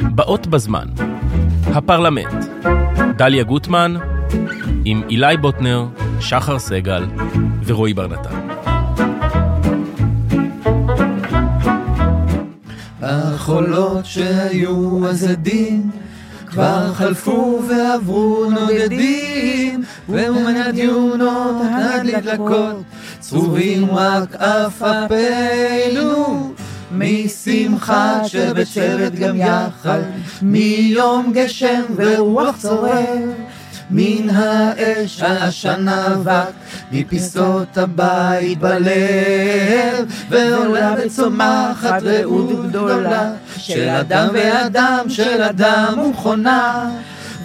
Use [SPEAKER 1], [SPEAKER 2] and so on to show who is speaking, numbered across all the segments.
[SPEAKER 1] הבאות בזמן. הפרלמנט. דליה גוטמן, עם אילי בוטנר, שחר סגל ורועי בר נתן.
[SPEAKER 2] החולות שהיו אז עדים כבר חלפו ועברו נודדים ומנת יונות הדלקות צרובים רק אף אפינו משמחה שבצוות גם יחד מיום גשם ורוח צורר מן האש העשן אבק, מפיסות הבית בלב, ועולה וצומחת רעות גדולה, של אדם ואדם, של אדם ומכונה.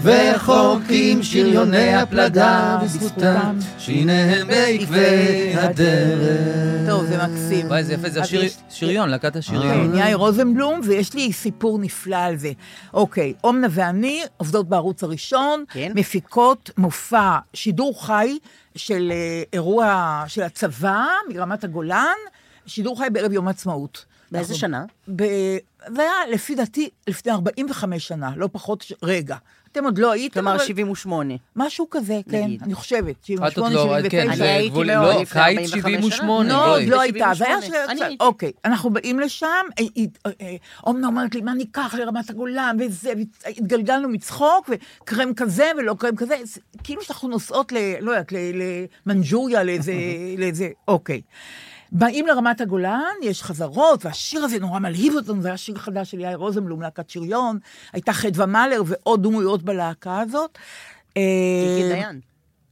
[SPEAKER 2] וחורקים שריוני הפלדה, בזכותם שיניהם בעקבי הדרך.
[SPEAKER 3] טוב, זה מקסים.
[SPEAKER 2] וואי, זה יפה, זה
[SPEAKER 3] אז
[SPEAKER 2] השיר-
[SPEAKER 3] יש-
[SPEAKER 2] שריון, להקת
[SPEAKER 4] אה.
[SPEAKER 2] השריון.
[SPEAKER 3] כן, יאיר רוזנבלום, ויש לי סיפור נפלא על זה. אוקיי, אומנה ואני עובדות בערוץ הראשון,
[SPEAKER 4] כן.
[SPEAKER 3] מפיקות מופע שידור חי של אה, אירוע של הצבא מרמת הגולן, שידור חי בערב יום העצמאות.
[SPEAKER 4] באיזה
[SPEAKER 3] אנחנו-
[SPEAKER 4] שנה?
[SPEAKER 3] ב... זה היה, לפי דעתי, לפני 45 שנה, לא פחות ש... רגע. אתם עוד לא הייתם,
[SPEAKER 4] כלומר, 78.
[SPEAKER 3] משהו כזה, כן,
[SPEAKER 4] נגיד.
[SPEAKER 3] אני חושבת.
[SPEAKER 2] את עוד לא, כן,
[SPEAKER 3] 78, 79.
[SPEAKER 4] אני
[SPEAKER 2] זה
[SPEAKER 4] הייתי
[SPEAKER 2] גבול-
[SPEAKER 4] מאוד
[SPEAKER 2] לא,
[SPEAKER 4] לפני
[SPEAKER 2] קיץ
[SPEAKER 4] 45
[SPEAKER 2] 78,
[SPEAKER 4] שנה.
[SPEAKER 3] לא, עוד
[SPEAKER 2] אה, בואי.
[SPEAKER 3] לא הייתה, זה היה
[SPEAKER 4] 78.
[SPEAKER 3] שאלה
[SPEAKER 4] אני
[SPEAKER 3] קצת,
[SPEAKER 4] הייתי.
[SPEAKER 3] אוקיי, אנחנו באים לשם, אה, אה, אה, אומנה אומרת לי, מה ניקח לרמת הגולן, וזה, התגלגלנו מצחוק, וקרם כזה ולא קרם כזה, זה כאילו שאנחנו נוסעות ל... לא יודעת, ל- למנג'וריה, לאיזה... לאיזה- אוקיי. באים לרמת הגולן, יש חזרות, והשיר הזה נורא מלהיב אותנו, זה היה שיר חדש של יאיר רוזנבלום, להקת שריון, הייתה חדווה מלר ועוד דמויות בלהקה הזאת. אה,
[SPEAKER 4] תיקי דיין.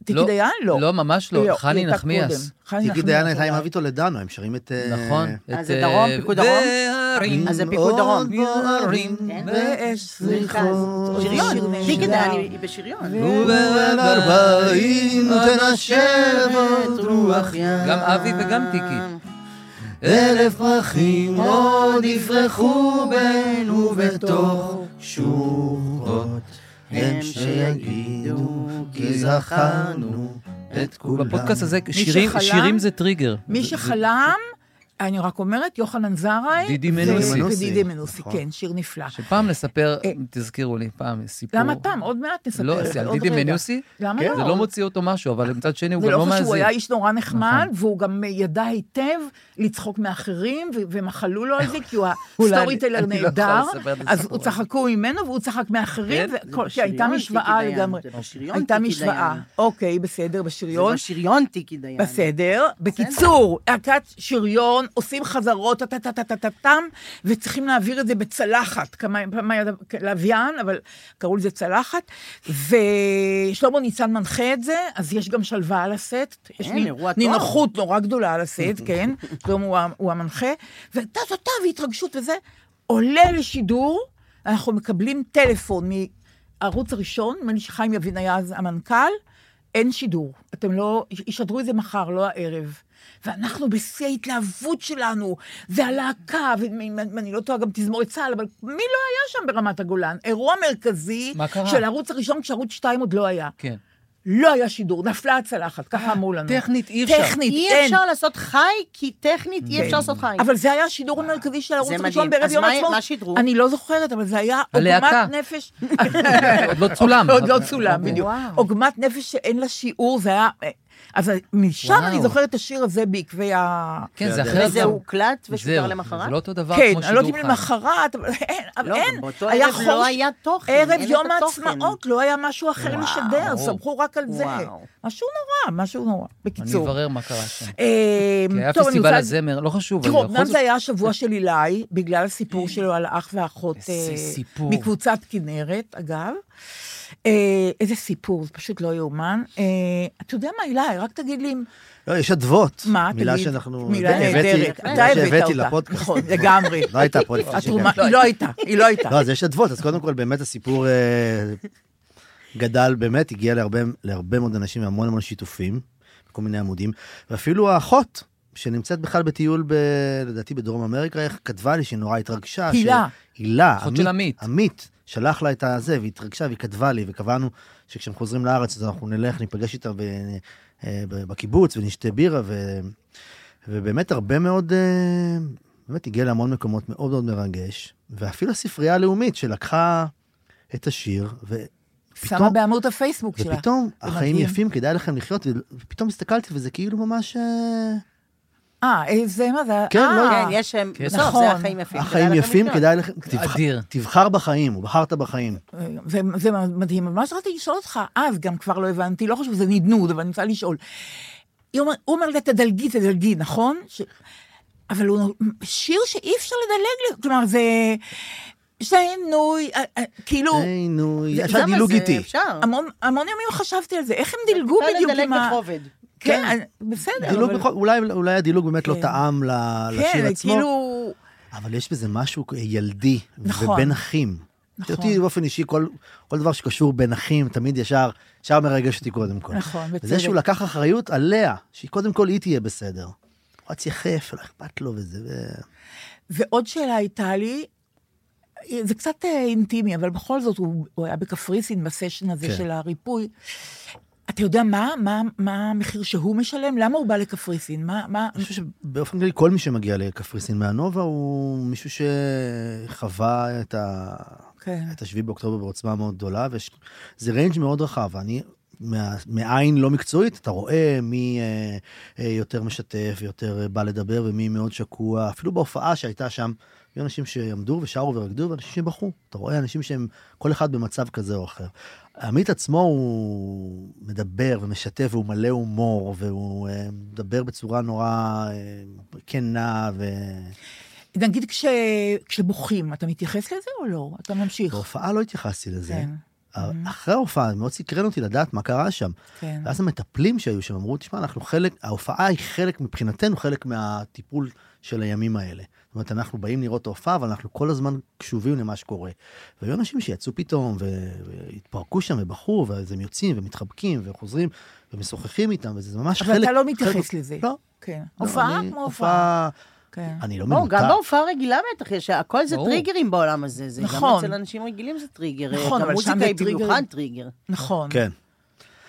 [SPEAKER 3] תיקי
[SPEAKER 2] לא,
[SPEAKER 3] דיין? לא.
[SPEAKER 2] לא, ממש לא, חני
[SPEAKER 3] היא הייתה
[SPEAKER 2] נחמיאס.
[SPEAKER 3] קודם. חני
[SPEAKER 5] תיקי דיין
[SPEAKER 3] נחמיאס,
[SPEAKER 5] הייתה עם
[SPEAKER 3] אולי.
[SPEAKER 5] אבי טולדנו, הם שרים את... אה,
[SPEAKER 2] נכון.
[SPEAKER 4] אז
[SPEAKER 2] את,
[SPEAKER 4] זה דרום,
[SPEAKER 2] אה,
[SPEAKER 4] פיקוד דרום?
[SPEAKER 2] והרים
[SPEAKER 4] אז זה פיקוד דרום.
[SPEAKER 2] בוערים
[SPEAKER 4] כן.
[SPEAKER 3] ואש
[SPEAKER 4] שריון.
[SPEAKER 3] זריחות.
[SPEAKER 4] שריון.
[SPEAKER 3] שיר
[SPEAKER 4] תיקי
[SPEAKER 3] נהדר.
[SPEAKER 4] דיין היא בשריון.
[SPEAKER 5] ובערב ארבעים תנשבת רוח ים.
[SPEAKER 2] גם אבי וגם
[SPEAKER 3] אה,
[SPEAKER 2] טיקי.
[SPEAKER 5] אלף פרחים עוד יפרחו בין ובתוך שורות הם שיגידו כי זכרנו את כולם.
[SPEAKER 2] בפודקאסט הזה שירים-
[SPEAKER 3] שחלם-
[SPEAKER 2] שירים זה טריגר.
[SPEAKER 3] מי
[SPEAKER 2] זה- זה-
[SPEAKER 3] שחלם, אני רק אומרת, יוחנן זרעי.
[SPEAKER 2] דידי
[SPEAKER 3] ו-
[SPEAKER 2] מנוסי.
[SPEAKER 3] ודידי מנוסי,
[SPEAKER 5] נכון.
[SPEAKER 3] כן, שיר נפלא.
[SPEAKER 2] שפעם נספר,
[SPEAKER 3] אה.
[SPEAKER 2] תזכירו לי, פעם סיפור.
[SPEAKER 3] למה פעם? עוד מעט נספר.
[SPEAKER 2] לא,
[SPEAKER 3] לך,
[SPEAKER 2] זה על
[SPEAKER 3] עוד
[SPEAKER 2] דידי
[SPEAKER 3] רגע.
[SPEAKER 2] מנוסי?
[SPEAKER 3] למה
[SPEAKER 5] כן,
[SPEAKER 3] לא?
[SPEAKER 2] זה לא מוציא אותו משהו, אבל מצד שני הוא
[SPEAKER 3] זה
[SPEAKER 2] גם
[SPEAKER 3] לא
[SPEAKER 2] לא נכון.
[SPEAKER 3] חשוב, הוא
[SPEAKER 2] מאזין.
[SPEAKER 3] היה איש נורא נחמד, והוא גם ידע היטב לצחוק מאחרים, ו- ומחלו לו על זה, כי הוא
[SPEAKER 2] אולי
[SPEAKER 3] הסטורי טלר
[SPEAKER 2] אני- אני לא יכולה
[SPEAKER 3] נהדר,
[SPEAKER 2] לספר את
[SPEAKER 3] אז
[SPEAKER 2] הסיפור
[SPEAKER 3] הוא
[SPEAKER 2] הזה.
[SPEAKER 3] צחקו ממנו והוא צחק מאחרים,
[SPEAKER 2] כן?
[SPEAKER 3] וכל- כי
[SPEAKER 4] בשריון,
[SPEAKER 3] הייתה
[SPEAKER 4] טיקי
[SPEAKER 3] משוואה
[SPEAKER 4] דיין,
[SPEAKER 3] לגמרי.
[SPEAKER 4] זה בשריון,
[SPEAKER 3] הייתה
[SPEAKER 4] טיקי
[SPEAKER 3] משוואה,
[SPEAKER 4] דיין.
[SPEAKER 3] אוקיי, בסדר, בשריון.
[SPEAKER 4] זה בשריון תיקי דיין.
[SPEAKER 3] בסדר. בקיצור, להקת שריון, עושים חזרות, טה-טה-טה-טה-טם, וצריכים להעביר את זה בצלחת, כמה כמה יד- לוויין, אבל קראו לזה צלחת, ושלמה ניצן מנחה את זה, אז יש גם שלווה על הסט. יש
[SPEAKER 4] כן,
[SPEAKER 3] לי
[SPEAKER 4] אירוע טוב.
[SPEAKER 3] נינוחות נורא גדולה על הסט, כן? שלמה הוא ה- הוא המנחה, וטה-טה-טה, והתרגשות וזה, עולה לשידור, אנחנו מקבלים טלפון מהערוץ הראשון, נדמה לי שחיים יבין היה אז המנכ"ל, אין שידור, אתם לא, ישדרו את זה מחר, לא הערב. ואנחנו בשיא ההתלהבות שלנו, זה הלהקה, ואם אני לא טועה, גם תזמורת צה"ל, אבל מי לא היה שם ברמת הגולן? אירוע מרכזי
[SPEAKER 2] מה קרה?
[SPEAKER 3] של הערוץ הראשון, כשערוץ 2 עוד לא היה.
[SPEAKER 2] כן.
[SPEAKER 3] לא היה שידור, נפלה הצלחת, ככה אמרו לנו.
[SPEAKER 2] טכנית אי אפשר.
[SPEAKER 3] טכנית,
[SPEAKER 4] אי
[SPEAKER 3] אין.
[SPEAKER 4] אפשר לעשות חי, כי טכנית אי אפשר לעשות חי.
[SPEAKER 3] אבל זה היה השידור המרכזי של הערוץ הראשון
[SPEAKER 4] מדהים.
[SPEAKER 3] בערב
[SPEAKER 4] אז
[SPEAKER 3] יום
[SPEAKER 4] מה-
[SPEAKER 3] העצמאות.
[SPEAKER 4] מה שידרו?
[SPEAKER 3] אני לא זוכרת, אבל זה היה
[SPEAKER 2] הלהקה.
[SPEAKER 3] עוגמת נפש.
[SPEAKER 2] עוד לא צולם. כן.
[SPEAKER 3] עוד לא צולם, בדיוק.
[SPEAKER 4] וואו.
[SPEAKER 3] עוגמת נפש שאין לה שיעור, זה היה... אז משם
[SPEAKER 2] וואו.
[SPEAKER 3] אני זוכרת את השיר הזה בעקבי ה...
[SPEAKER 2] כן, זה
[SPEAKER 5] וזה
[SPEAKER 2] אחרת.
[SPEAKER 4] וזה
[SPEAKER 2] גם.
[SPEAKER 4] הוקלט ושודר
[SPEAKER 2] זהו,
[SPEAKER 4] למחרת?
[SPEAKER 2] זה לא אותו דבר
[SPEAKER 3] כן,
[SPEAKER 2] כמו
[SPEAKER 3] אני לא יודעת
[SPEAKER 2] שידור
[SPEAKER 3] אם
[SPEAKER 2] חי.
[SPEAKER 3] למחרת, אבל אין, אבל
[SPEAKER 4] לא,
[SPEAKER 3] אין.
[SPEAKER 4] גם באותו
[SPEAKER 3] היה
[SPEAKER 4] ערב לא
[SPEAKER 3] חורש-
[SPEAKER 4] היה תוכן.
[SPEAKER 3] ערב
[SPEAKER 4] אין
[SPEAKER 3] יום
[SPEAKER 4] את התוכן.
[SPEAKER 3] העצמאות, לא היה משהו אחר לשדר, סמכו רק על זה.
[SPEAKER 4] וואו.
[SPEAKER 3] משהו נורא, משהו נורא.
[SPEAKER 2] אני
[SPEAKER 3] בקיצור.
[SPEAKER 2] אברר מה קרה שם.
[SPEAKER 3] אה,
[SPEAKER 2] כי היה
[SPEAKER 3] טוב, אני
[SPEAKER 2] פסטיבל
[SPEAKER 3] רוצה-
[SPEAKER 2] הזמר, לא חשוב.
[SPEAKER 3] תראו,
[SPEAKER 2] אבל בכל
[SPEAKER 3] אמנם
[SPEAKER 2] זאת-
[SPEAKER 3] זה היה השבוע של עילאי, בגלל
[SPEAKER 5] אה,
[SPEAKER 3] הסיפור שלו על האח והאחות
[SPEAKER 2] איזה
[SPEAKER 3] אה,
[SPEAKER 2] סיפור.
[SPEAKER 3] מקבוצת כנרת, אגב. אה, איזה סיפור, זה פשוט לא יאומן. אה, אתה יודע מה, עילאי, רק תגיד לי אם
[SPEAKER 5] לא, יש אדוות.
[SPEAKER 3] מה,
[SPEAKER 5] מילה
[SPEAKER 3] תגיד?
[SPEAKER 5] שאנחנו...
[SPEAKER 3] מילה
[SPEAKER 5] הבאתי-
[SPEAKER 3] נהדרת.
[SPEAKER 5] מילה
[SPEAKER 3] אתה הבאת
[SPEAKER 5] שהבאתי
[SPEAKER 3] אותה.
[SPEAKER 5] לפודקאסט.
[SPEAKER 3] נכון, לגמרי.
[SPEAKER 5] לא הייתה פה לפני
[SPEAKER 3] התרומה,
[SPEAKER 5] שהגעתי.
[SPEAKER 3] היא לא הייתה, היא לא הייתה.
[SPEAKER 5] לא, אז יש אדוות, אז קודם כל באמת הסיפור אה, גדל באמת, הגיע להרבה, להרבה מאוד אנשים והמון המון שיתופים, כל מיני עמודים, ואפילו האחות, שנמצאת בכלל בטיול, ב, לדעתי בדרום אמריקה, איך כתבה לי שהיא נורא התרגשה.
[SPEAKER 3] הילה.
[SPEAKER 5] ש... הילה,
[SPEAKER 2] אחות של עמית.
[SPEAKER 5] עמית, שלח לה את הזה, והיא התרגשה והיא כתבה לי, וקבענו שכשהם חוזרים לארץ, אז אנחנו נלך, ניפגש איתה ב, אה, ב- בקיבוץ ונשתה בירה, ו... ובאמת הרבה מאוד, אה, באמת הגיע להמון מקומות מאוד מאוד מרגש, ואפילו הספרייה הלאומית שלקחה את השיר,
[SPEAKER 3] שמה
[SPEAKER 5] ופתאום,
[SPEAKER 3] בעמוד הפייסבוק שלה.
[SPEAKER 5] ופתאום החיים
[SPEAKER 3] מדהים.
[SPEAKER 5] יפים, כדאי לכם לחיות, ופתאום הסתכלתי וזה כאילו ממש... אה,
[SPEAKER 3] אה, אה, זה מה זה?
[SPEAKER 5] כן, לא,
[SPEAKER 3] אה,
[SPEAKER 4] כן, יש, אה,
[SPEAKER 2] כן.
[SPEAKER 4] בסוף
[SPEAKER 3] נכון.
[SPEAKER 4] זה החיים יפים.
[SPEAKER 5] החיים
[SPEAKER 4] כדאי לכם
[SPEAKER 5] יפים,
[SPEAKER 4] לחיות.
[SPEAKER 5] כדאי לכם... תבחר-
[SPEAKER 2] אדיר.
[SPEAKER 5] תבחר בחיים, או בחרת בחיים.
[SPEAKER 3] זה, זה מדהים. אבל מה שרציתי לשאול אותך, אז גם כבר לא הבנתי, לא חשוב, זה נדנוד, אבל אני רוצה לשאול. היא אומר- הוא אומר לי, תדלגי, תדלגי, נכון? ש... אבל הוא שיר שאי אפשר לדלג, לו, כלומר, זה... שינוי, אה, אה, כאילו,
[SPEAKER 5] היינו,
[SPEAKER 3] זה-
[SPEAKER 5] אפשר
[SPEAKER 4] למה
[SPEAKER 5] דילוג
[SPEAKER 4] זה
[SPEAKER 5] איתי.
[SPEAKER 4] אפשר?
[SPEAKER 3] המון, המון ימים חשבתי על זה, איך הם דילגו
[SPEAKER 4] אפשר
[SPEAKER 3] בדיוק
[SPEAKER 4] לדלג
[SPEAKER 3] עם ה...
[SPEAKER 4] בכובד.
[SPEAKER 3] כן, אה, בסדר.
[SPEAKER 5] דילוג
[SPEAKER 3] אבל-
[SPEAKER 5] בכל- אולי אולי הדילוג באמת לא
[SPEAKER 3] כן.
[SPEAKER 5] טעם ל- לשיר
[SPEAKER 3] כן,
[SPEAKER 5] עצמו,
[SPEAKER 3] כאילו...
[SPEAKER 5] אבל יש בזה משהו ילדי,
[SPEAKER 3] נכון.
[SPEAKER 5] ובין אחים.
[SPEAKER 3] נכון.
[SPEAKER 5] אותי באופן אישי, כל כל דבר שקשור בין אחים, תמיד ישר, ישר מרגש אותי קודם כל.
[SPEAKER 3] נכון,
[SPEAKER 5] וזה שהוא
[SPEAKER 3] בצדק.
[SPEAKER 5] לקח אחריות עליה, שהיא קודם כל היא תהיה בסדר. הוא רץ יחף, לא אכפת לו וזה, ו-
[SPEAKER 3] ועוד שאלה הייתה לי, זה קצת אה, אינטימי, אבל בכל זאת, הוא, הוא היה בקפריסין בסשן הזה
[SPEAKER 5] כן.
[SPEAKER 3] של הריפוי. אתה יודע מה, מה, מה המחיר שהוא משלם? למה הוא בא לקפריסין? מה, מה...
[SPEAKER 5] אני חושב שבאופן כללי, כל מי שמגיע לקפריסין מהנובה הוא מישהו שחווה את, ה...
[SPEAKER 3] כן.
[SPEAKER 5] את השביעי באוקטובר בעוצמה מאוד גדולה, וזה ויש... ריינג' מאוד רחב. אני, מה... מעין לא מקצועית, אתה רואה מי אה, אה, יותר משתף, יותר אה, בא לדבר, ומי מאוד שקוע. אפילו בהופעה שהייתה שם, היו אנשים שעמדו ושרו ורקדו, ואנשים שבכו. אתה רואה אנשים שהם, כל אחד במצב כזה או אחר. עמית עצמו הוא מדבר ומשתף והוא מלא הומור והוא אה, מדבר בצורה נורא אה, כנה
[SPEAKER 3] נגיד כש, כשבוכים, אתה מתייחס לזה או לא? אתה ממשיך.
[SPEAKER 5] ובהופעה לא התייחסתי לזה.
[SPEAKER 3] כן,
[SPEAKER 5] אה, אחרי ההופעה מאוד סקרן אותי לדעת מה קרה שם.
[SPEAKER 3] כן.
[SPEAKER 5] ואז המטפלים שהיו שם אמרו, תשמע, אנחנו חלק, ההופעה היא חלק מבחינתנו, חלק מהטיפול של הימים האלה. זאת אומרת, אנחנו באים לראות את ההופעה, אבל אנחנו כל הזמן קשובים למה שקורה. והיו אנשים שיצאו פתאום, ו- והתפרקו שם ובחרו, ואז הם יוצאים ומתחבקים וחוזרים ומשוחחים איתם, וזה ממש
[SPEAKER 3] אבל
[SPEAKER 5] חלק...
[SPEAKER 3] אתה לא
[SPEAKER 5] חלק-
[SPEAKER 3] מתייחס לזה.
[SPEAKER 5] לא.
[SPEAKER 3] כן.
[SPEAKER 5] לא,
[SPEAKER 3] הופעה
[SPEAKER 5] אני-
[SPEAKER 3] כמו הופעה. כן.
[SPEAKER 5] אני לא
[SPEAKER 4] בואו,
[SPEAKER 5] מנותק.
[SPEAKER 4] גם בהופעה רגילה בטח יש, הכל זה
[SPEAKER 2] ברור.
[SPEAKER 4] טריגרים בעולם הזה. זה גם
[SPEAKER 3] נכון.
[SPEAKER 4] אצל אנשים רגילים זה טריגר.
[SPEAKER 3] נכון, אבל
[SPEAKER 4] גם
[SPEAKER 3] שם
[SPEAKER 4] מוזיקה
[SPEAKER 3] זה
[SPEAKER 4] היא
[SPEAKER 3] טריגר.
[SPEAKER 4] במיוחד טריגר.
[SPEAKER 3] נכון.
[SPEAKER 5] כן.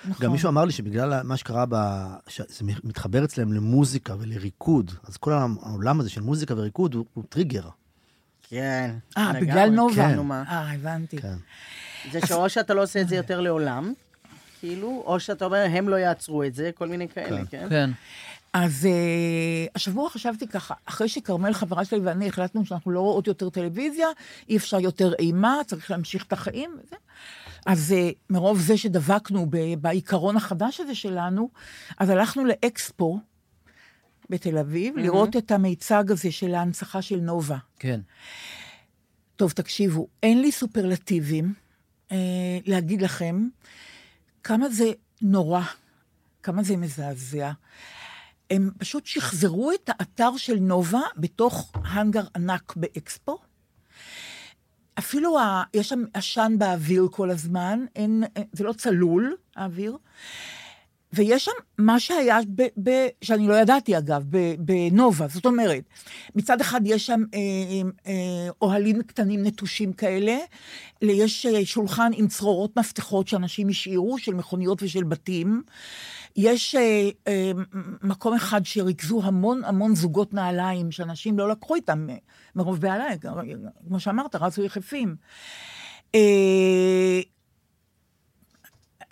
[SPEAKER 3] נכון.
[SPEAKER 5] גם מישהו אמר לי שבגלל מה שקרה, ב... שזה מתחבר אצלם למוזיקה ולריקוד, אז כל העולם הזה של מוזיקה וריקוד הוא, הוא טריגר.
[SPEAKER 4] כן.
[SPEAKER 3] אה,
[SPEAKER 4] לגמרי.
[SPEAKER 3] בגלל נובה.
[SPEAKER 5] כן.
[SPEAKER 4] נו, מה?
[SPEAKER 3] אה, הבנתי.
[SPEAKER 5] כן.
[SPEAKER 4] זה שאו שאתה לא עושה
[SPEAKER 3] אה.
[SPEAKER 4] את זה יותר לעולם, כאילו, או שאתה אומר, הם לא יעצרו את זה, כל מיני כאלה, כן?
[SPEAKER 2] כן.
[SPEAKER 3] אז אה, השבוע חשבתי ככה, אחרי שכרמל, חברה שלי ואני, החלטנו שאנחנו לא רואות יותר טלוויזיה, אי אפשר יותר אימה, צריך להמשיך את החיים וזה. אז אה, מרוב זה שדבקנו ב- בעיקרון החדש הזה שלנו, אז הלכנו לאקספו בתל אביב, לראות את המיצג הזה של ההנצחה של נובה.
[SPEAKER 2] כן.
[SPEAKER 3] טוב, תקשיבו, אין לי סופרלטיבים אה, להגיד לכם כמה זה נורא, כמה זה מזעזע. הם פשוט שחזרו את האתר של נובה בתוך האנגר ענק באקספו. אפילו ה... יש שם עשן באוויר כל הזמן, אין, אה, זה לא צלול, האוויר. ויש שם מה שהיה, ב, ב, שאני לא ידעתי אגב, ב- בנובה, זאת אומרת, מצד אחד יש שם אה, אה, אה, אוהלים קטנים נטושים כאלה, ל- יש אה, שולחן עם צרורות מפתחות שאנשים השאירו, של מכוניות ושל בתים, יש אה, אה, מקום אחד שריכזו המון המון זוגות נעליים, שאנשים לא לקחו איתם אה, מרוב בעלה, כמו שאמרת, רצו יחפים. אה,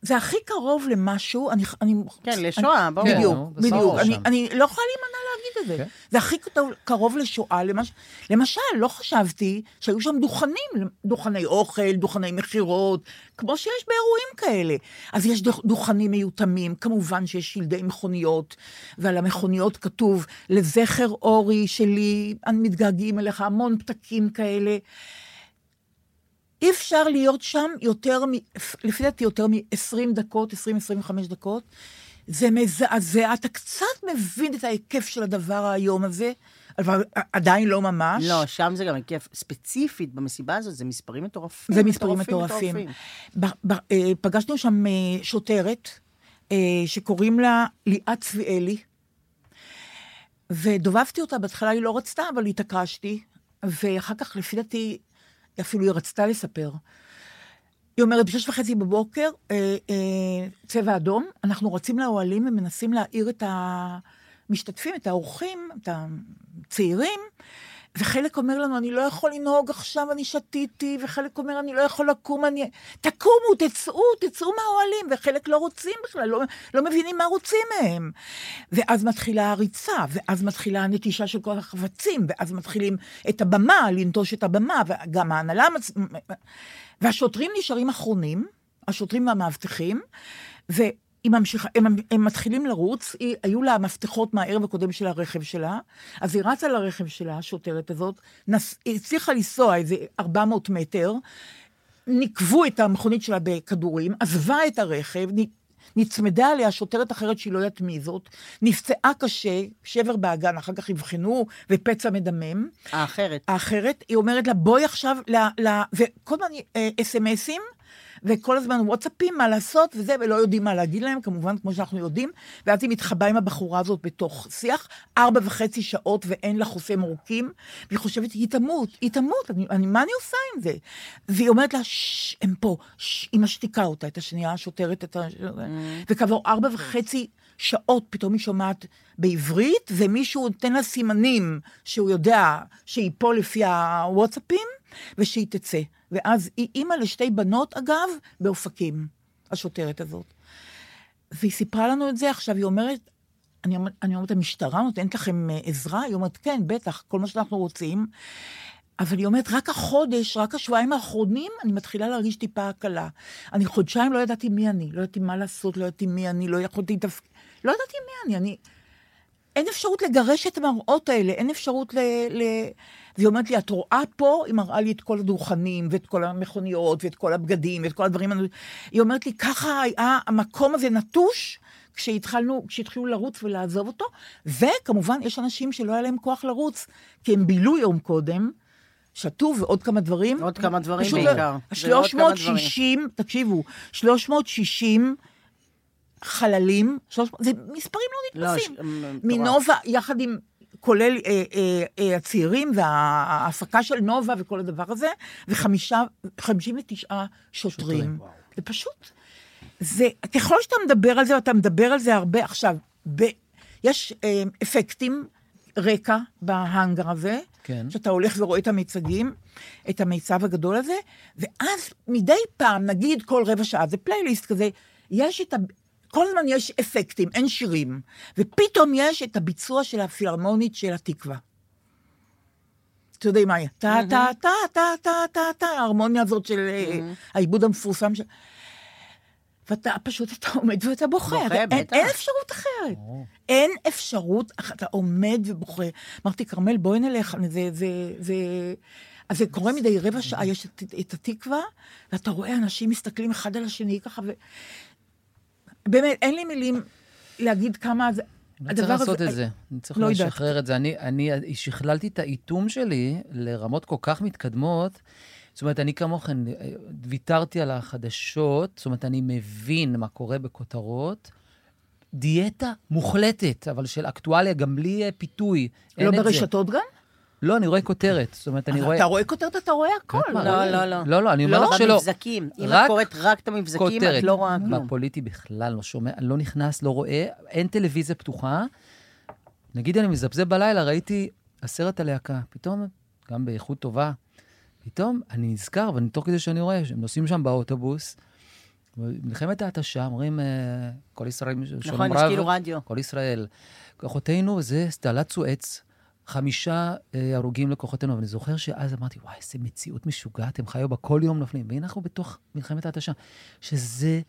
[SPEAKER 3] זה הכי קרוב למשהו, אני... אני
[SPEAKER 4] כן, לשואה, בואו.
[SPEAKER 2] כן,
[SPEAKER 3] בדיוק,
[SPEAKER 2] נו, בסדר.
[SPEAKER 3] בדיוק.
[SPEAKER 2] ברור,
[SPEAKER 3] אני,
[SPEAKER 5] שם.
[SPEAKER 3] אני לא יכולה להימנע להגיד את זה.
[SPEAKER 2] כן.
[SPEAKER 3] זה הכי קטוב- קרוב לשואה. למש... למשל, לא חשבתי שהיו שם דוכנים, דוכני אוכל, דוכני מכירות, כמו שיש באירועים כאלה. אז יש דוכ- דוכנים מיותמים, כמובן שיש שלדי מכוניות, ועל המכוניות כתוב, לזכר אורי שלי, אני מתגעגעים אליך, המון פתקים כאלה. אי אפשר להיות שם יותר, מ, לפי דעתי יותר מ-20 דקות, 20-25 דקות. זה מזעזע, אתה קצת מבין את ההיקף של הדבר האיום הזה, אבל עדיין לא ממש.
[SPEAKER 4] לא, שם זה גם היקף, ספציפית במסיבה הזאת, זה מספרים מטורפים.
[SPEAKER 3] זה מספרים מטורפים. ב- ב- אה, פגשנו שם אה, שוטרת, אה, שקוראים לה ליאת צביאלי, ודובבתי אותה, בהתחלה היא לא רצתה, אבל התעקשתי, ואחר כך, לפי דעתי, אפילו היא רצתה לספר. היא אומרת, בשש וחצי בבוקר, אה, אה, צבע אדום, אנחנו רצים לאוהלים ומנסים להעיר את המשתתפים, את האורחים, את הצעירים, וחלק אומר לנו, אני לא יכול לנהוג עכשיו, אני שתיתי, וחלק אומר, אני לא יכול לקום, אני... תקומו, תצאו, תצאו מהאוהלים, וחלק לא רוצים בכלל, לא, לא מבינים מה רוצים מהם. ואז מתחילה הריצה, ואז מתחילה הנטישה של כל החבצים, ואז מתחילים את הבמה, לנטוש את הבמה, וגם ההנהלה... מצ... והשוטרים נשארים אחרונים, השוטרים והמאבטחים, ו... היא ממשיכה, הם, הם מתחילים לרוץ, היא, היו לה מפתחות מהערב הקודם של הרכב שלה, אז היא רצה לרכב שלה, השוטרת הזאת, נס, היא הצליחה לנסוע איזה 400 מטר, ניקבו את המכונית שלה בכדורים, עזבה את הרכב, נ, נצמדה עליה שוטרת אחרת שהיא לא יודעת מי זאת, נפצעה קשה, שבר באגן, אחר כך אבחנו, ופצע מדמם.
[SPEAKER 4] האחרת.
[SPEAKER 3] האחרת, היא אומרת לה, בואי עכשיו, ל, ל, וכל הזמן אה, אס.אם.אסים, וכל הזמן וואטסאפים, מה לעשות וזה, ולא יודעים מה להגיד להם, כמובן, כמו שאנחנו יודעים. ואז היא מתחבאה עם הבחורה הזאת בתוך שיח, ארבע וחצי שעות ואין לה חוסם עורקים, והיא חושבת, היא תמות, היא תמות, אני, אני, מה אני עושה עם זה? והיא אומרת לה, ששש, הם פה, ששש, היא משתיקה אותה, את השנייה, השוטרת, את ה... וכעבור ארבע וחצי שעות פתאום היא שומעת בעברית, ומישהו נותן לה סימנים שהוא יודע שהיא פה לפי הוואטסאפים, ושהיא תצא. ואז היא אימא לשתי בנות, אגב, באופקים, השוטרת הזאת. והיא סיפרה לנו את זה, עכשיו היא אומרת, אני, אומר- אני אומרת, המשטרה נותנת לכם אה, עזרה? היא אומרת, כן, בטח, כל מה שאנחנו רוצים. אבל היא אומרת, רק החודש, רק השבועיים האחרונים, אני מתחילה להרגיש טיפה הקלה. אני חודשיים לא ידעתי מי אני, לא ידעתי מה לעשות, לא ידעתי מי אני, לא יכולתי לתפק... לא ידעתי מי אני, אני... אין אפשרות לגרש את המראות האלה, אין אפשרות ל... ל... והיא אומרת לי, את רואה פה? היא מראה לי את כל הדוכנים, ואת כל המכוניות, ואת כל הבגדים, ואת כל הדברים. הנ- היא אומרת לי, ככה היה המקום הזה נטוש, כשהתחלנו, כשהתחילו לרוץ ולעזוב אותו, וכמובן, יש אנשים שלא היה להם כוח לרוץ, כי הם בילו יום קודם, שתו ועוד כמה דברים.
[SPEAKER 4] עוד כמה דברים
[SPEAKER 3] פשוט
[SPEAKER 4] בעיקר.
[SPEAKER 3] לא.
[SPEAKER 4] זה עוד כמה דברים.
[SPEAKER 3] 360, תקשיבו, 360 חללים, 300, זה מספרים לא
[SPEAKER 4] לא,
[SPEAKER 3] נתפסים.
[SPEAKER 4] ש- מ- מטורף.
[SPEAKER 3] מנובה, יחד עם, כולל אה, אה, אה, הצעירים וההפקה של נובה וכל הדבר הזה, וחמישה, 59 שוטרים. זה פשוט, זה, ככל שאתה מדבר על זה, ואתה מדבר על זה הרבה, עכשיו, ב, יש אה, אפקטים, רקע בהאנגר הזה,
[SPEAKER 2] כן.
[SPEAKER 3] שאתה הולך ורואה את המיצגים, את המיצב הגדול הזה, ואז מדי פעם, נגיד כל רבע שעה, זה פלייליסט כזה, יש את ה... כל הזמן יש אפקטים, אין שירים, ופתאום יש את הביצוע של הפילהרמונית של התקווה. אתה יודע מה היא? טה, טה, טה, טה, טה, טה, טה, ההרמוניה הזאת של אה, העיבוד המפורסם של... ואתה פשוט, אתה עומד ואתה בוכה.
[SPEAKER 4] בוכה,
[SPEAKER 3] אתה- אין-
[SPEAKER 4] בטח.
[SPEAKER 3] אין אפשרות אחרת. אין אפשרות, אח- אתה עומד ובוכה. אמרתי, כרמל, בואי נלך, אני- זה, זה, זה... אז זה קורה מדי רבע שעה, יש את, את התקווה, ואתה רואה אנשים מסתכלים אחד על השני ככה, ו... באמת, אין לי מילים להגיד כמה זה...
[SPEAKER 2] אני צריך לעשות את זה, אני צריך
[SPEAKER 3] לא יודעת.
[SPEAKER 2] לשחרר את זה. אני, אני שכללתי את האיטום שלי לרמות כל כך מתקדמות. זאת אומרת, אני כמוכן אה, ויתרתי על החדשות, זאת אומרת, אני מבין מה קורה בכותרות. דיאטה מוחלטת, אבל של אקטואליה, גם בלי אה, פיתוי. אין
[SPEAKER 3] לא
[SPEAKER 2] את זה.
[SPEAKER 3] ברשתות גם?
[SPEAKER 2] לא, אני רואה כותרת. זאת אומרת, אני רואה...
[SPEAKER 3] אתה רואה כותרת, אתה רואה הכל.
[SPEAKER 2] מה,
[SPEAKER 4] לא, לא, לא.
[SPEAKER 2] לא, לא, אני אומר לך שלא.
[SPEAKER 4] במבזקים. אם
[SPEAKER 2] רק
[SPEAKER 4] את קוראת רק את המבזקים,
[SPEAKER 2] כותרת.
[SPEAKER 4] את לא רואה כלום.
[SPEAKER 2] בפוליטי בכלל לא שומע, לא נכנס, לא רואה, אין טלוויזיה פתוחה. נגיד אני מזפזפ בלילה, ראיתי הסרט הלהקה, פתאום, גם באיכות טובה, פתאום אני נזכר, ואני תוך כדי שאני רואה, שהם נוסעים שם באוטובוס, מלחמת ההתשה, אומרים, אה, כל ישראל שלום
[SPEAKER 4] נכון, יש
[SPEAKER 2] רב,
[SPEAKER 4] כאילו רדיו.
[SPEAKER 2] כל ישראל. כוחותינו זה סדלת סואץ, חמישה אה, הרוגים לכוחותינו. ואני זוכר שאז אמרתי, וואי, איזה מציאות משוגעת, הם חיו בה, כל יום נופלים. והנה אנחנו בתוך מלחמת ההתשה, שזה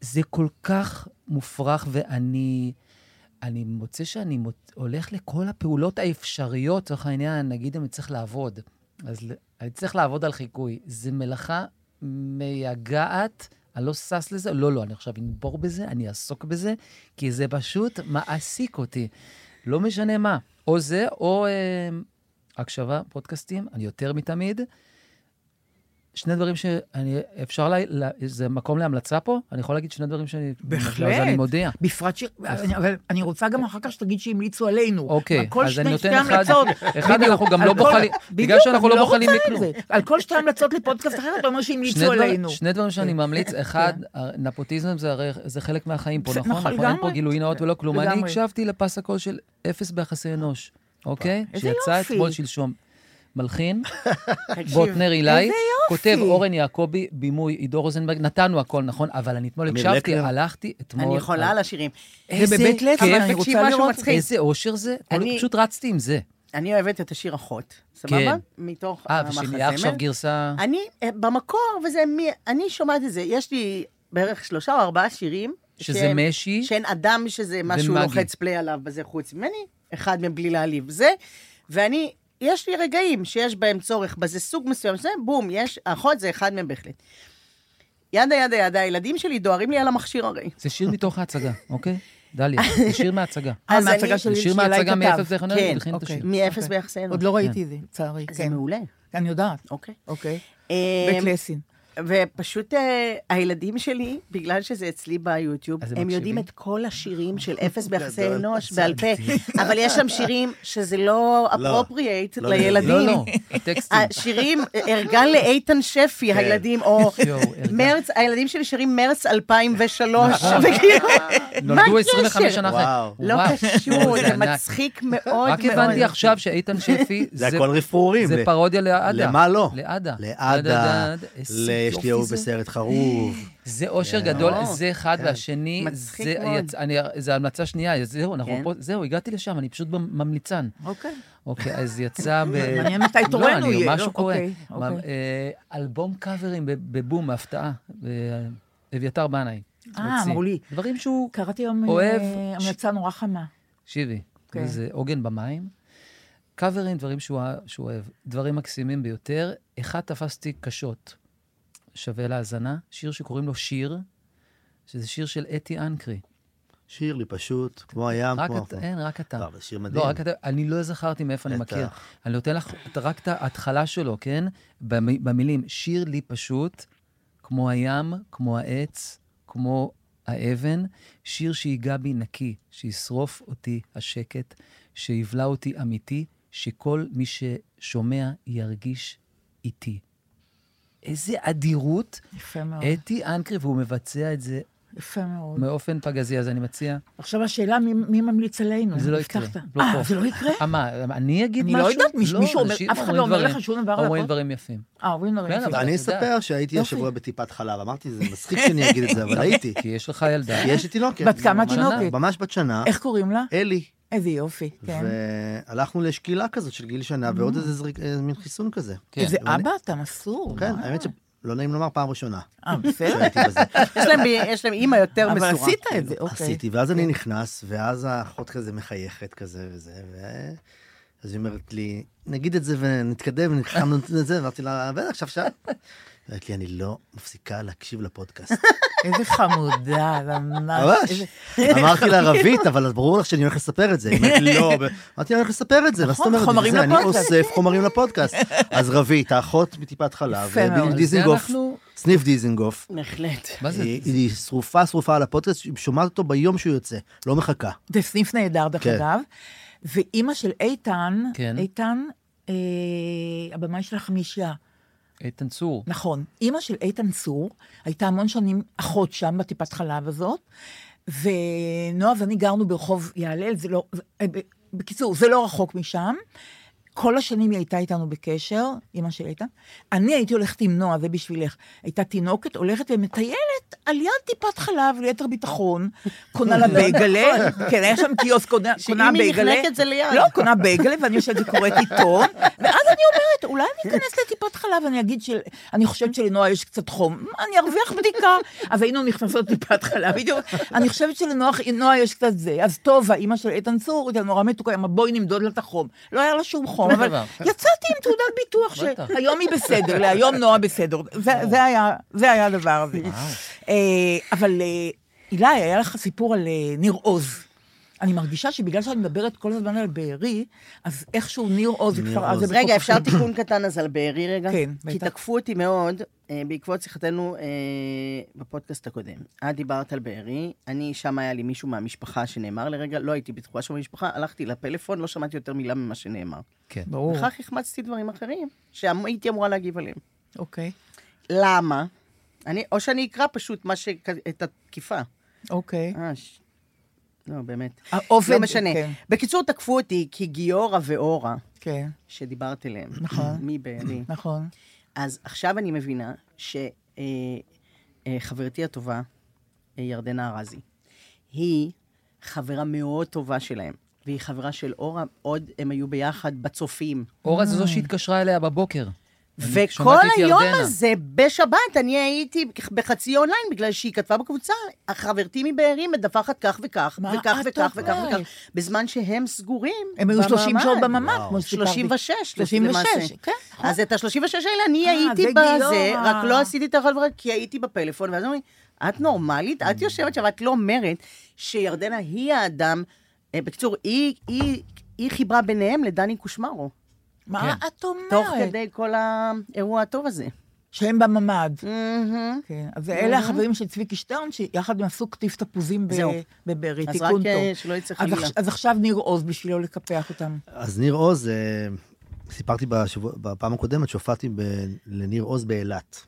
[SPEAKER 2] זה כל כך מופרך, ואני אני מוצא שאני מוצ... הולך לכל הפעולות האפשריות, לצורך העניין, נגיד אני צריך לעבוד, אז ל- אני צריך לעבוד על חיקוי. זו מלאכה מייגעת, אני לא שש לזה, לא, לא, אני עכשיו אנבור בזה, אני אעסוק בזה, כי זה פשוט מעסיק אותי. לא משנה מה, או זה, או אה, הקשבה, פודקאסטים, אני יותר מתמיד. שני דברים שאני, אפשר, לה, לה, זה מקום להמלצה פה? אני יכול להגיד שני דברים שאני...
[SPEAKER 3] בהחלט.
[SPEAKER 2] אז אני מודיע.
[SPEAKER 3] בפרט ש... אני- אבל אני רוצה גם אחר כך שתגיד שהמליצו עלינו.
[SPEAKER 2] אוקיי,
[SPEAKER 3] כל
[SPEAKER 2] אז
[SPEAKER 3] שני-
[SPEAKER 2] אני נותן
[SPEAKER 3] שתי
[SPEAKER 2] אחד.
[SPEAKER 3] המלצות.
[SPEAKER 2] אחד,
[SPEAKER 3] בדיוק,
[SPEAKER 2] אנחנו גם
[SPEAKER 3] על
[SPEAKER 2] לא
[SPEAKER 3] כל-
[SPEAKER 2] בוחלים- בגלל
[SPEAKER 3] בדיוק,
[SPEAKER 2] שאנחנו
[SPEAKER 3] אני
[SPEAKER 2] לא בוחלים
[SPEAKER 3] רוצה את
[SPEAKER 2] בכלום.
[SPEAKER 3] זה. על כל שתי המלצות לפודקאסט אחר, אתה אומר
[SPEAKER 2] שני
[SPEAKER 3] שהמליצו
[SPEAKER 2] דבר-
[SPEAKER 3] עלינו. כן,
[SPEAKER 2] שני דברים שאני ממליץ, אחד, הר- נפוטיזם זה הרי, זה חלק מהחיים פה,
[SPEAKER 3] זה-
[SPEAKER 2] נכון?
[SPEAKER 3] נכון,
[SPEAKER 2] נכון, אין פה
[SPEAKER 3] לגמרי.
[SPEAKER 2] גילוי נאות ולא כלום. אני
[SPEAKER 3] לגמרי.
[SPEAKER 2] הקשבתי לפס הקול של אפס ביחסי אנוש. אוקיי?
[SPEAKER 3] איזה
[SPEAKER 2] שיצא
[SPEAKER 3] יופי.
[SPEAKER 2] אתמול שלשום. מלחין,
[SPEAKER 4] תקשיב,
[SPEAKER 2] בוטנר אילי,
[SPEAKER 3] איזה
[SPEAKER 2] כותב אורן יעקבי, בימוי עידו רוזנברג, נתנו הכל, נכון? אבל אני אתמול
[SPEAKER 5] אמיר
[SPEAKER 2] הקשבתי,
[SPEAKER 5] לקנר.
[SPEAKER 2] הלכתי אתמול.
[SPEAKER 4] אני יכולה על השירים.
[SPEAKER 2] איזה
[SPEAKER 3] ובבית לב,
[SPEAKER 2] כיף,
[SPEAKER 3] אבל אני
[SPEAKER 4] תקשיב,
[SPEAKER 3] רוצה
[SPEAKER 4] משהו
[SPEAKER 3] לראות.
[SPEAKER 4] מצחיק.
[SPEAKER 2] איזה אושר זה.
[SPEAKER 4] אני-
[SPEAKER 2] פשוט רצתי עם זה.
[SPEAKER 4] אני אוהבת את השיר אחות, סבבה?
[SPEAKER 2] כן.
[SPEAKER 4] מתוך
[SPEAKER 2] אה, ושנהיה עכשיו
[SPEAKER 4] המחזמר.
[SPEAKER 2] גרסה...
[SPEAKER 4] אני, אה, במקור, וזה מי, אני שומעת את זה, יש לי בערך שלושה או ארבעה שירים.
[SPEAKER 2] שזה
[SPEAKER 4] שהם-
[SPEAKER 2] משי,
[SPEAKER 4] שאין אדם שזה משהו
[SPEAKER 2] ומגי.
[SPEAKER 4] לוחץ פליי עליו בזה חוץ ממני, אחד מבלי להעליב זה, ואני, יש לי רגעים שיש בהם צורך בזה סוג מסוים, זה בום, יש, אחות זה אחד מהם בהחלט. ידה ידה ידה, הילדים שלי דוהרים לי על המכשיר הרי.
[SPEAKER 2] זה שיר מתוך ההצגה, אוקיי? דליה, זה שיר מההצגה.
[SPEAKER 3] אה,
[SPEAKER 4] אז
[SPEAKER 3] מההצגה
[SPEAKER 4] אני-
[SPEAKER 3] של
[SPEAKER 2] זה שיר
[SPEAKER 3] שאלה
[SPEAKER 2] מההצגה
[SPEAKER 3] כתב.
[SPEAKER 2] מאפס דרך הנר,
[SPEAKER 4] כן,
[SPEAKER 2] הלחין לא את
[SPEAKER 3] אוקיי.
[SPEAKER 2] השיר.
[SPEAKER 4] מאפס
[SPEAKER 3] אוקיי.
[SPEAKER 4] ביחסינו.
[SPEAKER 3] עוד לא ראיתי את זה, לצערי.
[SPEAKER 4] זה
[SPEAKER 3] כן.
[SPEAKER 4] מעולה,
[SPEAKER 3] אני יודעת.
[SPEAKER 4] אוקיי.
[SPEAKER 3] אוקיי.
[SPEAKER 4] אמ,
[SPEAKER 3] בית לסין.
[SPEAKER 4] ופשוט אה, הילדים שלי, בגלל שזה אצלי ביוטיוב,
[SPEAKER 2] אז
[SPEAKER 4] הם
[SPEAKER 2] הם
[SPEAKER 4] יודעים
[SPEAKER 2] מקשיבים?
[SPEAKER 4] את כל השירים של אפס ביחסי
[SPEAKER 5] גדול.
[SPEAKER 4] אנוש בעל פה, אבל יש שם שירים שזה לא אפרופריאט
[SPEAKER 5] לא
[SPEAKER 4] לילדים.
[SPEAKER 2] לא, לא, הטקסטים.
[SPEAKER 4] אה, השירים, ארגן לאיתן שפי,
[SPEAKER 5] כן.
[SPEAKER 4] הילדים, או
[SPEAKER 2] יואו, ארגן.
[SPEAKER 4] מרץ, הילדים שלי שרים מרץ 2003, וכאילו, מה
[SPEAKER 2] נולדו 25
[SPEAKER 4] הקשר?
[SPEAKER 2] שנה אחרי.
[SPEAKER 5] וואו.
[SPEAKER 4] לא
[SPEAKER 2] וואו,
[SPEAKER 4] קשור,
[SPEAKER 2] זה
[SPEAKER 4] זה
[SPEAKER 2] ענק.
[SPEAKER 4] מצחיק מאוד
[SPEAKER 2] רק
[SPEAKER 4] מאוד.
[SPEAKER 2] הבנתי עכשיו שאיתן שפי,
[SPEAKER 5] זה הכל רפרורים.
[SPEAKER 2] זה
[SPEAKER 5] ל-
[SPEAKER 2] פרודיה לעדה.
[SPEAKER 5] למה לא?
[SPEAKER 2] לעדה.
[SPEAKER 5] לעדה,
[SPEAKER 2] איזה
[SPEAKER 5] ל- יש
[SPEAKER 2] יופי
[SPEAKER 5] לי אהוב
[SPEAKER 2] זה.
[SPEAKER 5] בסרט חרוב. כן.
[SPEAKER 2] זה אושר גדול, זה אחד, והשני,
[SPEAKER 4] מצחיק
[SPEAKER 2] זה
[SPEAKER 4] מאוד.
[SPEAKER 2] היצ- אני- זה המלצה שנייה, אז זהו, אנחנו
[SPEAKER 4] כן.
[SPEAKER 2] פה, זהו, הגעתי לשם, אני פשוט ממליצן.
[SPEAKER 3] אוקיי.
[SPEAKER 2] אוקיי, אז יצא ב...
[SPEAKER 3] מעניין מתי תורנו
[SPEAKER 2] לא, אני
[SPEAKER 3] יהיה,
[SPEAKER 2] משהו
[SPEAKER 3] לא?
[SPEAKER 2] קורה.
[SPEAKER 3] אוקיי, אוקיי.
[SPEAKER 2] מה- אה, אלבום קאברים בב- בבום, בהפתעה. ב- אביתר בנאי.
[SPEAKER 3] אה,
[SPEAKER 2] הוציא.
[SPEAKER 3] אמרו לי.
[SPEAKER 2] דברים שהוא...
[SPEAKER 3] קראתי היום
[SPEAKER 2] אוהב-
[SPEAKER 3] אה, המלצה נורא חמה.
[SPEAKER 2] תקשיבי,
[SPEAKER 3] כן.
[SPEAKER 2] זה עוגן במים. קאברים, דברים שהוא אה- שהוא אוהב. דברים מקסימים ביותר. אחד תפסתי קשות, שווה להאזנה. שיר שקוראים לו שיר, שזה שיר של אתי אנקרי.
[SPEAKER 5] שיר לי פשוט, כמו הים,
[SPEAKER 2] רק
[SPEAKER 5] כמו...
[SPEAKER 2] אתה, אין, רק אתה.
[SPEAKER 5] לא, אבל שיר מדהים.
[SPEAKER 2] לא, רק אתה, אני לא זכרתי מאיפה אני
[SPEAKER 5] בטח.
[SPEAKER 2] מכיר. אני נותן לך את- רק את ההתחלה שלו, כן? במ- במילים, שיר לי פשוט, כמו הים, כמו העץ, כמו האבן, שיר שיגע בי נקי, שישרוף אותי השקט, שיבלע אותי אמיתי, שכל מי ששומע ירגיש איתי. איזה אדירות.
[SPEAKER 3] יפה מאוד.
[SPEAKER 2] אתי אנקרי, והוא מבצע את זה
[SPEAKER 3] יפה מאוד.
[SPEAKER 2] באופן פגזי, אז אני מציע...
[SPEAKER 3] עכשיו השאלה, מי- מי ממליץ עלינו?
[SPEAKER 2] זה לא יקרה.
[SPEAKER 3] הבטחת.
[SPEAKER 2] לא
[SPEAKER 3] אה,
[SPEAKER 2] פה.
[SPEAKER 3] זה לא יקרה?
[SPEAKER 2] אה, מה, אני אגיד
[SPEAKER 3] אני
[SPEAKER 2] משהו?
[SPEAKER 3] לא יודעת, מיש- מישהו אומר-
[SPEAKER 2] אנשים
[SPEAKER 3] אף אחד לא
[SPEAKER 2] אומרים
[SPEAKER 3] אומר
[SPEAKER 2] דברים.
[SPEAKER 3] לך שום דבר על
[SPEAKER 2] אומרים
[SPEAKER 3] הפוד?
[SPEAKER 2] דברים יפים.
[SPEAKER 3] אה, אורי נורא.
[SPEAKER 2] כן,
[SPEAKER 3] יפה.
[SPEAKER 2] אבל-
[SPEAKER 5] אני
[SPEAKER 2] אתה יודע.
[SPEAKER 5] אספר שהייתי
[SPEAKER 3] יופי.
[SPEAKER 5] השבוע בטיפת חלב, אמרתי, זה מצחיק שאני אגיד את זה, אבל הייתי.
[SPEAKER 2] כי יש לך ילדה.
[SPEAKER 5] כי יש לי תינוקת.
[SPEAKER 3] בת כמה
[SPEAKER 5] ממש-
[SPEAKER 3] התינוקת?
[SPEAKER 5] ממש בת שנה,
[SPEAKER 3] איך קוראים לה?
[SPEAKER 5] אלי.
[SPEAKER 3] איזה יופי, כן.
[SPEAKER 5] והלכנו לשקילה כזאת של גיל שנה, ועוד איזה זריק- אה, מין חיסון כזה.
[SPEAKER 2] כן.
[SPEAKER 3] איזה
[SPEAKER 5] ואני-
[SPEAKER 3] אבא, אתה מסור.
[SPEAKER 5] כן,
[SPEAKER 3] אה.
[SPEAKER 5] האמת שלא נעים לומר, פעם ראשונה
[SPEAKER 3] אה, בסדר.
[SPEAKER 5] שהייתי בזה.
[SPEAKER 4] יש להם- יש להם אימא יותר
[SPEAKER 3] אבל
[SPEAKER 4] מסורה.
[SPEAKER 3] עשית את זה, אוקיי.
[SPEAKER 5] עשיתי, ואז אני נכנס, ואז האחות כזה מחייכת כזה וזה, ו... אז היא אומרת לי, נגיד את זה ונתקדם, ונלחמנו את זה, ואמרתי לה, בטח, עכשיו שעה. היא אומרת לי, אני לא מפסיקה להקשיב לפודקאסט.
[SPEAKER 3] איזה חמודה, ממש.
[SPEAKER 5] ממש.
[SPEAKER 3] איזה-
[SPEAKER 5] אמרתי לה, רבית, אבל ברור לך שאני הולך לספר את זה. היא אומרת, לא. אמרתי לה, אני הולך לספר את זה. ואז
[SPEAKER 3] נכון,
[SPEAKER 5] אומרת,
[SPEAKER 3] חומרים
[SPEAKER 5] "זה, אני
[SPEAKER 3] לפודקאסט."
[SPEAKER 5] אוסף חומרים לפודקאסט. אז רבית, האחות מטיפת חלב,
[SPEAKER 3] יפה מאוד.
[SPEAKER 5] בדיוק
[SPEAKER 2] על
[SPEAKER 5] דיזינגוף, אה,
[SPEAKER 2] זה אנחנו...
[SPEAKER 5] סניף דיזינגוף.
[SPEAKER 4] בהחלט.
[SPEAKER 2] מה זה?
[SPEAKER 5] היא היא שרופה, שרופה על הפודקאסט, היא שומעת אותו ביום שהוא יוצא, לא מחכה.
[SPEAKER 3] זה סניף נהדר, דרך
[SPEAKER 5] כן.
[SPEAKER 3] אגב. ואימא של איתן,
[SPEAKER 2] כן.
[SPEAKER 3] איתן, אה, הבמאי של החמישייה,
[SPEAKER 2] איתן צור.
[SPEAKER 3] נכון. אימא של איתן צור הייתה המון שנים אחות שם, בטיפת חלב הזאת, ונועה ואני גרנו ברחוב יעלל, זה לא... זה- אה, ב- בקיצור, זה לא רחוק משם. כל השנים היא הייתה איתנו בקשר, אימא של איתן. אני הייתי הולכת עם נועה, זה בשבילך. הייתה תינוקת, הולכת ומטיילת על יד טיפת חלב ליתר ביטחון, קונה לה בייגלה, כן, היה שם קיוסק, קונה
[SPEAKER 4] שאם
[SPEAKER 3] קונה
[SPEAKER 4] היא
[SPEAKER 3] בייגלה.
[SPEAKER 4] נחנקת זה ליד.
[SPEAKER 3] לא, קונה בייגלה, ואני יושבת וקוראת עיתון, ואז אני אומרת, אולי אני אכנס לטיפת חלב, אני אגיד של... אני חושבת שלנועה יש קצת חום, מה, אני ארוויח בדיקה. אז היינו נכנסות לטיפת חלב, בדיוק. אני חושבת שלנועה יש קצת זה. אז טובה, אימא של איתן צור, הייתה נורא מתוקה, אמרה, בואי נמדוד לה את החום. לא היה לה שום חום,
[SPEAKER 2] שום
[SPEAKER 3] אבל
[SPEAKER 2] דבר.
[SPEAKER 3] יצאתי עם תעודת ביטוח
[SPEAKER 2] בטח.
[SPEAKER 3] שהיום היא בסדר, להיום נועה בסדר. זה- זה היה- זה היה הדבר הזה. אה, אבל אה, אילי, היה לך סיפור על אה, ניר עוז. אני מרגישה שבגלל שאני מדברת כל הזמן על בארי, אז איכשהו ניר עוז
[SPEAKER 5] ניר
[SPEAKER 3] וכפר
[SPEAKER 5] עוז.
[SPEAKER 3] עזה...
[SPEAKER 4] רגע,
[SPEAKER 3] וחוף
[SPEAKER 4] אפשר
[SPEAKER 3] אחיו.
[SPEAKER 4] תיקון קטן אז על בארי רגע?
[SPEAKER 3] כן,
[SPEAKER 4] כי
[SPEAKER 3] בטח.
[SPEAKER 4] תקפו אותי מאוד אה, בעקבות שיחתנו אה, בפודקאסט הקודם. את דיברת על בארי, אני, שם היה לי מישהו מהמשפחה שנאמר לרגע, לא הייתי בתחומה של המשפחה, הלכתי לפלאפון, לא שמעתי יותר מילה ממה שנאמר.
[SPEAKER 2] כן.
[SPEAKER 3] ברור.
[SPEAKER 4] וכך החמצתי דברים אחרים שהייתי אמורה להגיב עליהם.
[SPEAKER 3] אוקיי,
[SPEAKER 4] למה? אני, או שאני אקרא פשוט מה ש... את התקיפה.
[SPEAKER 3] אוקיי.
[SPEAKER 4] אה, ש- לא, באמת.
[SPEAKER 3] האופן...
[SPEAKER 4] לא משנה.
[SPEAKER 3] כן,
[SPEAKER 4] בקיצור, תקפו אותי כי גיורא ואורה,
[SPEAKER 3] כן,
[SPEAKER 4] שדיברת עליהם,
[SPEAKER 3] נכון.
[SPEAKER 4] מי בעלי,
[SPEAKER 3] נכון.
[SPEAKER 4] אז עכשיו אני מבינה שחברתי הטובה, אה, ירדנה ארזי, היא חברה מאוד טובה שלהם, והיא חברה של אורה, עוד הם היו ביחד בצופים.
[SPEAKER 2] אורה זו
[SPEAKER 5] אה.
[SPEAKER 2] זו שהתקשרה אליה בבוקר. אני
[SPEAKER 4] וכל
[SPEAKER 2] שומעת את
[SPEAKER 4] היום
[SPEAKER 2] ירדנה.
[SPEAKER 4] הזה, בשבת, אני הייתי בחצי אונליין, בגלל שהיא כתבה בקבוצה, חברתי מבארי מדווחת כך וכך,
[SPEAKER 3] מה
[SPEAKER 4] וכך
[SPEAKER 3] את
[SPEAKER 4] וכך
[SPEAKER 3] אומרת?
[SPEAKER 4] וכך וכך, בזמן שהם סגורים
[SPEAKER 3] הם היו 30 שעות
[SPEAKER 4] בממ"ד.
[SPEAKER 3] בממ"ד, כמו שסיפרתי.
[SPEAKER 4] 36,
[SPEAKER 3] 36,
[SPEAKER 4] למעשה.
[SPEAKER 3] כן.
[SPEAKER 4] אז את ה-36 האלה אני
[SPEAKER 3] אה,
[SPEAKER 4] הייתי
[SPEAKER 3] וגיורא.
[SPEAKER 4] בזה, רק לא עשיתי את החברה, כי הייתי בפלאפון, ואז אומרים, את נורמלית? את יושבת שם, את לא אומרת שירדנה היא האדם, אה, בקיצור, היא- היא היא חיברה ביניהם לדני קושמרו,
[SPEAKER 3] מה את אומרת?
[SPEAKER 4] תוך כדי כל האירוע הטוב הזה.
[SPEAKER 3] שהם בממ"ד.
[SPEAKER 4] מהמם.
[SPEAKER 3] כן, אז אלה החברים של צביקי שטרן, שיחד הם עשו קטיף תפוזים ב-
[SPEAKER 4] זהו.
[SPEAKER 3] בבארי,
[SPEAKER 4] אז
[SPEAKER 3] תיקון
[SPEAKER 4] רק,
[SPEAKER 3] טוב.
[SPEAKER 4] אה, שלא יצא
[SPEAKER 3] אז
[SPEAKER 4] חלילה.
[SPEAKER 3] עכש- אז עכשיו ניר עוז בשביל לא לקפח אותם.
[SPEAKER 5] אז ניר עוז, אה, סיפרתי בשבוע, בפעם הקודמת שהופעתי ב- לניר עוז באילת.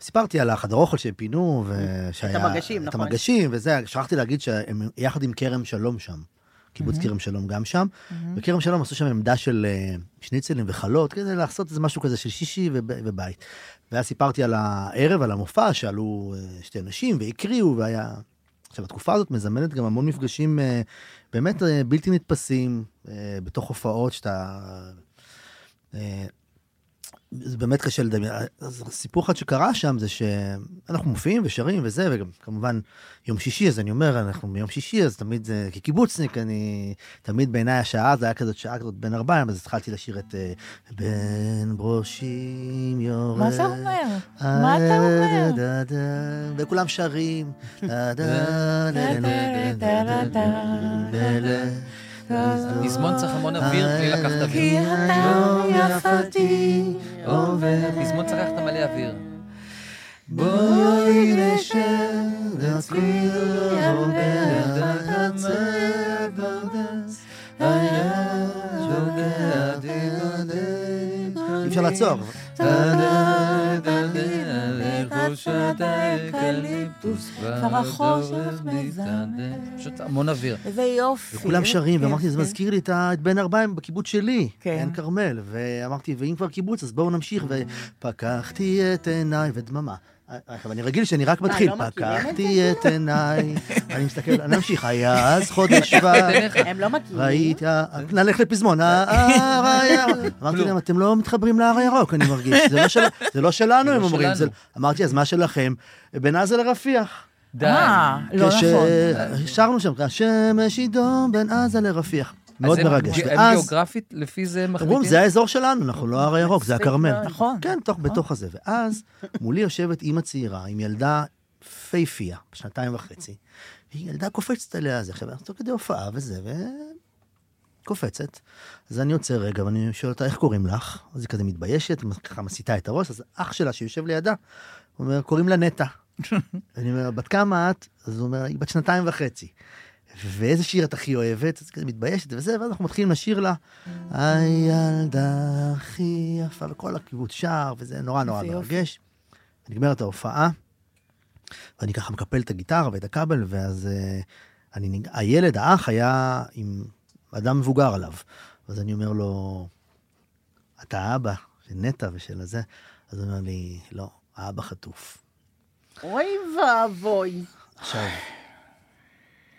[SPEAKER 5] סיפרתי על החדר אוכל שהם פינו, ושהיה...
[SPEAKER 4] המגשים,
[SPEAKER 5] את
[SPEAKER 4] נכון.
[SPEAKER 5] המגשים, וזה, שכחתי להגיד שהם יחד עם כרם שלום שם. קיבוץ
[SPEAKER 4] Mhm.
[SPEAKER 5] כרם שלום גם שם. וכרם שלום עשו שם עמדה של אה, שניצלים וחלות, כדי לעשות איזה משהו כזה של שישי וב- ובית. ואז סיפרתי על הערב, על המופע, שעלו אה, שתי נשים והקריאו, והיה... עכשיו, התקופה הזאת מזמנת גם המון מפגשים אה, באמת אה, בלתי נתפסים, אה, בתוך הופעות שאתה... אה, זה באמת קשה לדמיין. אז סיפור אחד שקרה שם זה שאנחנו מופיעים ושרים וזה, וגם כמובן יום שישי, אז אני אומר, אנחנו ביום שישי, אז תמיד זה כקיבוצניק, אני... תמיד בעיניי השעה, זה היה כזאת שעה כזאת בין ארבעים, אז התחלתי לשיר את אה, בן ברושים יורד.
[SPEAKER 3] מה אתה אומר? מה אתה אומר?
[SPEAKER 5] אה, דה, דה, וכולם שרים. אה, דה, דה, דה, דה, דה, דה, דה, דה.
[SPEAKER 2] פזמון צריך המון
[SPEAKER 5] אה,
[SPEAKER 2] אוויר בלי לקחת אוויר. אה,
[SPEAKER 5] לא
[SPEAKER 3] יפתי.
[SPEAKER 2] פזמון צריך לקחת מלא אוויר.
[SPEAKER 5] בואי נשב, נצליח ביחד, בפרדס, היה שוקע דינני. אי אפשר לעצור.
[SPEAKER 2] פשוט המון אוויר.
[SPEAKER 3] איזה יופי.
[SPEAKER 5] וכולם שרים,
[SPEAKER 3] כן,
[SPEAKER 5] ואמרתי, זה
[SPEAKER 3] כן.
[SPEAKER 5] מזכיר לי את ה- את בן ארבעים בקיבוץ שלי,
[SPEAKER 3] כן.
[SPEAKER 5] עין כרמל. ואמרתי, ואם כבר קיבוץ, אז בואו נמשיך. ופקחתי את עיניי, ודממה. עכשיו, אני רגיל שאני רק מתחיל.
[SPEAKER 4] לא מכירים את זה?
[SPEAKER 5] פקחתי את עיניי, אני מסתכל, נמשיך, היה אז חודש שבט.
[SPEAKER 4] הם לא מכירים.
[SPEAKER 5] ראית, אה, נלך לפזמון, אה, ההר הירוק. אמרתי להם, אתם לא מתחברים להר הירוק, אני מרגיש. "זה לא של- זה לא שלנו,
[SPEAKER 2] זה
[SPEAKER 5] הם
[SPEAKER 2] לא
[SPEAKER 5] אומרים. זה-
[SPEAKER 2] שלנו.
[SPEAKER 5] אמרתי, אז מה שלכם? בין עזה לרפיח.
[SPEAKER 2] די.
[SPEAKER 3] אה, לא
[SPEAKER 5] כש-
[SPEAKER 3] נכון.
[SPEAKER 5] שרנו שם, השמש ידום בין עזה לרפיח. מאוד
[SPEAKER 2] אז הם-
[SPEAKER 5] מרגש.
[SPEAKER 2] הם
[SPEAKER 5] ואז,
[SPEAKER 2] גיאוגרפית, לפי זה
[SPEAKER 5] אמרו,
[SPEAKER 2] מחליטים?
[SPEAKER 5] זה האזור שלנו, אנחנו לא הר הירוק, זה הכרמל.
[SPEAKER 3] נכון.
[SPEAKER 5] כן, תוך- בתוך הזה. ואז מולי יושבת אימא צעירה עם ילדה פייפייה, שנתיים וחצי. היא ילדה קופצת עליה, זה חברה, תוך כדי הופעה וזה, ו... קופצת. אז אני עוצר רגע ואני שואל אותה, איך קוראים לך? אז היא כזה מתביישת, ככה מסיתה את הראש, אז אח שלה שיושב לידה, אומר, קוראים לה נטע. אני אומר, בת כמה את? אז הוא אומר, היא בת שנתיים וחצי. ואיזה שיר את הכי אוהבת? אז היא כזה מתביישת וזה, ואז אנחנו מתחילים לשיר לה, הילדה הכי יפה, וכל הקיבוץ שר, וזה נורא נורא
[SPEAKER 3] איזה יופי.
[SPEAKER 5] מרגש. נגמרת ההופעה, ואני ככה מקפל את הגיטרה ואת הכבל, ואז אה, אני, נג- הילד, האח, היה עם אדם מבוגר עליו. אז אני אומר לו, אתה האבא של נטע ושל הזה? אז הוא אומר לי, לא, האבא חטוף.
[SPEAKER 4] אוי ואבוי.
[SPEAKER 5] עכשיו,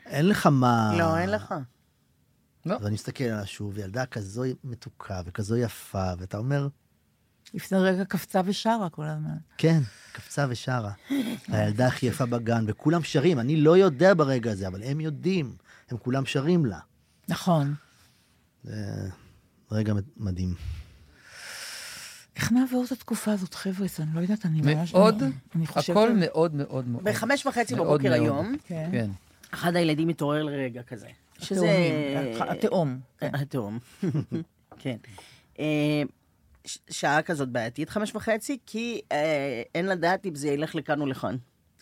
[SPEAKER 5] אין לך מה...
[SPEAKER 4] לא, אין לך.
[SPEAKER 5] ואני מסתכל עליה שוב, ילדה כזו מתוקה וכזו יפה, ואתה אומר,
[SPEAKER 3] לפני רגע קפצה ושרה כל הזמן.
[SPEAKER 5] כן, קפצה ושרה. הילדה הכי יפה בגן, וכולם שרים, אני לא יודע ברגע הזה, אבל הם יודעים, הם כולם שרים לה.
[SPEAKER 3] נכון.
[SPEAKER 5] זה רגע מדהים.
[SPEAKER 3] איך נעבור את התקופה הזאת, חבר'ה? זה אני לא יודעת, אני ממש...
[SPEAKER 2] מאוד,
[SPEAKER 5] לא.
[SPEAKER 3] אני- אני חושבת...
[SPEAKER 2] הכל מאוד מאוד מאוד.
[SPEAKER 4] בחמש וחצי
[SPEAKER 2] מאוד
[SPEAKER 4] בבוקר
[SPEAKER 2] מאוד.
[SPEAKER 4] היום,
[SPEAKER 3] כן.
[SPEAKER 2] כן.
[SPEAKER 4] אחד הילדים מתעורר לרגע כזה. שזה...
[SPEAKER 3] התאומים, התאום. כן.
[SPEAKER 4] התהום. כן. אה, ש- שעה כזאת בעייתית, חמש וחצי, כי אה, אין לדעת אם זה ילך לכאן או לכאן.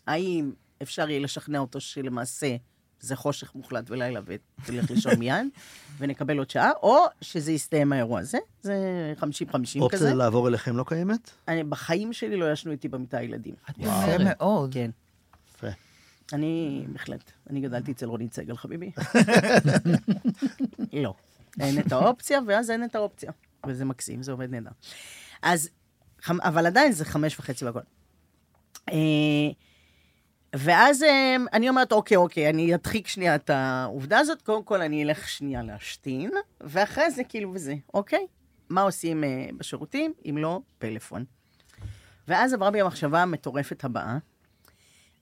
[SPEAKER 4] האם אפשר יהיה לשכנע אותו שלמעשה זה חושך מוחלט ולילה ותלך לישון מיד, ונקבל עוד שעה, או שזה יסתיים האירוע הזה, זה 50-50 כזה.
[SPEAKER 5] אופציה לעבור אליכם לא קיימת?
[SPEAKER 4] אני, בחיים שלי לא ישנו איתי במיטה ילדים.
[SPEAKER 2] את
[SPEAKER 3] יפה
[SPEAKER 2] אומרת.
[SPEAKER 3] מאוד.
[SPEAKER 4] כן.
[SPEAKER 5] יפה.
[SPEAKER 4] אני, בהחלט, אני גדלתי אצל רונית סגל, חביבי. לא. אין את האופציה, ואז אין את האופציה. וזה מקסים, זה עובד נהדר. אז, חמ- אבל עדיין זה חמש וחצי והכל. אה, ואז אה, אני אומרת, אוקיי, אוקיי, אני אדחיק שנייה את העובדה הזאת, קודם כל אני אלך שנייה להשתין, ואחרי זה כאילו וזה, אוקיי? מה עושים אה, בשירותים, אם לא פלאפון. ואז עברה בי המחשבה המטורפת הבאה,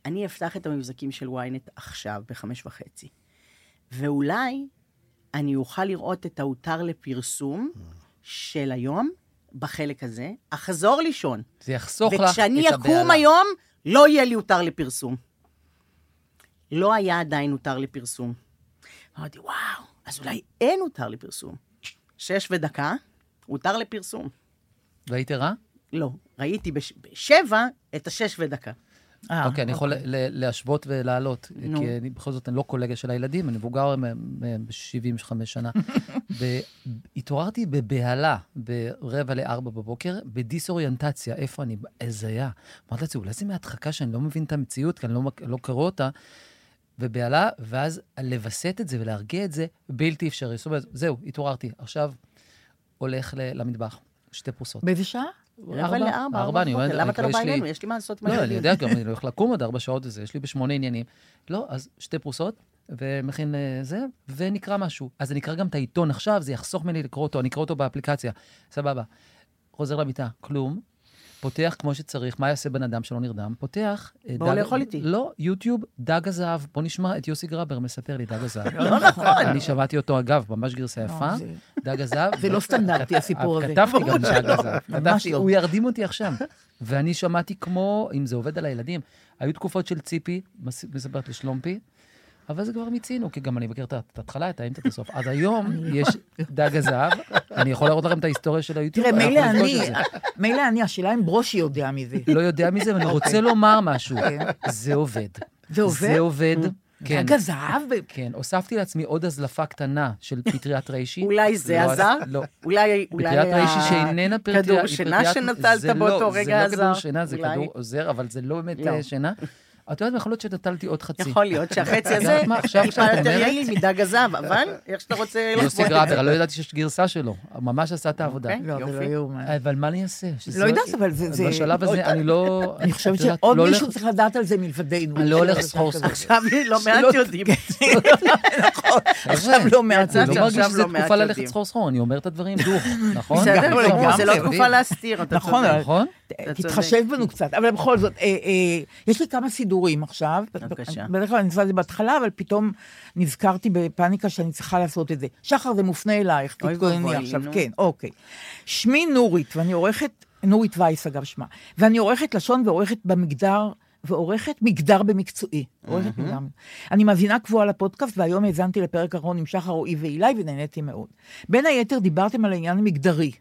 [SPEAKER 4] אני אפתח את המבזקים של ynet עכשיו, בחמש וחצי, ואולי אני אוכל לראות את ההותר לפרסום של היום, בחלק הזה, אחזור לישון.
[SPEAKER 2] זה יחסוך לך את הבהלה.
[SPEAKER 4] וכשאני אקום היום, לא יהיה לי הותר לפרסום. לא היה עדיין הותר לפרסום. אמרתי, וואו, אז אולי אין הותר לפרסום. שש ודקה, הותר לפרסום.
[SPEAKER 2] והיית רע?
[SPEAKER 4] לא, ראיתי בש... בשבע את השש ודקה.
[SPEAKER 3] אה,
[SPEAKER 2] אוקיי, אני יכול ל- ל- להשוות ולהעלות.
[SPEAKER 4] נו.
[SPEAKER 2] כי אני בכל זאת, אני לא קולגה של הילדים, אני מבוגר ב-75 שנה. ב- התעוררתי בבהלה ברבע לארבע בבוקר, בדיסאוריינטציה, איפה אני? הזיה. אמרתי לעצמי, אולי זה מהדחקה שאני לא מבין את המציאות, כי אני לא, מק- לא קורא אותה, ובהלה, ואז לווסת את זה ולהרגיע את זה, בלתי אפשרי. זאת אומרת, זהו, התעוררתי. עכשיו הולך ל- למטבח, שתי פרוסות.
[SPEAKER 3] באיזה שעה?
[SPEAKER 4] אבל לארבע,
[SPEAKER 2] ארבע, אני
[SPEAKER 4] בבוקר,
[SPEAKER 2] אומר,
[SPEAKER 4] למה אתה לא
[SPEAKER 2] יש
[SPEAKER 4] בא
[SPEAKER 2] לי-
[SPEAKER 4] אלינו? יש לי מה לעשות עם
[SPEAKER 2] לא, אני
[SPEAKER 4] הילדים.
[SPEAKER 2] יודע גם, אני הולך לקום עוד ארבע שעות וזה, יש לי בשמונה עניינים. לא, אז שתי פרוסות, ומכין אה, זה, ונקרא משהו. אז אני אקרא גם את העיתון עכשיו, זה יחסוך ממני לקרוא אותו, אני אקרא אותו באפליקציה. סבבה. חוזר למיטה, כלום. פותח כמו שצריך, מה יעשה בן אדם שלא נרדם? פותח... אה,
[SPEAKER 4] בואו
[SPEAKER 2] דג-
[SPEAKER 4] לאכול איתי.
[SPEAKER 2] לא, יוטיוב, דג הזהב. בוא נשמע את יוסי גרבר מספר לי דג הזהב.
[SPEAKER 3] לא נכון.
[SPEAKER 2] אני שמעתי אותו, אגב, ממש גרסה יפה,
[SPEAKER 4] אה,
[SPEAKER 3] זה-
[SPEAKER 2] דג הזהב.
[SPEAKER 3] זה לא סטנדרטי, הסיפור הזה.
[SPEAKER 2] כתבתי
[SPEAKER 3] ברור
[SPEAKER 2] גם
[SPEAKER 3] שלא.
[SPEAKER 2] דג הזהב.
[SPEAKER 3] ממש
[SPEAKER 2] כתבתי,
[SPEAKER 3] לא.
[SPEAKER 2] הוא ירדים אותי עכשיו. ואני שמעתי כמו, אם זה עובד על הילדים, היו תקופות של ציפי, מס- מספרת לי שלומפי, אבל זה כבר מיצינו, כי גם אני מכיר את ה- את ההתחלה, את האמצע, את הסוף. אז היום
[SPEAKER 3] לא
[SPEAKER 2] יש דג הזהב, אני יכול להראות לכם את ההיסטוריה של היוטיוב.
[SPEAKER 3] תראה,
[SPEAKER 2] לא, אנחנו
[SPEAKER 3] מילא
[SPEAKER 2] נפגוש
[SPEAKER 3] אני,
[SPEAKER 2] את זה.
[SPEAKER 3] מילא אני, השאלה אם ברושי יודע מזה.
[SPEAKER 2] לא יודע מזה, ואני רוצה לומר משהו. זה עובד.
[SPEAKER 3] אוקיי. כן. זה עובד? אה.
[SPEAKER 2] זה עובד, כן.
[SPEAKER 3] דג הזהב? ב-
[SPEAKER 2] כן, הוספתי לעצמי עוד הזלפה קטנה של פטריית ריישי.
[SPEAKER 4] אולי זה
[SPEAKER 2] לא,
[SPEAKER 4] עזר?
[SPEAKER 2] לא.
[SPEAKER 4] אולי, אולי...
[SPEAKER 2] פטריית ריישי
[SPEAKER 4] ה-
[SPEAKER 2] שאיננה פטריה, היא
[SPEAKER 4] כדור שינה
[SPEAKER 2] פטריית-
[SPEAKER 4] שנטלת
[SPEAKER 2] זה לא-
[SPEAKER 4] באותו רגע
[SPEAKER 2] זה
[SPEAKER 4] עזר?
[SPEAKER 2] לא כדור שינה, זה
[SPEAKER 4] אולי.
[SPEAKER 2] כדור עוזר, אבל זה לא באמת
[SPEAKER 4] לא.
[SPEAKER 2] אה, שינה. את יודעת, מה, יכול להיות שנטלתי עוד חצי.
[SPEAKER 4] יכול להיות שהחצי הזה
[SPEAKER 2] יודעת מה, עכשיו
[SPEAKER 4] טיפה
[SPEAKER 2] כשאת
[SPEAKER 4] יותר
[SPEAKER 2] אומרת-
[SPEAKER 4] יעיל מדג הזהב, אבל איך שאתה רוצה
[SPEAKER 2] יוסי
[SPEAKER 4] לחוות את
[SPEAKER 2] גראבר,
[SPEAKER 4] זה.
[SPEAKER 2] לא ידעתי שיש גרסה שלו, ממש עשה את העבודה.
[SPEAKER 4] אוקיי.
[SPEAKER 3] לא, זה לא
[SPEAKER 4] יופי.
[SPEAKER 3] יאומן.
[SPEAKER 2] אבל מה אני אעשה? שזה-
[SPEAKER 3] לא יודעת, אבל זה... זה-
[SPEAKER 2] בשלב הזה אני לא...
[SPEAKER 3] אני חושבת
[SPEAKER 2] את יודעת,
[SPEAKER 3] שעוד
[SPEAKER 2] לא הולך-
[SPEAKER 3] מישהו צריך לדעת על זה מלבדנו.
[SPEAKER 2] אני לא הולך סחור סחור.
[SPEAKER 4] עכשיו לא מעט
[SPEAKER 2] נכון,
[SPEAKER 4] יודעים.
[SPEAKER 3] נכון. עכשיו לא מעט
[SPEAKER 2] הוא נכון. לא
[SPEAKER 4] עכשיו
[SPEAKER 2] מרגיש
[SPEAKER 4] לא
[SPEAKER 2] שזו
[SPEAKER 4] מעט
[SPEAKER 2] תקופה ללכת
[SPEAKER 4] יודעים.
[SPEAKER 2] סחור סחור, אני אומר את הדברים דוך, נכון?
[SPEAKER 4] בסדר,
[SPEAKER 3] לגמרי,
[SPEAKER 4] לא, זה לא
[SPEAKER 3] לגמרי.
[SPEAKER 4] תקופה להסתיר, אתה
[SPEAKER 3] נכון,
[SPEAKER 4] צודק.
[SPEAKER 3] אבל-
[SPEAKER 2] נכון?
[SPEAKER 4] אתה
[SPEAKER 3] תתחשב בנו קצת, אבל בכל זאת, אה, אה, יש לי כמה סידורים עכשיו.
[SPEAKER 4] בבקשה.
[SPEAKER 3] בדרך כלל אני עושה את זה בהתחלה, אבל פתאום נזכרתי בפאניקה שאני צריכה לעשות את זה. שחר, זה מופנה אלייך,
[SPEAKER 4] אוי
[SPEAKER 3] תתכונני
[SPEAKER 4] ואבוי,
[SPEAKER 3] עכשיו,
[SPEAKER 4] נו.
[SPEAKER 3] כן, אוקיי. שמי נורית, ואני עורכת, נורית וייס אגב שמה, ואני עורכת לשון ועורכת במגדר. ועורכת מגדר במקצועי,
[SPEAKER 4] Mm-hmm.
[SPEAKER 3] עורכת מגדר. אני מאזינה קבועה לפודקאסט, והיום האזנתי לפרק אחרון עם שחר רועי ואילי, ונהניתי מאוד. בין היתר דיברתם על העניין המגדרי,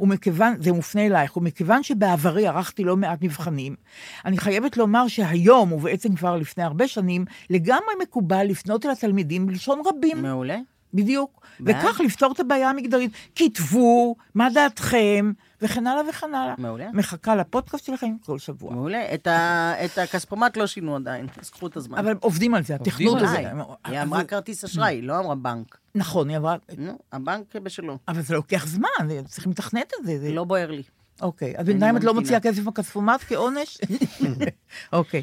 [SPEAKER 3] ומכיוון, זה מופנה אלייך, ומכיוון שבעברי ערכתי לא מעט מבחנים, אני חייבת לומר שהיום, ובעצם כבר לפני הרבה שנים, לגמרי מקובל לפנות אל התלמידים בלשון רבים.
[SPEAKER 4] מעולה.
[SPEAKER 3] בדיוק.
[SPEAKER 4] ואז?
[SPEAKER 3] וכך לפתור את הבעיה המגדרית. כתבו, מה דעתכם, וכן הלאה וכן הלאה.
[SPEAKER 4] מעולה.
[SPEAKER 3] מחכה לפודקאסט שלכם כל שבוע.
[SPEAKER 4] מעולה. את ה- את הכספומט לא שינו עדיין, אז קחו את הזמן.
[SPEAKER 3] אבל עובדים על זה, התכנות
[SPEAKER 2] על
[SPEAKER 4] אולי.
[SPEAKER 3] הזה.
[SPEAKER 4] היא
[SPEAKER 3] אבל-
[SPEAKER 4] אמרה כרטיס אשראי, היא לא אמרה בנק.
[SPEAKER 3] נכון, היא אמרה,
[SPEAKER 4] נו, הבנק בשלו.
[SPEAKER 3] אבל זה לוקח זמן, זה- צריכים לתכנת את זה. זה-
[SPEAKER 4] לא בוער לי.
[SPEAKER 3] אוקיי, אז בינתיים את לא
[SPEAKER 4] ממתינה.
[SPEAKER 3] מוציאה כסף בכספומט כעונש? אוקיי.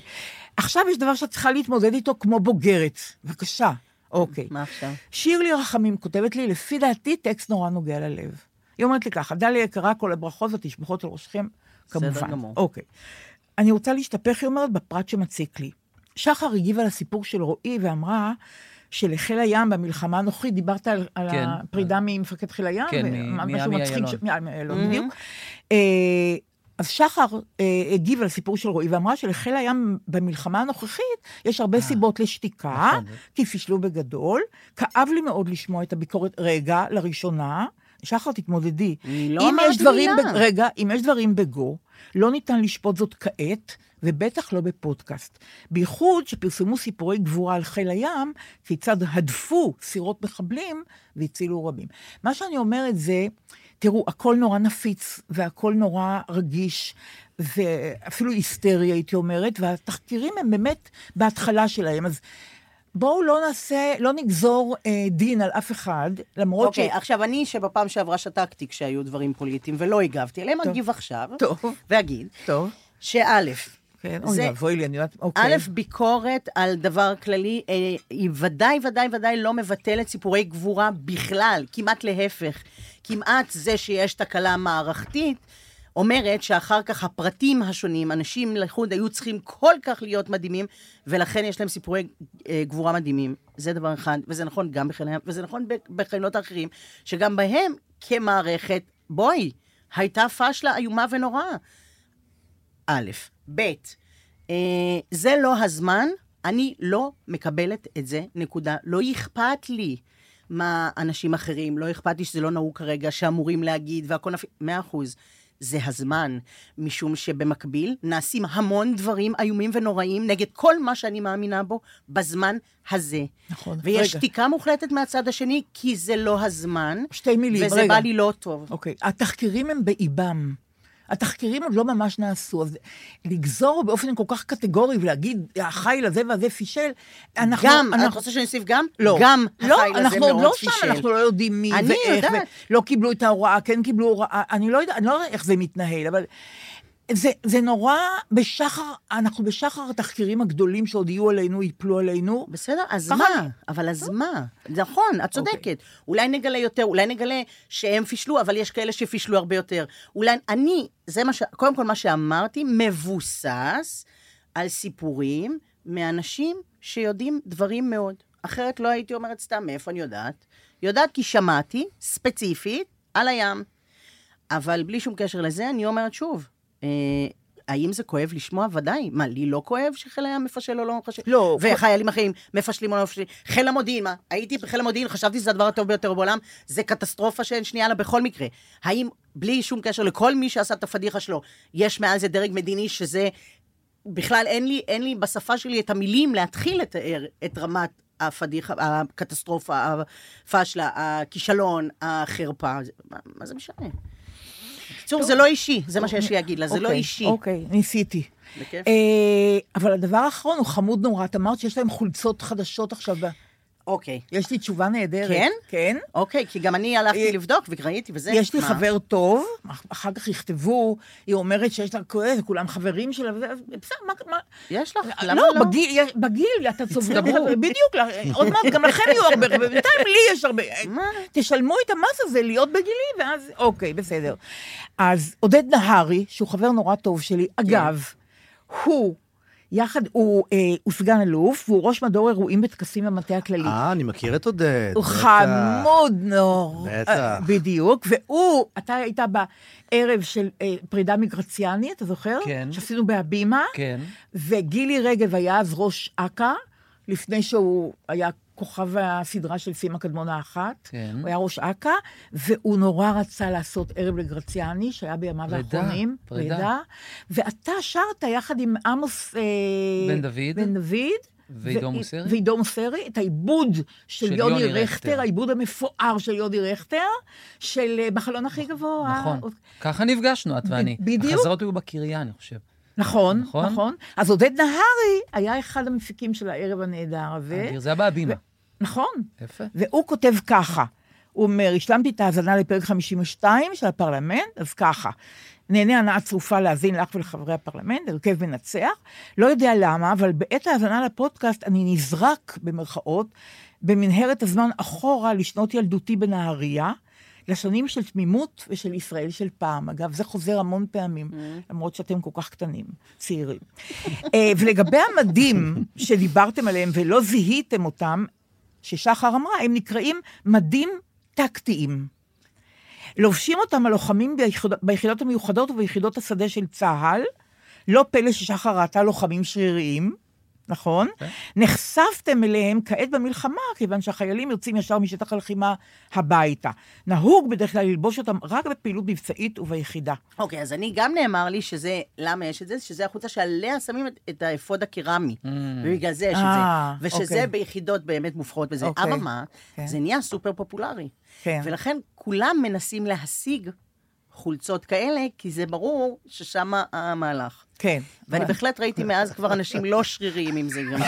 [SPEAKER 3] עכשיו יש דבר שאת צריכה להתמודד איתו כמו בוגרת. בבקשה. אוקיי.
[SPEAKER 4] מה עכשיו?
[SPEAKER 3] שירלי רחמים כותבת לי, לפי דעתי, טקסט נורא נוגע ללב. היא אומרת לי ככה, דליה יקרה, כל הברכות והתשבחות על ראשכם,
[SPEAKER 4] בסדר
[SPEAKER 3] כמובן.
[SPEAKER 4] גמור.
[SPEAKER 3] אוקיי. אני רוצה להשתפך, היא אומרת, בפרט שמציק לי. שחר הגיבה לסיפור של רועי ואמרה שלחיל הים במלחמה הנוכחית, דיברת על, על
[SPEAKER 2] כן.
[SPEAKER 3] הפרידה ממפקד חיל הים,
[SPEAKER 2] כן,
[SPEAKER 3] ומה-
[SPEAKER 2] מ-
[SPEAKER 3] משהו
[SPEAKER 2] מעמי
[SPEAKER 3] מצחיק
[SPEAKER 2] אילון.
[SPEAKER 3] ש- מעמי אילון, בדיוק. אה, אז שחר אה, הגיב על הסיפור של רועי ואמרה שלחיל הים במלחמה הנוכחית יש
[SPEAKER 4] אה,
[SPEAKER 3] הרבה סיבות לשתיקה,
[SPEAKER 2] נכון,
[SPEAKER 3] כי פישלו בגדול. כאב לי מאוד לשמוע את הביקורת, רגע, לראשונה, שחר, תתמודדי.
[SPEAKER 4] אני לא
[SPEAKER 3] אם
[SPEAKER 4] אמרתי
[SPEAKER 3] יש דברים
[SPEAKER 4] מילה.
[SPEAKER 3] בג- רגע, אם יש דברים בגו, לא ניתן לשפוט זאת כעת, ובטח לא בפודקאסט. בייחוד שפרסמו סיפורי גבורה על חיל הים, כיצד הדפו סירות מחבלים והצילו רבים. מה שאני אומרת זה, תראו, הכל נורא נפיץ, והכל נורא רגיש, ואפילו היסטרי, הייתי אומרת, והתחקירים הם באמת בהתחלה שלהם. אז בואו לא נעשה, לא נגזור אה, דין על אף אחד, למרות
[SPEAKER 4] אוקיי,
[SPEAKER 3] ש...
[SPEAKER 4] עכשיו, אני, שבפעם שעברה שתקתי כשהיו דברים פוליטיים ולא הגבתי עליהם, אגיב עכשיו,
[SPEAKER 3] טוב.
[SPEAKER 4] ואגיד,
[SPEAKER 3] טוב.
[SPEAKER 4] שא',
[SPEAKER 3] כן,
[SPEAKER 4] זה-
[SPEAKER 3] אוי, אבוי לי, אני יודעת, אוקיי.
[SPEAKER 4] א', ביקורת על דבר כללי, אה, היא ודאי, ודאי, ודאי לא מבטלת סיפורי גבורה בכלל, כמעט להפך. כמעט זה שיש תקלה מערכתית, אומרת שאחר כך הפרטים השונים, אנשים לחוד היו צריכים כל כך להיות מדהימים, ולכן יש להם סיפורי אה, גבורה מדהימים. זה דבר אחד, וזה נכון גם בחיל הים, וזה נכון ב- בחילות האחרים, שגם בהם, כמערכת, בואי, הייתה פשלה איומה ונוראה. א', ב', אה, זה לא הזמן, אני לא מקבלת את זה, נקודה. לא אכפת לי מה אנשים אחרים, לא אכפת לי שזה לא נהוג כרגע, שאמורים להגיד, והכל נפ... מאה אחוז. זה הזמן, משום שבמקביל נעשים המון דברים איומים ונוראים נגד כל מה שאני מאמינה בו בזמן הזה.
[SPEAKER 3] נכון,
[SPEAKER 4] ויש
[SPEAKER 3] רגע.
[SPEAKER 4] שתיקה מוחלטת מהצד השני, כי זה לא הזמן,
[SPEAKER 3] שתי מילים,
[SPEAKER 4] וזה
[SPEAKER 3] רגע.
[SPEAKER 4] בא לי לא טוב.
[SPEAKER 3] אוקיי, התחקירים הם באיבם. התחקירים עוד לא ממש נעשו, אז לגזור באופן כל כך קטגורי ולהגיד, החיל הזה והזה פישל, אנחנו...
[SPEAKER 4] גם, את
[SPEAKER 3] אנחנו...
[SPEAKER 4] רוצה שאני אוסיף גם?
[SPEAKER 3] לא,
[SPEAKER 4] גם
[SPEAKER 3] לא,
[SPEAKER 4] החיל הזה
[SPEAKER 3] אנחנו
[SPEAKER 4] מאוד
[SPEAKER 3] עוד לא
[SPEAKER 4] פישל.
[SPEAKER 3] שם, אנחנו לא יודעים מי
[SPEAKER 4] אני
[SPEAKER 3] ואיך,
[SPEAKER 4] יודעת.
[SPEAKER 3] ולא קיבלו את ההוראה, כן קיבלו הוראה, אני לא יודעת, אני לא יודעת איך זה מתנהל, אבל זה, זה נורא בשחר, אנחנו בשחר התחקירים הגדולים שעוד יהיו עלינו, ייפלו עלינו.
[SPEAKER 4] בסדר, אז
[SPEAKER 3] ככה
[SPEAKER 4] מה?
[SPEAKER 3] אני.
[SPEAKER 4] אבל אז מה? נכון, את צודקת. אולי נגלה יותר, אולי נגלה שהם פישלו, אבל יש כאלה שפישלו הרבה יותר. אולי אני, זה מה ש... קודם כל, מה שאמרתי מבוסס על סיפורים מאנשים שיודעים דברים מאוד. אחרת לא הייתי אומרת סתם, מאיפה אני יודעת? יודעת כי שמעתי, ספציפית, על הים. אבל בלי שום קשר לזה, אני אומרת שוב, אה, האם זה כואב לשמוע? ודאי. מה, לי לא כואב שחיל הים מפשל או לא מפשל?
[SPEAKER 3] לא,
[SPEAKER 4] וחיילים אחרים מפשלים או לא מפשלים. חיל המודיעין, מה? הייתי בחיל המודיעין, חשבתי שזה הדבר הטוב ביותר בעולם, זה קטסטרופה שאין שנייה לה בכל מקרה. האם, בלי שום קשר לכל מי שעשה את הפדיחה שלו, יש מעל זה דרג מדיני שזה... בכלל אין לי, אין לי בשפה שלי את המילים להתחיל לתאר את רמת הפדיחה, הקטסטרופה, הפשלה, הכישלון, החרפה. זה- מה, מה זה משנה? בקיצור, זה לא אישי, זה מה שיש לי להגיד לה, זה לא
[SPEAKER 3] אוקיי,
[SPEAKER 4] אישי.
[SPEAKER 3] אוקיי, ניסיתי.
[SPEAKER 4] בכיף.
[SPEAKER 3] אה, אבל הדבר האחרון הוא חמוד נורא, את אמרת שיש להם חולצות חדשות עכשיו. ב-
[SPEAKER 4] אוקיי.
[SPEAKER 3] יש לי תשובה נהדרת.
[SPEAKER 4] כן?
[SPEAKER 3] כן.
[SPEAKER 4] אוקיי, כי גם אני הלכתי
[SPEAKER 3] אה,
[SPEAKER 4] לבדוק וראיתי וזה.
[SPEAKER 3] יש לי
[SPEAKER 4] מה?
[SPEAKER 3] חבר טוב, אח- אחר כך יכתבו, היא אומרת שיש לה כואב, כולם חברים שלה, וזה, אז בסדר, מה... מה-
[SPEAKER 4] יש לך, למה
[SPEAKER 3] לא,
[SPEAKER 4] לא?
[SPEAKER 3] בגיל, בגיל אתה צובר, חברים, בדיוק, לה- עוד מעט גם לכם יהיו הרבה חברים, בינתיים לי יש הרבה,
[SPEAKER 4] מה?
[SPEAKER 3] תשלמו את המס הזה להיות בגילי, ואז, אוקיי, בסדר. אז עודד נהרי, שהוא חבר נורא טוב
[SPEAKER 4] כן.
[SPEAKER 3] שלי, אגב, הוא, יחד, הוא אה, הוא סגן אלוף, והוא ראש מדור אירועים בטקסים במטה הכללי.
[SPEAKER 5] אה, אני מכיר את עודד.
[SPEAKER 3] הוא
[SPEAKER 5] בטח.
[SPEAKER 3] חמוד נורא.
[SPEAKER 5] בטח.
[SPEAKER 3] בדיוק, והוא, אתה היית בערב של אה, פרידה מגרציאני, אתה זוכר?
[SPEAKER 2] כן.
[SPEAKER 3] שעשינו בהבימה,
[SPEAKER 2] כן.
[SPEAKER 3] וגילי רגב היה אז ראש אכ"א, לפני שהוא היה כוכב הסדרה של סימה קדמון האחת.
[SPEAKER 2] כן.
[SPEAKER 3] הוא היה ראש אכ"א, והוא נורא רצה לעשות ערב לגרציאני, שהיה בימיו
[SPEAKER 2] פרידה,
[SPEAKER 3] האחרונים.
[SPEAKER 2] פרידה.
[SPEAKER 3] ואתה שרת יחד עם עמוס... אה,
[SPEAKER 2] בן דוד.
[SPEAKER 3] בן דוד.
[SPEAKER 2] ועידו
[SPEAKER 3] ו-
[SPEAKER 2] מוסרי?
[SPEAKER 3] ועידו מוסרי, את העיבוד של, יוני רכטר, העיבוד המפואר של יוני רכטר, של אה, בחלון הכי גבוה. אוקיי.
[SPEAKER 2] נכון. ככה נפגשנו, את ואני.
[SPEAKER 3] בדיוק.
[SPEAKER 2] החזרות היו בקריה, אני
[SPEAKER 4] אה?
[SPEAKER 2] חושב.
[SPEAKER 3] נכון,
[SPEAKER 2] נכון.
[SPEAKER 3] נכון, נכון. אז עודד נהרי היה אחד המפיקים של הערב הנהדר הזה.
[SPEAKER 2] אדיר, זה היה בהבימה.
[SPEAKER 3] נכון.
[SPEAKER 2] יפה.
[SPEAKER 3] והוא כותב ככה, הוא אומר, השלמתי את ההאזנה לפרק 52 של הפרלמנט, אז ככה. נהנה הנאה צרופה להאזין לך ולחברי הפרלמנט, הרכב מנצח. לא יודע למה, אבל בעת ההאזנה לפודקאסט אני נזרק, במרכאות, במנהרת הזמן אחורה לשנות ילדותי בנהריה, לשנים של תמימות ושל ישראל של פעם. אגב, זה חוזר המון פעמים, למרות שאתם כל כך קטנים, צעירים. אה, ולגבי המדים שדיברתם עליהם ולא זיהיתם אותם, ששחר אמרה, הם נקראים מדים טקטיים. לובשים אותם הלוחמים ביחיד, ביחידות המיוחדות וביחידות השדה של צה"ל. לא פלא ששחר ראתה לוחמים שריריים. נכון?
[SPEAKER 2] כן.
[SPEAKER 3] נחשפתם אליהם כעת במלחמה, כיוון שהחיילים יוצאים ישר משטח הלחימה הביתה. נהוג בדרך כלל ללבוש אותם רק בפעילות מבצעית וביחידה.
[SPEAKER 4] אוקיי, אז אני גם נאמר לי שזה, למה יש את זה? שזה החולצה שעליה שמים את, את האפוד הקרמי, ובגלל זה יש את
[SPEAKER 3] Mm. אה,
[SPEAKER 4] זה. ושזה
[SPEAKER 3] אוקיי.
[SPEAKER 4] ביחידות באמת מובחרות בזה.
[SPEAKER 3] אוקיי.
[SPEAKER 4] אבל מה,
[SPEAKER 3] כן.
[SPEAKER 4] זה נהיה סופר פופולרי.
[SPEAKER 3] כן.
[SPEAKER 4] ולכן כולם מנסים להשיג חולצות כאלה, כי זה ברור ששם המהלך.
[SPEAKER 3] כן.
[SPEAKER 4] ואני בהחלט ראיתי מאז כבר אנשים לא שריריים עם זה גם.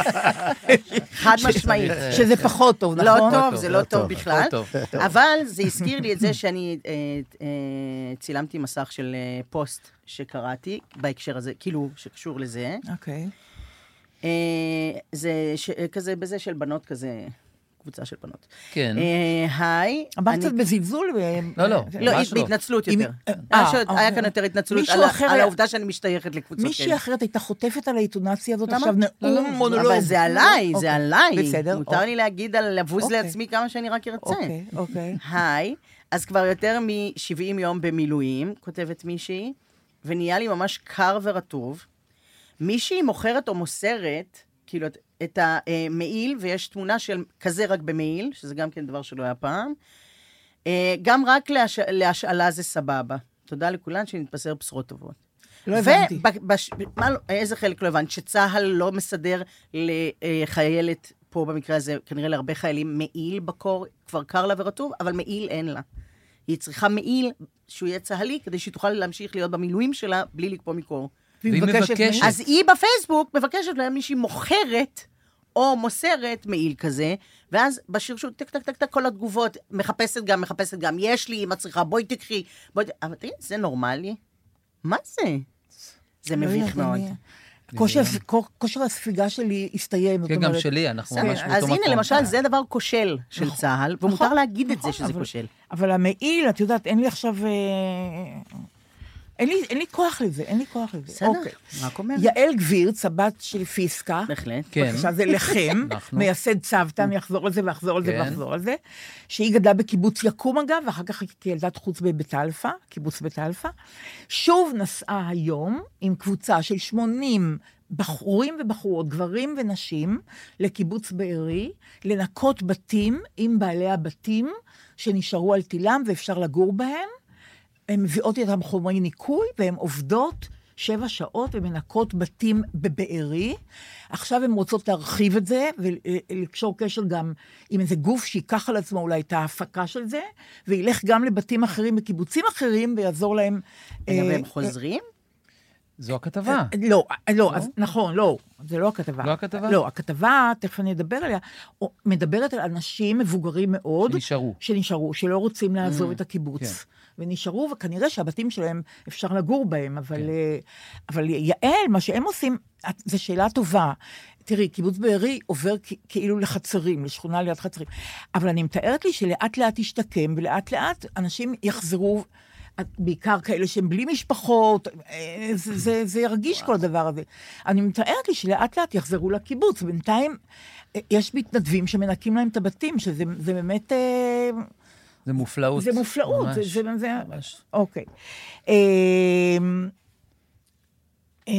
[SPEAKER 4] חד משמעית.
[SPEAKER 2] אה,
[SPEAKER 3] שזה
[SPEAKER 2] כן.
[SPEAKER 3] פחות טוב,
[SPEAKER 4] לא
[SPEAKER 3] נכון?
[SPEAKER 4] טוב, זה לא
[SPEAKER 5] לא
[SPEAKER 4] טוב
[SPEAKER 5] טוב,
[SPEAKER 4] בכלל.
[SPEAKER 2] לא טוב.
[SPEAKER 4] אבל זה הזכיר לי את זה שאני אה, אה, צילמתי מסך של אה, פוסט שקראתי בהקשר הזה, כאילו, שקשור לזה.
[SPEAKER 3] אוקיי.
[SPEAKER 4] אה, זה ש- אה, כזה, בזה של בנות כזה, קבוצה של בנות.
[SPEAKER 2] כן.
[SPEAKER 4] אה, היי.
[SPEAKER 3] אמרת
[SPEAKER 4] אני-
[SPEAKER 3] קצת בזלזול. אה, ו-
[SPEAKER 2] לא, לא.
[SPEAKER 4] לא,
[SPEAKER 2] ממש לא.
[SPEAKER 4] בהתנצלות
[SPEAKER 3] אם-
[SPEAKER 4] יותר.
[SPEAKER 3] אה,
[SPEAKER 4] היה ש-
[SPEAKER 3] אוקיי.
[SPEAKER 4] היה כאן יותר התנצלות
[SPEAKER 3] מישהו
[SPEAKER 4] על ה-
[SPEAKER 3] אחר
[SPEAKER 4] על
[SPEAKER 3] היה-
[SPEAKER 4] העובדה שאני משתייכת לקבוצות
[SPEAKER 3] מישהי
[SPEAKER 4] כאלה. Mm,
[SPEAKER 3] אחרת הייתה חוטפת על העיתונציה הזאת
[SPEAKER 4] למה?
[SPEAKER 3] עכשיו
[SPEAKER 2] לא, לא,
[SPEAKER 3] נאום
[SPEAKER 2] זה-
[SPEAKER 3] מונולוג.
[SPEAKER 4] אבל זה עליי,
[SPEAKER 3] אוקיי.
[SPEAKER 4] זה עליי.
[SPEAKER 3] בסדר.
[SPEAKER 4] מותר לי להגיד על לבוז
[SPEAKER 3] אוקיי.
[SPEAKER 4] לעצמי כמה שאני רק ארצה.
[SPEAKER 3] אוקיי, אוקיי.
[SPEAKER 4] היי, אז כבר יותר מ-70 יום במילואים, כותבת מישהי, ונהיה לי ממש קר ורטוב. מישהי מוכרת או מוסרת, כאילו, את- את המעיל, ויש תמונה של כזה רק במעיל, שזה גם כן דבר שלא היה פעם. אה, גם רק להש... להשאלה זה סבבה. תודה לכולן שנתבשר בשורות טובות.
[SPEAKER 3] לא הבנתי.
[SPEAKER 4] ובש... מה לא- איזה חלק לא הבנת? שצה"ל לא מסדר לחיילת, פה במקרה הזה, כנראה להרבה חיילים, מעיל בקור, כבר קר לה ורטוב, אבל מעיל אין לה. היא צריכה מעיל שהוא יהיה צהלי, כדי שהיא תוכל להמשיך להיות במילואים שלה בלי לקפוא מקור.
[SPEAKER 2] והיא מבקשת.
[SPEAKER 4] אז היא בפייסבוק מבקשת להם מישהי מוכרת או מוסרת מעיל כזה, ואז בשרשור, טק, טק, טק, טק, כל התגובות, מחפשת גם, מחפשת גם, יש לי, אם את צריכה, בואי תקחי, בואי... ת-" אבל תראי, זה נורמלי? מה זה? זה
[SPEAKER 3] לא
[SPEAKER 4] מביך
[SPEAKER 3] יודעת,
[SPEAKER 4] מאוד.
[SPEAKER 3] אני- כושר- כו- כושר הספיגה שלי הסתיים. זאת
[SPEAKER 2] כן, גם
[SPEAKER 3] אומרת-
[SPEAKER 2] שלי, אנחנו
[SPEAKER 4] בסדר,
[SPEAKER 2] ממש
[SPEAKER 4] אז
[SPEAKER 2] באותו מקום.
[SPEAKER 4] הנה, למשל, זה דבר כושל של צה"ל, ומותר להגיד את זה
[SPEAKER 3] נכון,
[SPEAKER 4] שזה
[SPEAKER 3] אבל-
[SPEAKER 4] כושל.
[SPEAKER 3] אבל המעיל, את יודעת, אין לי עכשיו... אה, אין לי, אין לי כוח לזה, אין לי כוח לזה.
[SPEAKER 4] בסדר,
[SPEAKER 3] אוקיי.
[SPEAKER 4] רק אומרת.
[SPEAKER 3] יעל גבירץ, הבת של פיסקה,
[SPEAKER 4] בהחלט.
[SPEAKER 2] כן.
[SPEAKER 3] בבקשה, זה לכם,
[SPEAKER 2] אנחנו.
[SPEAKER 3] מייסד צוותא, אני אחזור על זה ואחזור על זה
[SPEAKER 2] כן.
[SPEAKER 3] ואחזור על זה, שהיא גדלה בקיבוץ יקום אגב, ואחר כך היא כילדת חוץ בבית אלפא, קיבוץ בית אלפא, שוב נסעה היום עם קבוצה של 80 בחורים ובחורות, גברים ונשים, לקיבוץ בארי, לנקות בתים עם בעלי הבתים שנשארו על תילם ואפשר לגור בהם. הן מביאות איתן חומרי ניקוי, והן עובדות שבע שעות ומנקות בתים בבארי. עכשיו הן רוצות להרחיב את זה ולקשור קשר גם עם איזה גוף שייקח על עצמו אולי את ההפקה של זה, וילך גם לבתים אחרים בקיבוצים אחרים ויעזור להם.
[SPEAKER 4] רגע,
[SPEAKER 3] אה,
[SPEAKER 4] והם חוזרים?
[SPEAKER 2] זו הכתבה.
[SPEAKER 3] לא, לא, אז נכון, לא, זה לא הכתבה.
[SPEAKER 2] לא הכתבה?
[SPEAKER 3] לא, הכתבה, תכף אני אדבר עליה, או- מדברת על אנשים מבוגרים מאוד.
[SPEAKER 2] שנשארו.
[SPEAKER 3] שנשארו, שלא רוצים לעזוב את הקיבוץ. ונשארו, וכנראה שהבתים שלהם, אפשר לגור בהם, אבל, אה, אבל יעל, מה שהם עושים, את- זו שאלה טובה. תראי, קיבוץ בארי עובר כ- כאילו לחצרים, לשכונה ליד חצרים. אבל אני מתארת לי שלאט לאט ישתקם, ולאט לאט אנשים יחזרו, בעיקר כאלה שהם בלי משפחות, אה, זה, זה, זה ירגיש כל הדבר הזה. אני מתארת לי שלאט לאט יחזרו לקיבוץ. בינתיים אה, יש מתנדבים שמנקים להם את הבתים, שזה זה באמת... אה,
[SPEAKER 2] זה מופלאות.
[SPEAKER 3] זה מופלאות, זה-
[SPEAKER 2] ממש.
[SPEAKER 3] זה... זה-
[SPEAKER 2] ממש.
[SPEAKER 3] אוקיי. אמ, אה,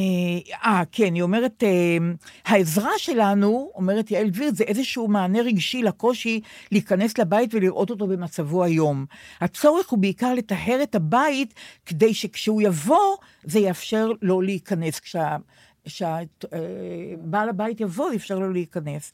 [SPEAKER 3] אה, כן, היא אומרת, אמ, העזרה שלנו, אומרת יעל גביר, זה איזשהו מענה רגשי לקושי להיכנס לבית ולראות אותו במצבו היום. הצורך הוא בעיקר לטהר את הבית, כדי שכשהוא יבוא, זה יאפשר לו להיכנס. כשה... כשבעל אה, הבית יבוא, אפשר לו להיכנס.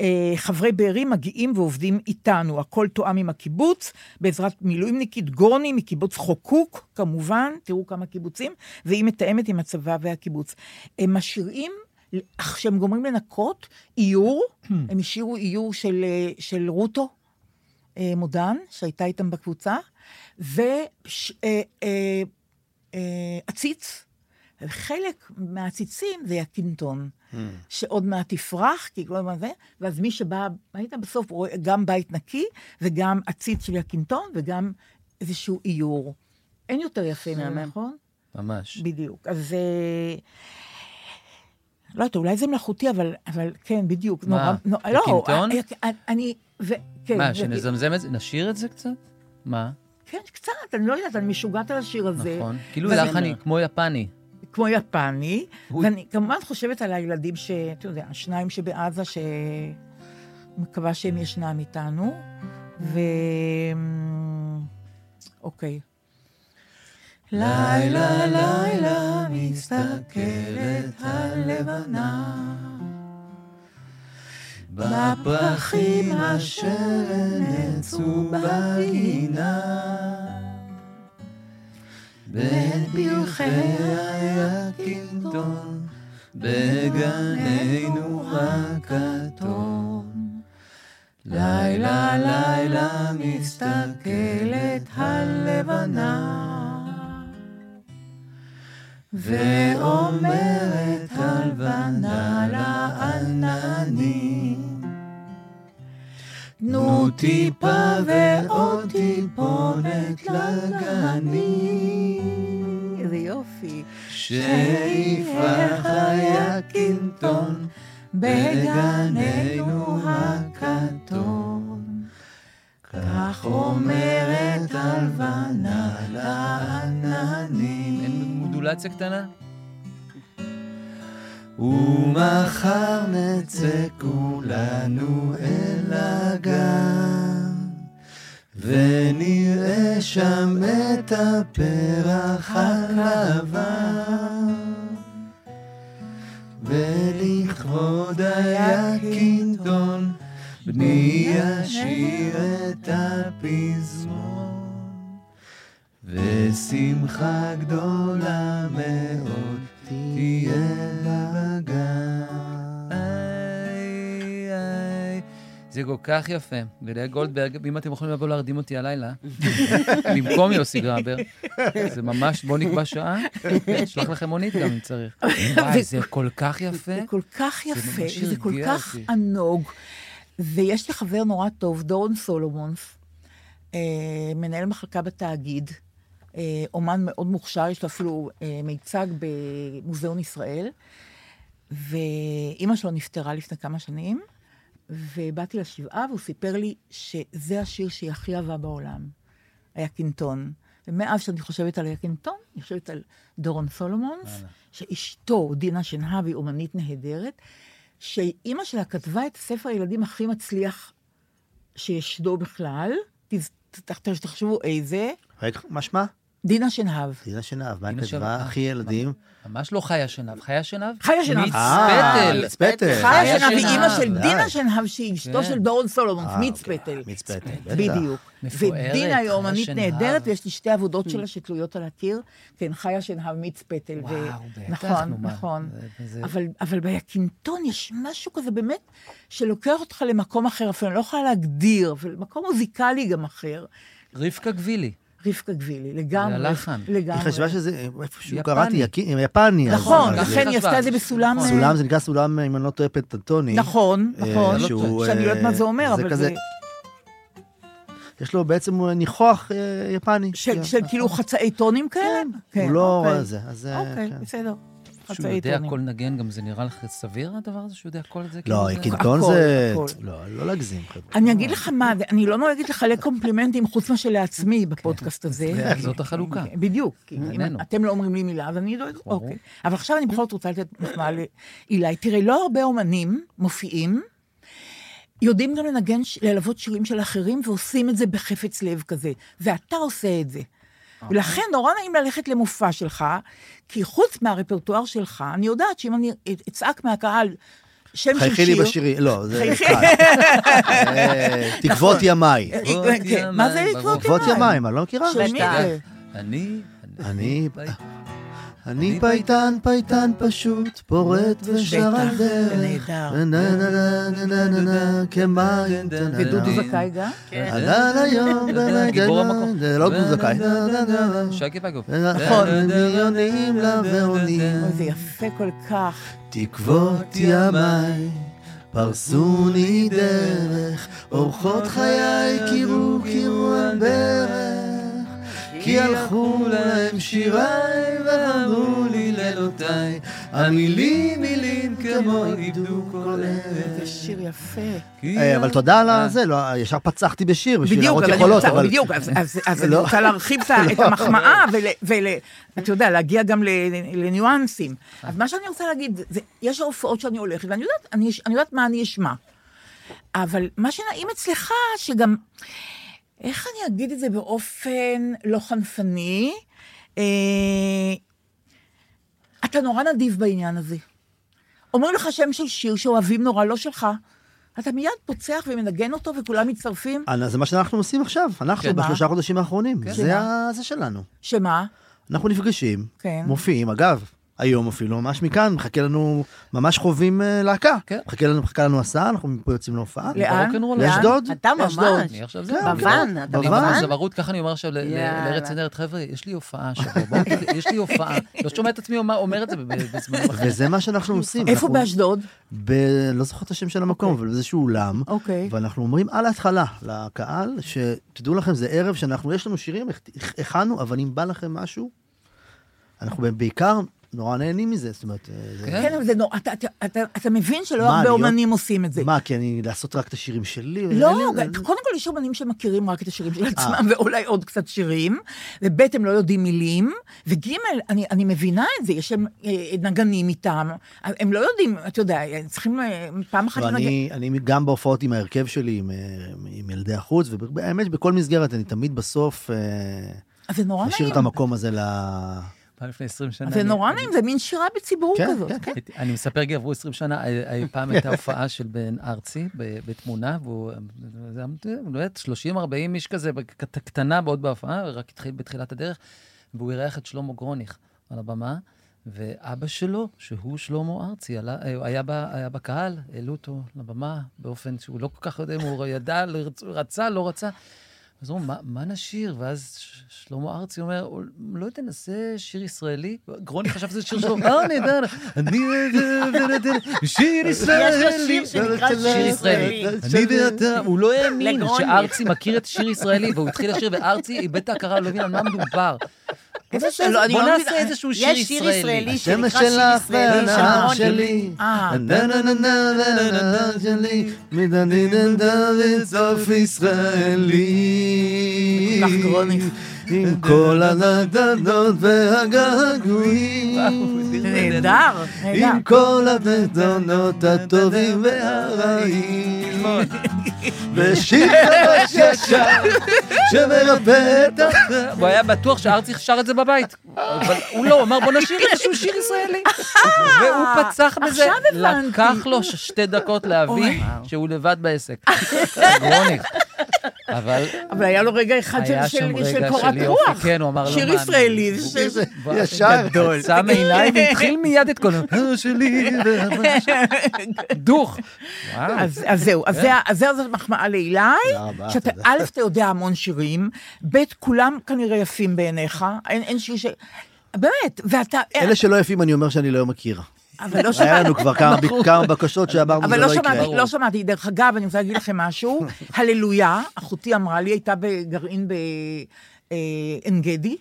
[SPEAKER 3] אה, חברי בארי מגיעים ועובדים איתנו, הכל תואם עם הקיבוץ, בעזרת מילואימניקית גורני מקיבוץ חוקוק, כמובן, תראו כמה קיבוצים, והיא מתאמת עם הצבא והקיבוץ. הם משאירים, אך כשהם גומרים לנקות, איור, הם השאירו איור של, אה, של רוטו. אה, מודן, שהייתה איתם בקבוצה, ועציץ. אה, אה, אה, עציץ. חלק מהעציצים זה הקינטון,
[SPEAKER 2] Hmm.
[SPEAKER 3] שעוד מעט תפרח, כי כל הזמן זה, ואז מי שבא הביתה בסוף רואה גם בית נקי, וגם עציץ של הקינטון, וגם איזשהו איור. אין יותר יפה מזה, נכון?
[SPEAKER 2] ממש.
[SPEAKER 3] בדיוק. אז... אה, לא יודעת, אולי זה מלאכותי, אבל, אבל כן, בדיוק.
[SPEAKER 2] מה?
[SPEAKER 3] נורא- נו- לא,
[SPEAKER 2] הקינטון?
[SPEAKER 3] אה, אני... ו- כן,
[SPEAKER 2] מה,
[SPEAKER 3] זה-
[SPEAKER 2] שנזמזם את זה? נשיר את זה קצת? מה?
[SPEAKER 3] כן, קצת, אני לא יודעת, אני משוגעת על השיר הזה.
[SPEAKER 2] נכון. כאילו
[SPEAKER 3] אבל-
[SPEAKER 2] לחני, כמו יפני.
[SPEAKER 3] כמו יפני,
[SPEAKER 2] הוא-
[SPEAKER 3] ואני כמובן חושבת על הילדים ש... אתה יודע, השניים שבעזה, ש... מקווה שהם ישנם איתנו, ו... אוקיי. לילה, לילה, מסתכלת הלבנה, בפרחים אשר נעצו בגינה, בין פרחי היקינטון, בגננו הכתום. לילה, לילה, מסתכלת הלבנה, ואומרת הלבנה לעננים, תנו טיפה ועוד טיפונת לגנים. איזה יופי. שאיפך היה קינטון בגננו הכתום. כך אומרת הלבנה לעננים.
[SPEAKER 2] אין מודולציה קטנה?
[SPEAKER 3] ומחר נצא כולנו אל הגן, ונראה שם את הפרח הלבן. ולכבוד היקינטון, בני ישיר את הפזמון, ושמחה גדולה מאוד תהיה בגן.
[SPEAKER 2] איי, איי. זה כל כך יפה. ולאה גולדברג, אם אתם יכולים לבוא להרדים אותי הלילה, במקום יוסי גרבר, זה ממש, בואו נקבע שעה, אשלח לכם מונית גם אם צריך. וואי, זה כל כך יפה.
[SPEAKER 3] זה כל כך יפה,
[SPEAKER 2] ממש
[SPEAKER 3] זה כל
[SPEAKER 2] הרגיע
[SPEAKER 3] כך
[SPEAKER 2] אותי.
[SPEAKER 3] ענוג. ויש לי חבר נורא טוב, דורון סולומונס, אה, מנהל מחלקה בתאגיד, אה, אומן מאוד מוכשר, יש לו אפילו אה, מיצג במוזיאון ישראל, ואימא שלו נפטרה לפני כמה שנים, ובאתי לשבעה, והוא סיפר לי שזה השיר שהיא הכי אהבה בעולם, היקינטון. ומאז שאני חושבת על היקינטון, אני חושבת על דורון סולומונס, שאשתו, דינה שנהב, היא אומנית נהדרת, שאימא שלה כתבה את ספר הילדים הכי מצליח שישנו בכלל, תז- ת- ת- תחשבו איזה,
[SPEAKER 5] רגע, מה שמה?
[SPEAKER 3] דינה שנהב.
[SPEAKER 5] דינה שנהב, מה
[SPEAKER 2] דינה
[SPEAKER 5] הכתבה?
[SPEAKER 2] שנהב.
[SPEAKER 5] הכי ילדים.
[SPEAKER 2] ממש לא חיה שנהב. חיה שנהב?
[SPEAKER 3] חיה שנהב.
[SPEAKER 5] אה,
[SPEAKER 2] מצפתל.
[SPEAKER 5] מיץ פטל.
[SPEAKER 3] חיה שנהב היא
[SPEAKER 2] שנהב,
[SPEAKER 3] אימא של
[SPEAKER 5] די.
[SPEAKER 3] דינה שנהב, שהיא אשתו
[SPEAKER 2] כן.
[SPEAKER 3] של דורון סולומונס,
[SPEAKER 5] אה,
[SPEAKER 3] מיץ
[SPEAKER 5] אוקיי,
[SPEAKER 3] פטל. כן,
[SPEAKER 5] מיץ פטל, בטח.
[SPEAKER 3] בדיוק.
[SPEAKER 2] מפוארת,
[SPEAKER 3] ודינה היא
[SPEAKER 2] חיה
[SPEAKER 3] אומנית
[SPEAKER 2] שנהב.
[SPEAKER 3] נהדרת, ויש לי שתי עבודות שלה שתלויות על הקיר. כן, חיה שנהב, מיץ פטל. ו-
[SPEAKER 2] וואו, בטח, נו
[SPEAKER 3] נכון,
[SPEAKER 2] מה.
[SPEAKER 3] נכון.
[SPEAKER 2] זה- זה-
[SPEAKER 3] אבל- אבל ביקינטון יש משהו כזה באמת, שלוקח אותך למקום אחר, אפילו אני לא יכולה להגדיר, אבל מקום מוזיקלי גם אחר.
[SPEAKER 2] רבקה גבילי.
[SPEAKER 3] רבקה גבילי, לגמרי.
[SPEAKER 2] זה הלחן.
[SPEAKER 5] היא
[SPEAKER 3] לגמרי.
[SPEAKER 5] חשבה שזה, איפשהו
[SPEAKER 2] יפני.
[SPEAKER 5] קראתי, יקי- יפני. אז-
[SPEAKER 3] נכון,
[SPEAKER 5] אז-
[SPEAKER 2] זה-
[SPEAKER 3] לכן היא
[SPEAKER 2] חשבה.
[SPEAKER 3] עשתה את זה בסולם...
[SPEAKER 2] נכון.
[SPEAKER 5] סולם, זה נקרא סולם, אם אני לא טועה, פנטטוני.
[SPEAKER 3] נכון,
[SPEAKER 5] אה,
[SPEAKER 3] נכון.
[SPEAKER 5] שהוא,
[SPEAKER 3] שאני לא יודעת מה זה
[SPEAKER 5] אה,
[SPEAKER 3] אומר,
[SPEAKER 5] זה
[SPEAKER 3] אבל
[SPEAKER 5] כזה-
[SPEAKER 3] זה...
[SPEAKER 5] יש לו בעצם ניחוח אה, יפני.
[SPEAKER 3] של
[SPEAKER 5] כן.
[SPEAKER 3] של כאילו חצאי טונים כאלה?
[SPEAKER 5] הוא לא
[SPEAKER 3] אוקיי.
[SPEAKER 5] זה, אז... אה,
[SPEAKER 3] אוקיי,
[SPEAKER 5] כן.
[SPEAKER 3] בסדר.
[SPEAKER 2] שהוא
[SPEAKER 3] חצאי
[SPEAKER 2] יודע
[SPEAKER 3] טונים.
[SPEAKER 2] כל נגן, גם זה נראה לך סביר הדבר הזה שהוא יודע כל זה? כאילו
[SPEAKER 5] לא,
[SPEAKER 2] זה-
[SPEAKER 5] קינטון
[SPEAKER 3] כן, הכל,
[SPEAKER 5] זה...
[SPEAKER 3] הכל.
[SPEAKER 5] לא, לא להגזים, חבר'ה.
[SPEAKER 3] אני אגיד לך מה, זה- אני לא נוהגת לחלק קומפלימנטים חוץ מאשר לעצמי בפודקאסט הזה.
[SPEAKER 2] כן. זה- זאת החלוקה.
[SPEAKER 3] בדיוק. כי אם
[SPEAKER 2] בינינו.
[SPEAKER 3] אתם לא אומרים לי מילה, אז אני לא...
[SPEAKER 2] ברור.
[SPEAKER 3] אוקיי. אבל עכשיו אני בכל זאת רוצה לתת מחמאה לאילי. תראה, לא הרבה אומנים מופיעים, יודעים גם לנגן, ש- ללוות שירים של אחרים, ועושים את זה בחפץ לב כזה. ואתה עושה את זה.
[SPEAKER 2] אה.
[SPEAKER 3] ולכן נורא נעים ללכת למופע שלך, כי חוץ מהרפרטואר שלך, אני יודעת שאם אני אצעק מהקהל שם של שיר...
[SPEAKER 5] חייכי לי בשירי, לא, זה
[SPEAKER 3] חייכי. נכון.
[SPEAKER 5] קל. אה, תקוות ימיי.
[SPEAKER 2] לקוות
[SPEAKER 3] כן, מה זה
[SPEAKER 2] ימיים,
[SPEAKER 3] לקוות
[SPEAKER 5] תקוות ימיים, אני לא מכירה.
[SPEAKER 3] של מי
[SPEAKER 2] אתה-
[SPEAKER 3] זה?
[SPEAKER 2] אני...
[SPEAKER 5] אני- אה,
[SPEAKER 2] ביי.
[SPEAKER 5] אני פייטן, פייטן פשוט, פורט ושר
[SPEAKER 3] בטח,
[SPEAKER 5] על
[SPEAKER 3] זה
[SPEAKER 5] דרך.
[SPEAKER 3] נהדר.
[SPEAKER 5] נה נה נה נה נה נה נה כמים תננה.
[SPEAKER 3] ודודו
[SPEAKER 2] אני-
[SPEAKER 3] לא זכאי גם?
[SPEAKER 4] כן.
[SPEAKER 5] עלה ליום,
[SPEAKER 2] זה גיבור המקום.
[SPEAKER 5] זה אה, לא דודו זכאי.
[SPEAKER 2] שקי פגוב.
[SPEAKER 5] נכון, מיליונים לבעונים.
[SPEAKER 3] אוי, זה יפה כל כך.
[SPEAKER 5] תקוות ימיי, פרסוני דרך, אורחות חיי קירו קירו על ברך, כי הלכו להם שיריי ואמרו לי לילותיי,
[SPEAKER 2] המילים מילים כמו איבדו כל ערך.
[SPEAKER 3] זה שיר יפה.
[SPEAKER 2] כאילו,
[SPEAKER 5] אה, אבל תודה על הזה, לא, ישר פצחתי בשיר בשביל
[SPEAKER 3] בדיוק,
[SPEAKER 5] להראות
[SPEAKER 3] אבל אני
[SPEAKER 5] יכולות,
[SPEAKER 3] רוצה,
[SPEAKER 5] אבל...
[SPEAKER 3] בדיוק, אז- אז- אז אני
[SPEAKER 5] לא.
[SPEAKER 3] רוצה להרחיב את ה- את המחמאה ול... ול- אתה יודע, להגיע גם ל- לניואנסים.
[SPEAKER 5] אה.
[SPEAKER 3] אז מה שאני רוצה להגיד, זה- יש הופעות שאני הולכת, ואני יודעת- אני יש- אני יודעת מה אני אשמע. אבל מה שנעים אצלך, שגם... איך אני אגיד את זה באופן לא חנפני? אה, אתה נורא נדיב בעניין הזה. אומרים לך שם של שיר שאוהבים נורא, לא שלך. אתה מיד פוצח ומנגן אותו וכולם מצטרפים.
[SPEAKER 5] אה, זה מה שאנחנו עושים עכשיו, אנחנו
[SPEAKER 2] כן.
[SPEAKER 5] בשלושה חודשים האחרונים, זה
[SPEAKER 3] שמה?
[SPEAKER 5] ה- זה שלנו.
[SPEAKER 3] שמה?
[SPEAKER 5] אנחנו נפגשים,
[SPEAKER 3] כן.
[SPEAKER 5] מופיעים, אגב, היום אפילו, ממש מכאן, מחכה לנו, ממש חווים אה, להקה.
[SPEAKER 2] כן.
[SPEAKER 5] מחכה לנו- מחכה לנו הסעה, אנחנו מפה יוצאים להופעה.
[SPEAKER 3] לאן?
[SPEAKER 2] ברוקנרול,
[SPEAKER 3] לאן?
[SPEAKER 5] לאשדוד?
[SPEAKER 4] אתה
[SPEAKER 5] לאשדוד.
[SPEAKER 4] ממש.
[SPEAKER 2] אני עכשיו זה.
[SPEAKER 5] כן,
[SPEAKER 2] אני
[SPEAKER 4] בוואן,
[SPEAKER 5] בוואן.
[SPEAKER 4] אתה
[SPEAKER 2] בוואן.
[SPEAKER 4] בוואן?
[SPEAKER 2] זמרות, ככה אני אומר עכשיו ל- ל-
[SPEAKER 4] יאללה.
[SPEAKER 2] לארץ נהדרת, חבר'ה, יש לי הופעה שבוע, בואו, תראו, יש לי הופעה. לא שומע את עצמי אומר- אומר את זה ב- בזמנים אחרים.
[SPEAKER 5] וזה מה שאנחנו עושים.
[SPEAKER 3] איפה
[SPEAKER 5] אנחנו-
[SPEAKER 3] באשדוד?
[SPEAKER 5] ב... לא זוכר את השם של המקום, אבל באיזשהו אולם.
[SPEAKER 3] אוקיי.
[SPEAKER 5] ואנחנו אומרים על ההתחלה לקהל, שתדעו לכם, זה ערב שאנחנו, יש לנו שירים, הכ- הכנו, אבל אם בא לכם משהו, אנחנו בעיקר נורא נהנים מזה, זאת אומרת, אה, זה...
[SPEAKER 2] כן.
[SPEAKER 3] כן, אבל זה נורא, אתה- אתה- אתה- אתה מבין שלא
[SPEAKER 5] מה,
[SPEAKER 3] הרבה
[SPEAKER 5] להיות-
[SPEAKER 3] אומנים עושים את זה.
[SPEAKER 5] מה, כי אני לעשות רק את השירים שלי?
[SPEAKER 3] לא,
[SPEAKER 5] אין לי-
[SPEAKER 3] ג- קודם כל יש אומנים שמכירים רק את השירים
[SPEAKER 5] אה.
[SPEAKER 3] של עצמם, ואולי עוד קצת שירים, וב' הם לא יודעים מילים, וג' אני, אני מבינה את זה, יש להם אה, נגנים איתם, הם לא יודעים, אתה יודע, הם צריכים אה, פעם אחת
[SPEAKER 5] לא, אני, אני גם בהופעות עם ההרכב שלי, עם, אה, עם ילדי החוץ, והאמת, בכל מסגרת, אני תמיד בסוף אה,
[SPEAKER 3] אז זה נורא
[SPEAKER 5] משאיר
[SPEAKER 3] נעים,
[SPEAKER 5] את המקום הזה ל...
[SPEAKER 2] פעם לפני 20 שנה.
[SPEAKER 3] זה
[SPEAKER 2] אני-
[SPEAKER 3] נורא
[SPEAKER 2] אני-
[SPEAKER 3] נעים, זה מין שירה בציבור
[SPEAKER 5] כן,
[SPEAKER 3] כזאת.
[SPEAKER 5] כן, כן.
[SPEAKER 2] הייתי- אני מספר, כי עברו 20 שנה, אה, אה, פעם הייתה הופעה של בן ארצי ב- בתמונה, והוא, אה, זה היה, לא יודעת, 30-40 איש כזה, בק- קט- קטנה מאוד בהופעה, רק התחיל בתחילת הדרך, והוא אירח את שלמה גרוניך על הבמה, ואבא שלו, שהוא שלמה ארצי, עלה, אה, היה, ב- היה בקהל, העלו אותו לבמה באופן שהוא לא כל כך יודע אם הוא ידע, לא ירצ- רצה, לא רצה. אז הוא אומר, "מה- מה נשיר? ואז ש- שלמה ארצי אומר, לא יודע, נעשה שיר ישראלי? גרוני חשב שזה שיר שלו, אה, נהדר, אני... שיר ישראלי.
[SPEAKER 4] יש לו שיר שנקרא
[SPEAKER 2] שיר ישראלי. אני ואתה, הוא לא האמין
[SPEAKER 4] לגרוני.
[SPEAKER 2] שארצי מכיר את שיר ישראלי, והוא התחיל לשיר, וארצי איבד את ההכרה, לא הבין על מה מדובר.
[SPEAKER 4] לא, אני
[SPEAKER 2] בוא
[SPEAKER 4] לא
[SPEAKER 2] נעשה
[SPEAKER 4] מבינה.
[SPEAKER 2] איזשהו
[SPEAKER 4] יש
[SPEAKER 2] שיר
[SPEAKER 4] שיר
[SPEAKER 2] ישראלי.
[SPEAKER 4] ישראלי
[SPEAKER 5] השמש
[SPEAKER 4] שנקרא שיר
[SPEAKER 5] שלך
[SPEAKER 4] ישראלי של
[SPEAKER 5] והנהר
[SPEAKER 4] אהרון
[SPEAKER 5] שלי.
[SPEAKER 3] אה.
[SPEAKER 5] נה נה נה נה נה נה נה שלי. מדני נדרי סוף ישראלי.
[SPEAKER 3] כך גרוניך.
[SPEAKER 5] עם כל הנדנות והגעגועים.
[SPEAKER 3] נהדר, נהדר.
[SPEAKER 5] עם כל הנדנות הטובים והרעים. בשיר חדש ישר שמרפא את ה...
[SPEAKER 2] הוא היה בטוח שארצי שר את זה בבית. אבל הוא לא, הוא אמר, בוא נשאיר איזשהו שיר ישראלי. והוא פצח בזה.
[SPEAKER 3] עכשיו הבנתי.
[SPEAKER 2] לקח לו ש- שתי דקות להבין שהוא לבד בעסק. גרוניך. אבל
[SPEAKER 3] אבל היה לו רגע אחד של-
[SPEAKER 2] היה שם
[SPEAKER 3] של של
[SPEAKER 2] רגע
[SPEAKER 3] קורת
[SPEAKER 2] של יופי,
[SPEAKER 3] רוח.
[SPEAKER 2] כן, הוא אמר לו,
[SPEAKER 3] שיר
[SPEAKER 2] "מה, אני-
[SPEAKER 3] ישראלי, זה-
[SPEAKER 5] איזה
[SPEAKER 2] ו-
[SPEAKER 5] ישר.
[SPEAKER 2] גדול. שם עיניים והתחיל מיד את כל ה... "אה, שלי. אה, דוך. וואו.
[SPEAKER 3] אז, אז זהו, אז זה- אז זהו, זאת מחמאה לאילי,
[SPEAKER 5] אה. כן. תודה רבה,
[SPEAKER 3] שאתה,
[SPEAKER 5] תודה.
[SPEAKER 3] א', אתה יודע המון שירים, ב', כולם כנראה יפים בעיניך, אין, אין שיר ש... באמת, ואתה... אה,
[SPEAKER 5] אלה שלא יפים, אני אומר שאני לא מכיר.
[SPEAKER 3] אבל לא
[SPEAKER 5] היה
[SPEAKER 3] שמע-
[SPEAKER 5] לנו כבר כמה כמה בקשות שאמרנו
[SPEAKER 3] אבל
[SPEAKER 5] זה
[SPEAKER 3] לא
[SPEAKER 5] לא יקרה.
[SPEAKER 3] שמעתי, לא שמעתי. דרך אגב, אני רוצה להגיד לכם משהו, הללויה, אחותי אמרה לי, הייתה בגרעין בעין גדי,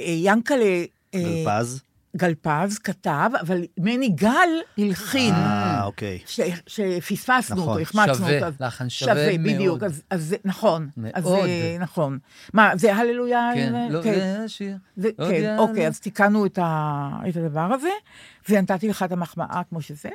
[SPEAKER 3] אה, ינקלה... אה,
[SPEAKER 5] פז?
[SPEAKER 3] גלפז כתב, אבל מני גל הלחין.
[SPEAKER 5] אה, אוקיי.
[SPEAKER 3] ש- שפספסנו
[SPEAKER 5] נכון,
[SPEAKER 3] אותו, החמצנו אותו.
[SPEAKER 2] שווה,
[SPEAKER 3] אז-
[SPEAKER 2] לחן שווה מאוד.
[SPEAKER 3] בדיוק, אז- אז זה- נכון. אז זה-
[SPEAKER 2] מאוד.
[SPEAKER 3] נכון. מה, זה הללויה?
[SPEAKER 2] כן,
[SPEAKER 3] אה,
[SPEAKER 2] לא,
[SPEAKER 3] כן.
[SPEAKER 2] זה השיר.
[SPEAKER 3] זה-
[SPEAKER 2] לא
[SPEAKER 3] כן,
[SPEAKER 2] יודע,
[SPEAKER 3] אוקיי,
[SPEAKER 2] לא.
[SPEAKER 3] אז תיקנו את ה- את הדבר הזה, ונתתי לך את המחמאה כמו שזה.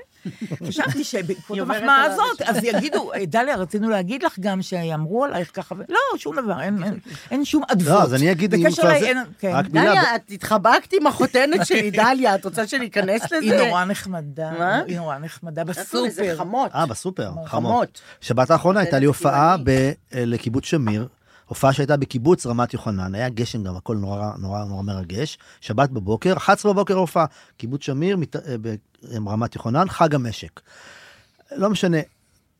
[SPEAKER 3] חשבתי שבעקבות
[SPEAKER 4] היא עוברת
[SPEAKER 3] המחמאה
[SPEAKER 4] עליו
[SPEAKER 3] הזאת, אז יגידו, אה, דליה, רצינו להגיד לך גם שאמרו עלייך ככה, ו- לא, שום דבר, אין- אין- אין שום אדוות.
[SPEAKER 5] לא, אז אני אגיד, אם
[SPEAKER 3] בקשר
[SPEAKER 5] כבר
[SPEAKER 3] אליי
[SPEAKER 5] זה-
[SPEAKER 3] אין- כן.
[SPEAKER 5] רק מילה,
[SPEAKER 4] דליה, את התחבקת עם החותנת שלי, דליה, את רוצה שניכנס לזה?
[SPEAKER 3] היא נורא נחמדה,
[SPEAKER 4] מה?
[SPEAKER 3] היא נורא נחמדה
[SPEAKER 4] עשו לזה
[SPEAKER 3] בסופר.
[SPEAKER 4] חמות.
[SPEAKER 5] אה, בסופר,
[SPEAKER 3] נכון.
[SPEAKER 5] חמות.
[SPEAKER 4] חמות.
[SPEAKER 5] שבת האחרונה הייתה לי
[SPEAKER 4] זה
[SPEAKER 5] הופעה
[SPEAKER 4] צבעוני.
[SPEAKER 5] ב- אה, לקיבוץ שמיר, הופעה שהייתה בקיבוץ רמת יוחנן, היה גשם גם, הכל נורא נורא נורא מרגש. שבת בבוקר, 11 בבוקר ההופעה, קיבוץ שמיר, מת- אה, ב- אה, רמת יוחנן, חג המשק. לא משנה,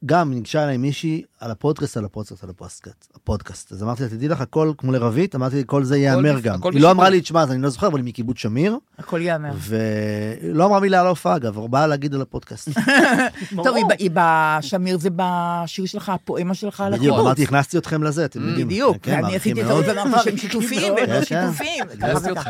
[SPEAKER 5] גם ניגשה אליי מישהי על הפודקאסט, על הפודקאסט, על הפודקאסט. הפודקאסט. אז אמרתי לה, תדעי לך, הכל כמו לרבית, אמרתי לי, כל זה ייאמר
[SPEAKER 2] בפ-
[SPEAKER 5] גם.
[SPEAKER 2] הכל כן.
[SPEAKER 5] היא לא אמרה
[SPEAKER 2] בשידור.
[SPEAKER 5] לי, תשמע, אז אני לא זוכר, אבל היא מקיבוץ שמיר,
[SPEAKER 3] הכל ייאמר.
[SPEAKER 5] ולא אמרה מילה על ההופעה, אגב, אבל באה להגיד על הפודקאסט.
[SPEAKER 3] טוב, היא ב- היא בשמיר זה בשיר שלך, הפואמה שלך על
[SPEAKER 5] בדיוק,
[SPEAKER 3] הקיבוץ.
[SPEAKER 5] אמרתי, הכנסתי אתכם לזה, אתם יודעים.
[SPEAKER 3] בדיוק,
[SPEAKER 5] כן,
[SPEAKER 3] ואני
[SPEAKER 5] מעריכים
[SPEAKER 3] עשיתי את
[SPEAKER 5] מאוד.
[SPEAKER 3] זה, ואמרתי שהם שיתופיים, והם לא
[SPEAKER 5] כן, כן.
[SPEAKER 3] שיתופיים.
[SPEAKER 2] הגייסתי אותך.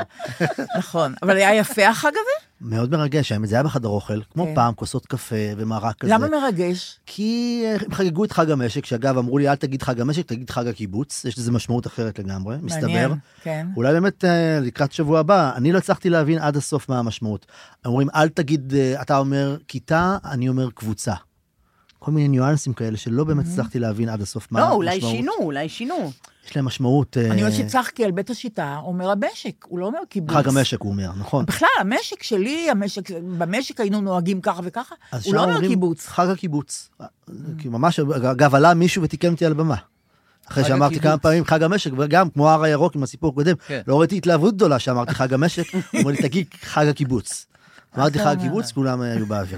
[SPEAKER 3] נכון, אבל היה יפה החג הזה?
[SPEAKER 5] מאוד מרגש, האמת, זה היה בחדר אוכל, כמו
[SPEAKER 3] כן.
[SPEAKER 5] פעם, כוסות קפה ומרק כזה.
[SPEAKER 3] למה לא? מרגש?
[SPEAKER 5] כי אה, הם חגגו את חג המשק, שאגב, אמרו לי, אל תגיד חג המשק, תגיד חג הקיבוץ, יש לזה משמעות אחרת לגמרי,
[SPEAKER 3] מעניין,
[SPEAKER 5] מסתבר.
[SPEAKER 3] כן.
[SPEAKER 5] אולי באמת אה, לקראת שבוע הבא, אני לא הצלחתי להבין עד הסוף מה המשמעות. אומרים, אל תגיד, אה, אתה אומר כיתה, אני אומר קבוצה. כל מיני ניואנסים כאלה שלא
[SPEAKER 3] Mm-hmm.
[SPEAKER 5] באמת הצלחתי להבין עד הסוף מה
[SPEAKER 4] לא,
[SPEAKER 5] המשמעות.
[SPEAKER 4] אולי שינו, אולי שינו.
[SPEAKER 5] יש להם משמעות... אה,
[SPEAKER 3] אני אומרת שצחקי על בית השיטה, אומר המשק, הוא לא אומר קיבוץ.
[SPEAKER 5] חג המשק, הוא אומר, נכון.
[SPEAKER 3] בכלל, המשק שלי, המשק, במשק היינו נוהגים ככה וככה,
[SPEAKER 5] אז
[SPEAKER 3] הוא לא
[SPEAKER 5] שם
[SPEAKER 3] אומר
[SPEAKER 5] אומרים,
[SPEAKER 3] קיבוץ.
[SPEAKER 5] חג הקיבוץ. כי ממש, אגב, עלה מישהו ותיקן אותי על הבמה. אחרי
[SPEAKER 2] חג
[SPEAKER 5] שאמרתי
[SPEAKER 2] הקיבוץ.
[SPEAKER 5] כמה פעמים חג המשק, וגם כמו הר הירוק עם הסיפור הקודם,
[SPEAKER 2] כן.
[SPEAKER 5] לא ראיתי התלהבות גדולה שאמרתי חג המשק, הוא אומר לי, תגיד חג הקיבוץ. אמרתי
[SPEAKER 3] אה.
[SPEAKER 5] חג הקיבוץ, כולם היו באוויר.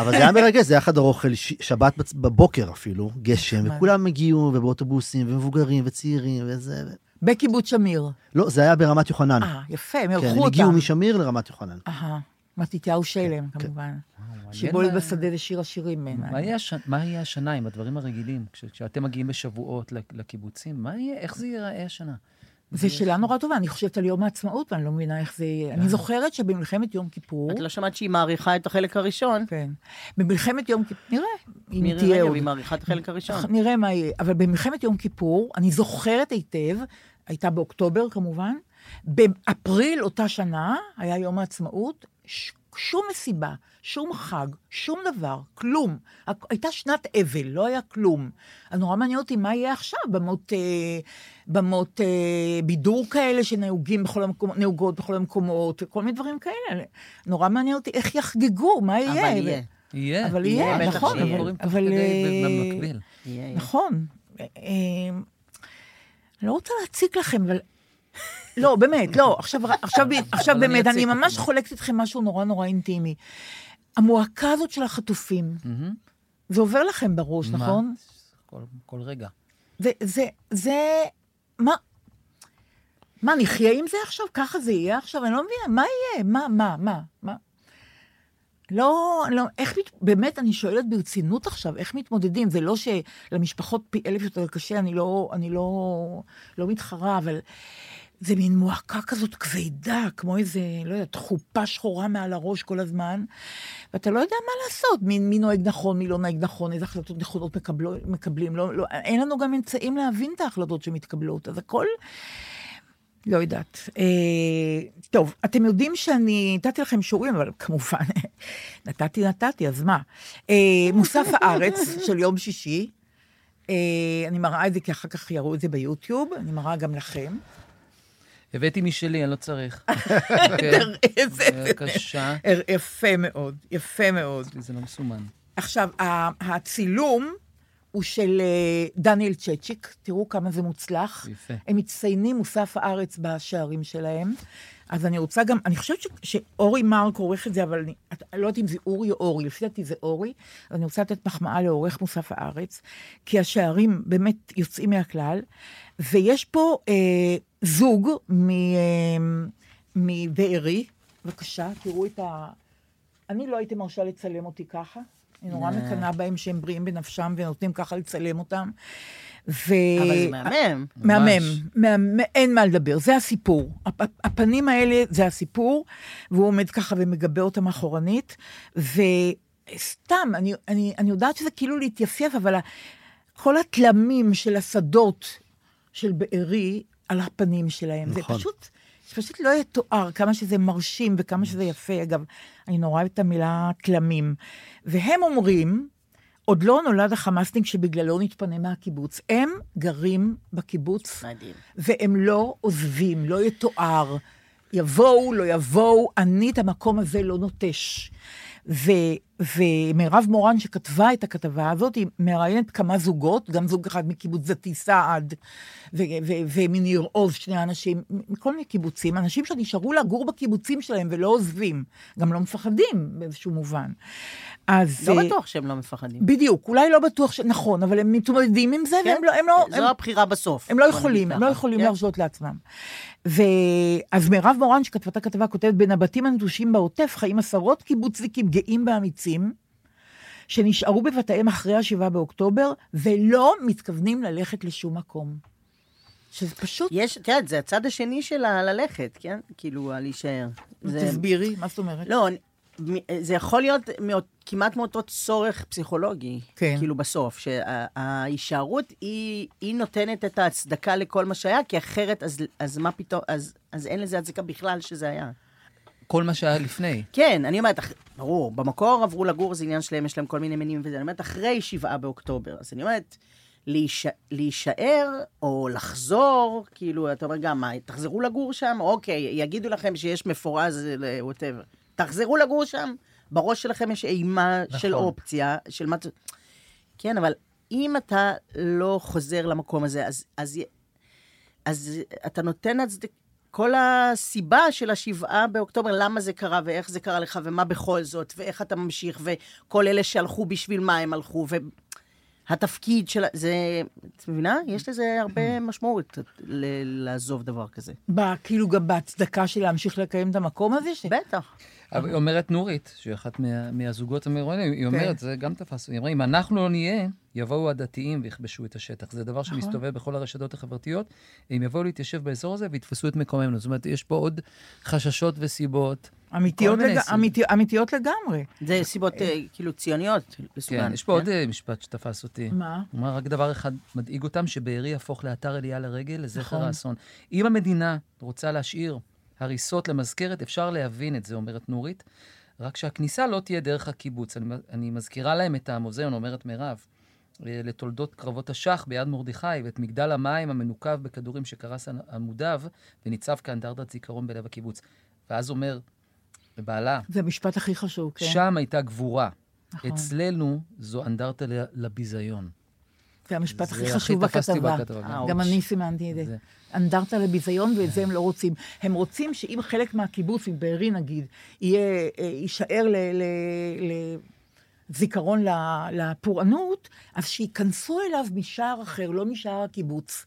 [SPEAKER 5] אבל זה היה מרגש, זה היה חדר אוכל, ש- שבת בצ- בבוקר אפילו, גשם, וכולם הגיעו, ובאוטובוסים, ומבוגרים, וצעירים, וזה...
[SPEAKER 3] בקיבוץ שמיר.
[SPEAKER 5] לא, זה היה ברמת יוחנן.
[SPEAKER 3] אה, יפה, הם
[SPEAKER 5] כן,
[SPEAKER 3] אירחו
[SPEAKER 5] הם
[SPEAKER 3] אותם.
[SPEAKER 5] הגיעו כן, משמיר לרמת יוחנן.
[SPEAKER 3] אהה, מתתיהו שלם, כמובן.
[SPEAKER 5] אה,
[SPEAKER 3] שיבולת
[SPEAKER 2] מה-
[SPEAKER 3] בשדה זה שיר השירים בעיניי.
[SPEAKER 2] מה יהיה הש- מה יהיה השנה עם הדברים הרגילים? כש- כשאתם מגיעים בשבועות לק- לקיבוצים, מה יהיה, איך זה ייראה השנה?
[SPEAKER 3] זו שאלה נורא טובה, אני חושבת על יום העצמאות, ואני לא מבינה איך זה יהיה. אני זוכרת שבמלחמת יום כיפור...
[SPEAKER 4] אה. את לא שמעת שהיא מעריכה את החלק הראשון?
[SPEAKER 3] כן. במלחמת יום כיפור, נראה, אם
[SPEAKER 4] מירי
[SPEAKER 3] תהיה
[SPEAKER 4] רגב,
[SPEAKER 3] עוד. נכון,
[SPEAKER 4] היא מעריכה את החלק הראשון.
[SPEAKER 3] נראה מה יהיה. אבל במלחמת יום כיפור, אני זוכרת היטב, הייתה באוקטובר כמובן, באפריל אותה שנה היה יום העצמאות, ש- שום מסיבה, שום חג, שום דבר, כלום. הכ- הייתה שנת אבל, לא היה כלום. אז נורא מעניין אותי מה יהיה עכשיו, במות, אה, במות אה, בידור כאלה שנהוגים בכל המקומות, נהוגות בכל המקומות, וכל מיני דברים כאלה. נורא מעניין אותי איך יחגגו, מה
[SPEAKER 4] אבל
[SPEAKER 3] יהיה.
[SPEAKER 4] יהיה.
[SPEAKER 2] יהיה.
[SPEAKER 3] אבל
[SPEAKER 4] יהיה,
[SPEAKER 3] יהיה,
[SPEAKER 4] בטח
[SPEAKER 3] נכון,
[SPEAKER 4] שיהיה.
[SPEAKER 3] אבל-
[SPEAKER 2] דברים תוך
[SPEAKER 3] אבל...
[SPEAKER 2] כדי
[SPEAKER 3] אה,
[SPEAKER 2] במקביל.
[SPEAKER 4] יהיה, יהיה.
[SPEAKER 3] נכון. אה, אה, אני לא רוצה להציק לכם, אבל... לא, באמת, לא. עכשיו, עכשיו, עכשיו
[SPEAKER 2] אבל אני
[SPEAKER 3] באמת, אני
[SPEAKER 2] אציק
[SPEAKER 3] ממש
[SPEAKER 2] אותנו.
[SPEAKER 3] חולקת איתכם משהו נורא נורא אינטימי. המועקה הזאת של החטופים,
[SPEAKER 2] מהמם.
[SPEAKER 3] זה עובר לכם בראש,
[SPEAKER 2] מה?
[SPEAKER 3] נכון?
[SPEAKER 2] כל- כל רגע.
[SPEAKER 3] זה, זה, זה, מה, מה, נחיה עם זה עכשיו? ככה זה יהיה עכשיו? אני לא מבינה, מה יהיה? מה, מה, מה, מה? לא, לא, איך, מת, באמת, אני שואלת ברצינות עכשיו, איך מתמודדים? זה לא שלמשפחות פי אלף יותר קשה, אני לא, אני לא, לא מתחרה, אבל זה מין מועקה כזאת כבדה, כמו איזה, לא יודעת, חופה שחורה מעל הראש כל הזמן, ואתה לא יודע מה לעשות, מי, מי נוהג נכון, מי לא נוהג נכון, איזה החלטות נכונות מקבלו, מקבלים, לא, לא, אין לנו גם אמצעים להבין את ההחלטות שמתקבלות, אז הכל... לא יודעת. אה, טוב, אתם יודעים שאני נתתי לכם שיעורים, אבל כמובן, נתתי, נתתי, אז מה? אה, מוסף הארץ של יום שישי, אה, אני מראה את זה כי אחר כך יראו את זה ביוטיוב, אני מראה גם לכם.
[SPEAKER 2] הבאתי משלי, אני לא צריך. כן.
[SPEAKER 3] תראה, זה- זה- אה,
[SPEAKER 2] בבקשה.
[SPEAKER 3] יפה מאוד, יפה מאוד.
[SPEAKER 2] אצלי זה לא מסומן.
[SPEAKER 3] עכשיו, ה- הצילום הוא של אה, דניאל צ'צ'יק, תראו כמה זה מוצלח.
[SPEAKER 2] יפה.
[SPEAKER 3] הם מצטיינים מוסף הארץ בשערים שלהם. אז אני רוצה גם, אני חושבת ש, שאורי מרק עורך את זה, אבל אני את- אני לא יודעת אם זה אורי או אורי, לפי דעתי זה אורי, אז אני רוצה לתת מחמאה לעורך מוסף הארץ, כי השערים באמת יוצאים מהכלל, ויש פה אה, זוג מ- אה, מבארי, בבקשה, תראו את ה... אני לא הייתי מרשה לצלם אותי ככה. אני נורא
[SPEAKER 4] אה.
[SPEAKER 3] מקנאה בהם שהם בריאים בנפשם ונותנים ככה לצלם אותם. ו...
[SPEAKER 4] אבל זה מהמם.
[SPEAKER 3] מהמם, מהמם, אין מה לדבר, זה הסיפור. הפ- הפ- הפנים האלה זה הסיפור, והוא עומד ככה ומגבה אותם אחורנית, וסתם, אני, אני, אני יודעת שזה כאילו להתייפייף, אבל ה- כל התלמים של השדות של בארי על הפנים שלהם, זה
[SPEAKER 5] נכון.
[SPEAKER 3] פשוט, זה פשוט לא יתואר כמה שזה מרשים וכמה שזה יפה. אגב, אני נורא אוהבת את המילה תלמים. והם אומרים, עוד לא נולד החמאסניק שבגללו נתפנה מהקיבוץ. הם גרים בקיבוץ,
[SPEAKER 4] מדהים.
[SPEAKER 3] והם לא עוזבים, לא יתואר. יבואו, לא יבואו, אני את המקום הזה לא נוטש. ו- ומירב מורן, שכתבה את הכתבה הזאת, היא מראיינת כמה זוגות, גם זוג אחד מקיבוץ דתי סעד, ו- ו- ומניר עוז, שני אנשים, מכל מיני קיבוצים, אנשים שנשארו לגור בקיבוצים שלהם ולא עוזבים, גם לא מפחדים באיזשהו מובן. אז...
[SPEAKER 4] לא
[SPEAKER 3] אה,
[SPEAKER 4] בטוח שהם לא מפחדים.
[SPEAKER 3] בדיוק, אולי לא בטוח ש... נכון, אבל הם מתמודדים עם זה, והם
[SPEAKER 4] כן?
[SPEAKER 3] לא... הם לא הם,
[SPEAKER 4] זו הבחירה בסוף.
[SPEAKER 3] הם לא
[SPEAKER 4] בוא נגיד
[SPEAKER 3] יכולים, הם לא
[SPEAKER 4] ככה.
[SPEAKER 3] יכולים
[SPEAKER 4] כן.
[SPEAKER 3] להרשות לעצמם. ואז מירב מורן, שכתבה את הכתבה, כותבת, בין הבתים הנטושים בעוטף חיים עשרות קיבוצניקים גאים ואמיצים, שנשארו בבתיהם אחרי ה-7 באוקטובר, ולא מתכוונים ללכת לשום מקום. שזה פשוט...
[SPEAKER 4] יש, את יודעת, זה הצד השני של הללכת, כן? כאילו, הלהישאר. זה...
[SPEAKER 3] תסבירי, מה זאת אומרת?
[SPEAKER 4] לא, אני- מ- זה יכול להיות מאות, כמעט מאותו צורך פסיכולוגי,
[SPEAKER 3] כן.
[SPEAKER 4] כאילו בסוף, שההישארות היא, היא נותנת את ההצדקה לכל מה שהיה, כי אחרת, אז, אז מה פתאום, אז, אז אין לזה הצדקה בכלל שזה היה.
[SPEAKER 2] כל מה שהיה לפני.
[SPEAKER 4] כן, אני אומרת, אח- ברור, במקור עברו לגור, זה עניין שלהם, יש להם כל מיני מניעים וזה, אני אומרת, אחרי שבעה באוקטובר. אז אני אומרת, להישאר, להישאר או לחזור, כאילו, אתה אומר גם, מה, תחזרו לגור שם? אוקיי, יגידו לכם שיש מפורז, ווטאבר. תחזרו לגור שם? בראש שלכם יש אימה נכון. של אופציה, של מה... אתה- כן, אבל אם אתה לא חוזר למקום הזה, אז, אז, אז אתה נותן הצדק... כל הסיבה של השבעה באוקטובר, למה זה קרה ואיך זה קרה לך ומה בכל זאת, ואיך אתה ממשיך, וכל אלה שהלכו בשביל מה הם הלכו, והתפקיד של... ה- זה... את מבינה? יש לזה הרבה משמעות ל- לעזוב דבר כזה.
[SPEAKER 3] ב- כאילו גם בהצדקה של להמשיך לקיים את המקום הזה? ש-
[SPEAKER 4] בטח.
[SPEAKER 2] אבל היא אומרת נורית, שהיא אחת מה, מהזוגות המרואיינים, היא אומרת, זה גם תפס, היא אמרה, אם אנחנו לא נהיה, יבואו הדתיים ויכבשו את השטח. זה דבר שמסתובב בכל הרשתות החברתיות, הם יבואו להתיישב באזור הזה ויתפסו את מקומנו. זאת אומרת, יש פה עוד חששות וסיבות.
[SPEAKER 3] אמיתיות
[SPEAKER 2] כל מיני
[SPEAKER 3] לג-
[SPEAKER 2] סיבות.
[SPEAKER 3] אמיתי- אמיתיות לגמרי.
[SPEAKER 4] זה סיבות אה, כאילו ציוניות
[SPEAKER 2] כן,
[SPEAKER 4] בסוגן.
[SPEAKER 2] יש פה עוד אה, משפט שתפס אותי.
[SPEAKER 3] מה?
[SPEAKER 2] הוא אמר, רק דבר אחד מדאיג אותם, שבארי יהפוך לאתר עלייה לרגל לזכר
[SPEAKER 3] נכון.
[SPEAKER 2] האסון. אם המדינה רוצה להשאיר הריסות למזכרת, אפשר להבין את זה, אומרת נורית, רק שהכניסה לא תהיה דרך הקיבוץ. אני, אני מזכירה להם את המוזיאון, אומרת מירב, אה, לתולדות קרבות השח ביד מרדכי, ואת מגדל המים המנוקב בכדורים שקרס על עמודיו, וניצב כאנדרטת זיכרון בלב הקיבוץ. ואז אומר לבעלה,
[SPEAKER 3] זה המשפט הכי חשוב, כן. נכון.
[SPEAKER 2] שם הייתה גבורה. אצלנו זו אנדרטה ל- לביזיון.
[SPEAKER 3] זה המשפט
[SPEAKER 2] זה
[SPEAKER 3] הכי
[SPEAKER 2] הכי
[SPEAKER 3] חשוב
[SPEAKER 2] תפסתי
[SPEAKER 3] בכתבה.
[SPEAKER 2] בכתבה, כן.
[SPEAKER 3] גם אני סימנתי את זה.
[SPEAKER 2] זה. כן.
[SPEAKER 3] אנדרטה לביזיון, ואת זה הם לא רוצים. הם רוצים שאם חלק מהקיבוץ, אם בארי נגיד, יהיה, אה, יישאר ל... ל- ל- זיכרון ל- לפורענות, אז שייכנסו אליו משער אחר, לא משער הקיבוץ.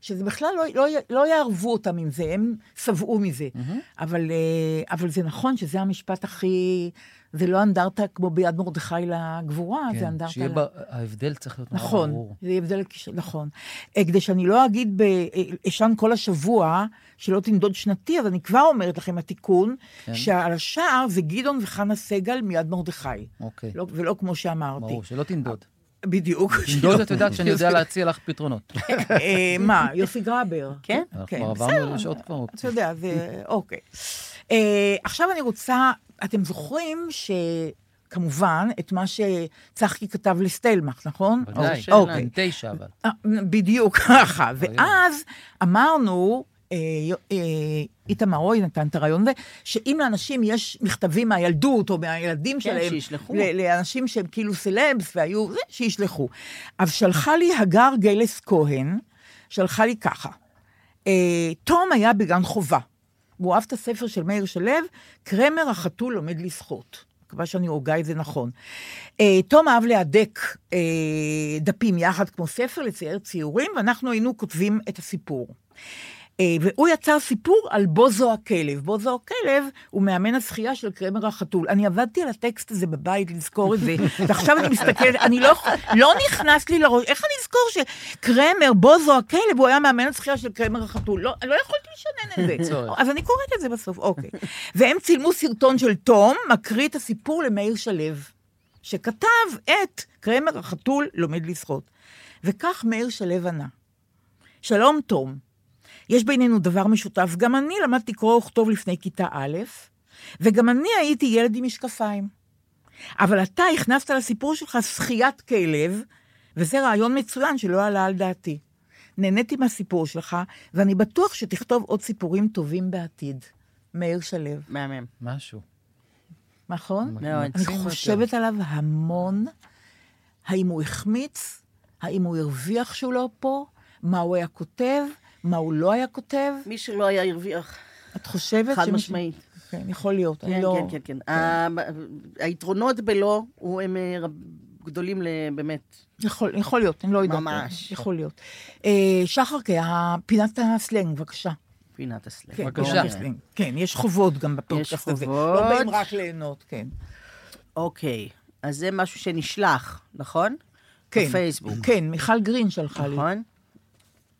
[SPEAKER 3] שזה בכלל לא, לא, י- לא יערבו אותם עם זה, הם שבעו מזה. Mm-hmm. אבל, אה, אבל זה נכון שזה המשפט הכי... זה לא אנדרטה כמו ביד מרדכי לגבורה, זה
[SPEAKER 2] כן,
[SPEAKER 3] אנדרטה...
[SPEAKER 2] שיהיה
[SPEAKER 3] ל-
[SPEAKER 2] ב... ההבדל צריך להיות נורא
[SPEAKER 3] נכון,
[SPEAKER 2] ברור.
[SPEAKER 3] זה הבדל, כש- נכון. אה, כדי שאני לא אגיד, ב- אה, אשן כל השבוע, שלא תנדוד שנתי, אז אני כבר אומרת לכם, התיקון,
[SPEAKER 2] כן.
[SPEAKER 3] שעל השער זה גדעון וחנה סגל מיד מרדכי.
[SPEAKER 2] אוקיי,
[SPEAKER 3] לא, ולא כמו שאמרתי.
[SPEAKER 2] ברור, שלא תנדוד.
[SPEAKER 3] בדיוק.
[SPEAKER 2] תנדוד את יודעת שאני יודע להציע לך פתרונות.
[SPEAKER 3] אה, מה, יוסי גרבר.
[SPEAKER 4] כן?
[SPEAKER 2] אנחנו
[SPEAKER 3] כן,
[SPEAKER 2] כבר
[SPEAKER 3] בסדר.
[SPEAKER 2] עברנו לשעות כבר
[SPEAKER 3] אתה
[SPEAKER 2] אופציות.
[SPEAKER 3] יודע, זה... אוקיי. אה, עכשיו אני רוצה, אתם זוכרים ש... כמובן, את מה שצחקי כתב לסטלמך, נכון?
[SPEAKER 2] בוודאי,
[SPEAKER 3] אוקיי.
[SPEAKER 2] בן תשע אבל.
[SPEAKER 3] אה, בדיוק ככה. ואז אמרנו, אה, יו- אה, איתמר רוי נתן את הרעיון הזה, שאם לאנשים יש מכתבים מהילדות או מהילדים שלהם,
[SPEAKER 4] שישלחו.
[SPEAKER 3] ל- לאנשים שהם כאילו סלבס והיו, זה, שישלחו. אז שלחה לי הגר גלס כהן, שלחה לי ככה, אה, תום היה בגן חובה. הוא אהב את הספר של מאיר שלו, קרמר החתול לומד לשחות. מקווה שאני הוגה את זה נכון. אה, תום אהב להדק אה, דפים יחד כמו ספר, לצייר ציורים, ואנחנו היינו כותבים את הסיפור. אה, והוא יצר סיפור על בוזו הכלב. בוזו הכלב הוא מאמן השחייה של קרמר החתול. אני עבדתי על הטקסט הזה בבית לזכור את זה, ועכשיו אני מסתכלת, אני לא, לא נכנס לי לראש, איך אני אזכור שקרמר, בוזו הכלב, הוא היה מאמן השחייה של קרמר החתול? לא, לא יכולתי לשנן את זה.
[SPEAKER 2] צורך.
[SPEAKER 3] אז אני קוראת את זה בסוף, אוקיי. והם צילמו סרטון של תום, מקריא את הסיפור למאיר שלו, שכתב את קרמר החתול לומד לשחות. וכך מאיר שלו ענה. שלום, תום. יש בינינו דבר משותף. גם אני למדתי קרוא וכתוב לפני כיתה א', וגם אני הייתי ילד עם משקפיים. אבל אתה הכנסת לסיפור שלך שחיית כלב, וזה רעיון מצוין שלא עלה על דעתי. נהניתי מהסיפור שלך, ואני בטוח שתכתוב עוד סיפורים טובים בעתיד. מאיר שלו,
[SPEAKER 4] מהמם.
[SPEAKER 2] משהו. אה,
[SPEAKER 3] נכון?
[SPEAKER 4] מאוד.
[SPEAKER 3] אני
[SPEAKER 2] מקסים
[SPEAKER 3] חושבת עליו המון, האם הוא החמיץ, האם הוא הרוויח שהוא לא פה, מה הוא היה כותב, מה הוא לא היה כותב.
[SPEAKER 4] מי שלא היה הרוויח,
[SPEAKER 3] את חושבת?
[SPEAKER 4] חד
[SPEAKER 3] שמישהו-
[SPEAKER 4] משמעית.
[SPEAKER 3] כן, יכול להיות.
[SPEAKER 4] כן,
[SPEAKER 3] אני לא...
[SPEAKER 4] כן, כן, כן. ה- היתרונות בלא הוא- הם אה, רב- גדולים ל- באמת.
[SPEAKER 3] יכול, יכול להיות, אני לא יודעת.
[SPEAKER 4] ממש.
[SPEAKER 3] יכול להיות. אה, שחר, כן, פינת הסלנג, בבקשה.
[SPEAKER 4] פינת הסלאק.
[SPEAKER 3] כן,
[SPEAKER 2] בבקשה.
[SPEAKER 3] פינת הסלנג. כן, יש חובות גם בפודקאסט הזה.
[SPEAKER 4] חובות.
[SPEAKER 3] לא באים רק ליהנות, כן.
[SPEAKER 4] אוקיי, אז זה משהו שנשלח, נכון?
[SPEAKER 3] כן.
[SPEAKER 4] בפייסבוק,
[SPEAKER 3] כן, מיכל גרין שלחה לי.
[SPEAKER 4] נכון?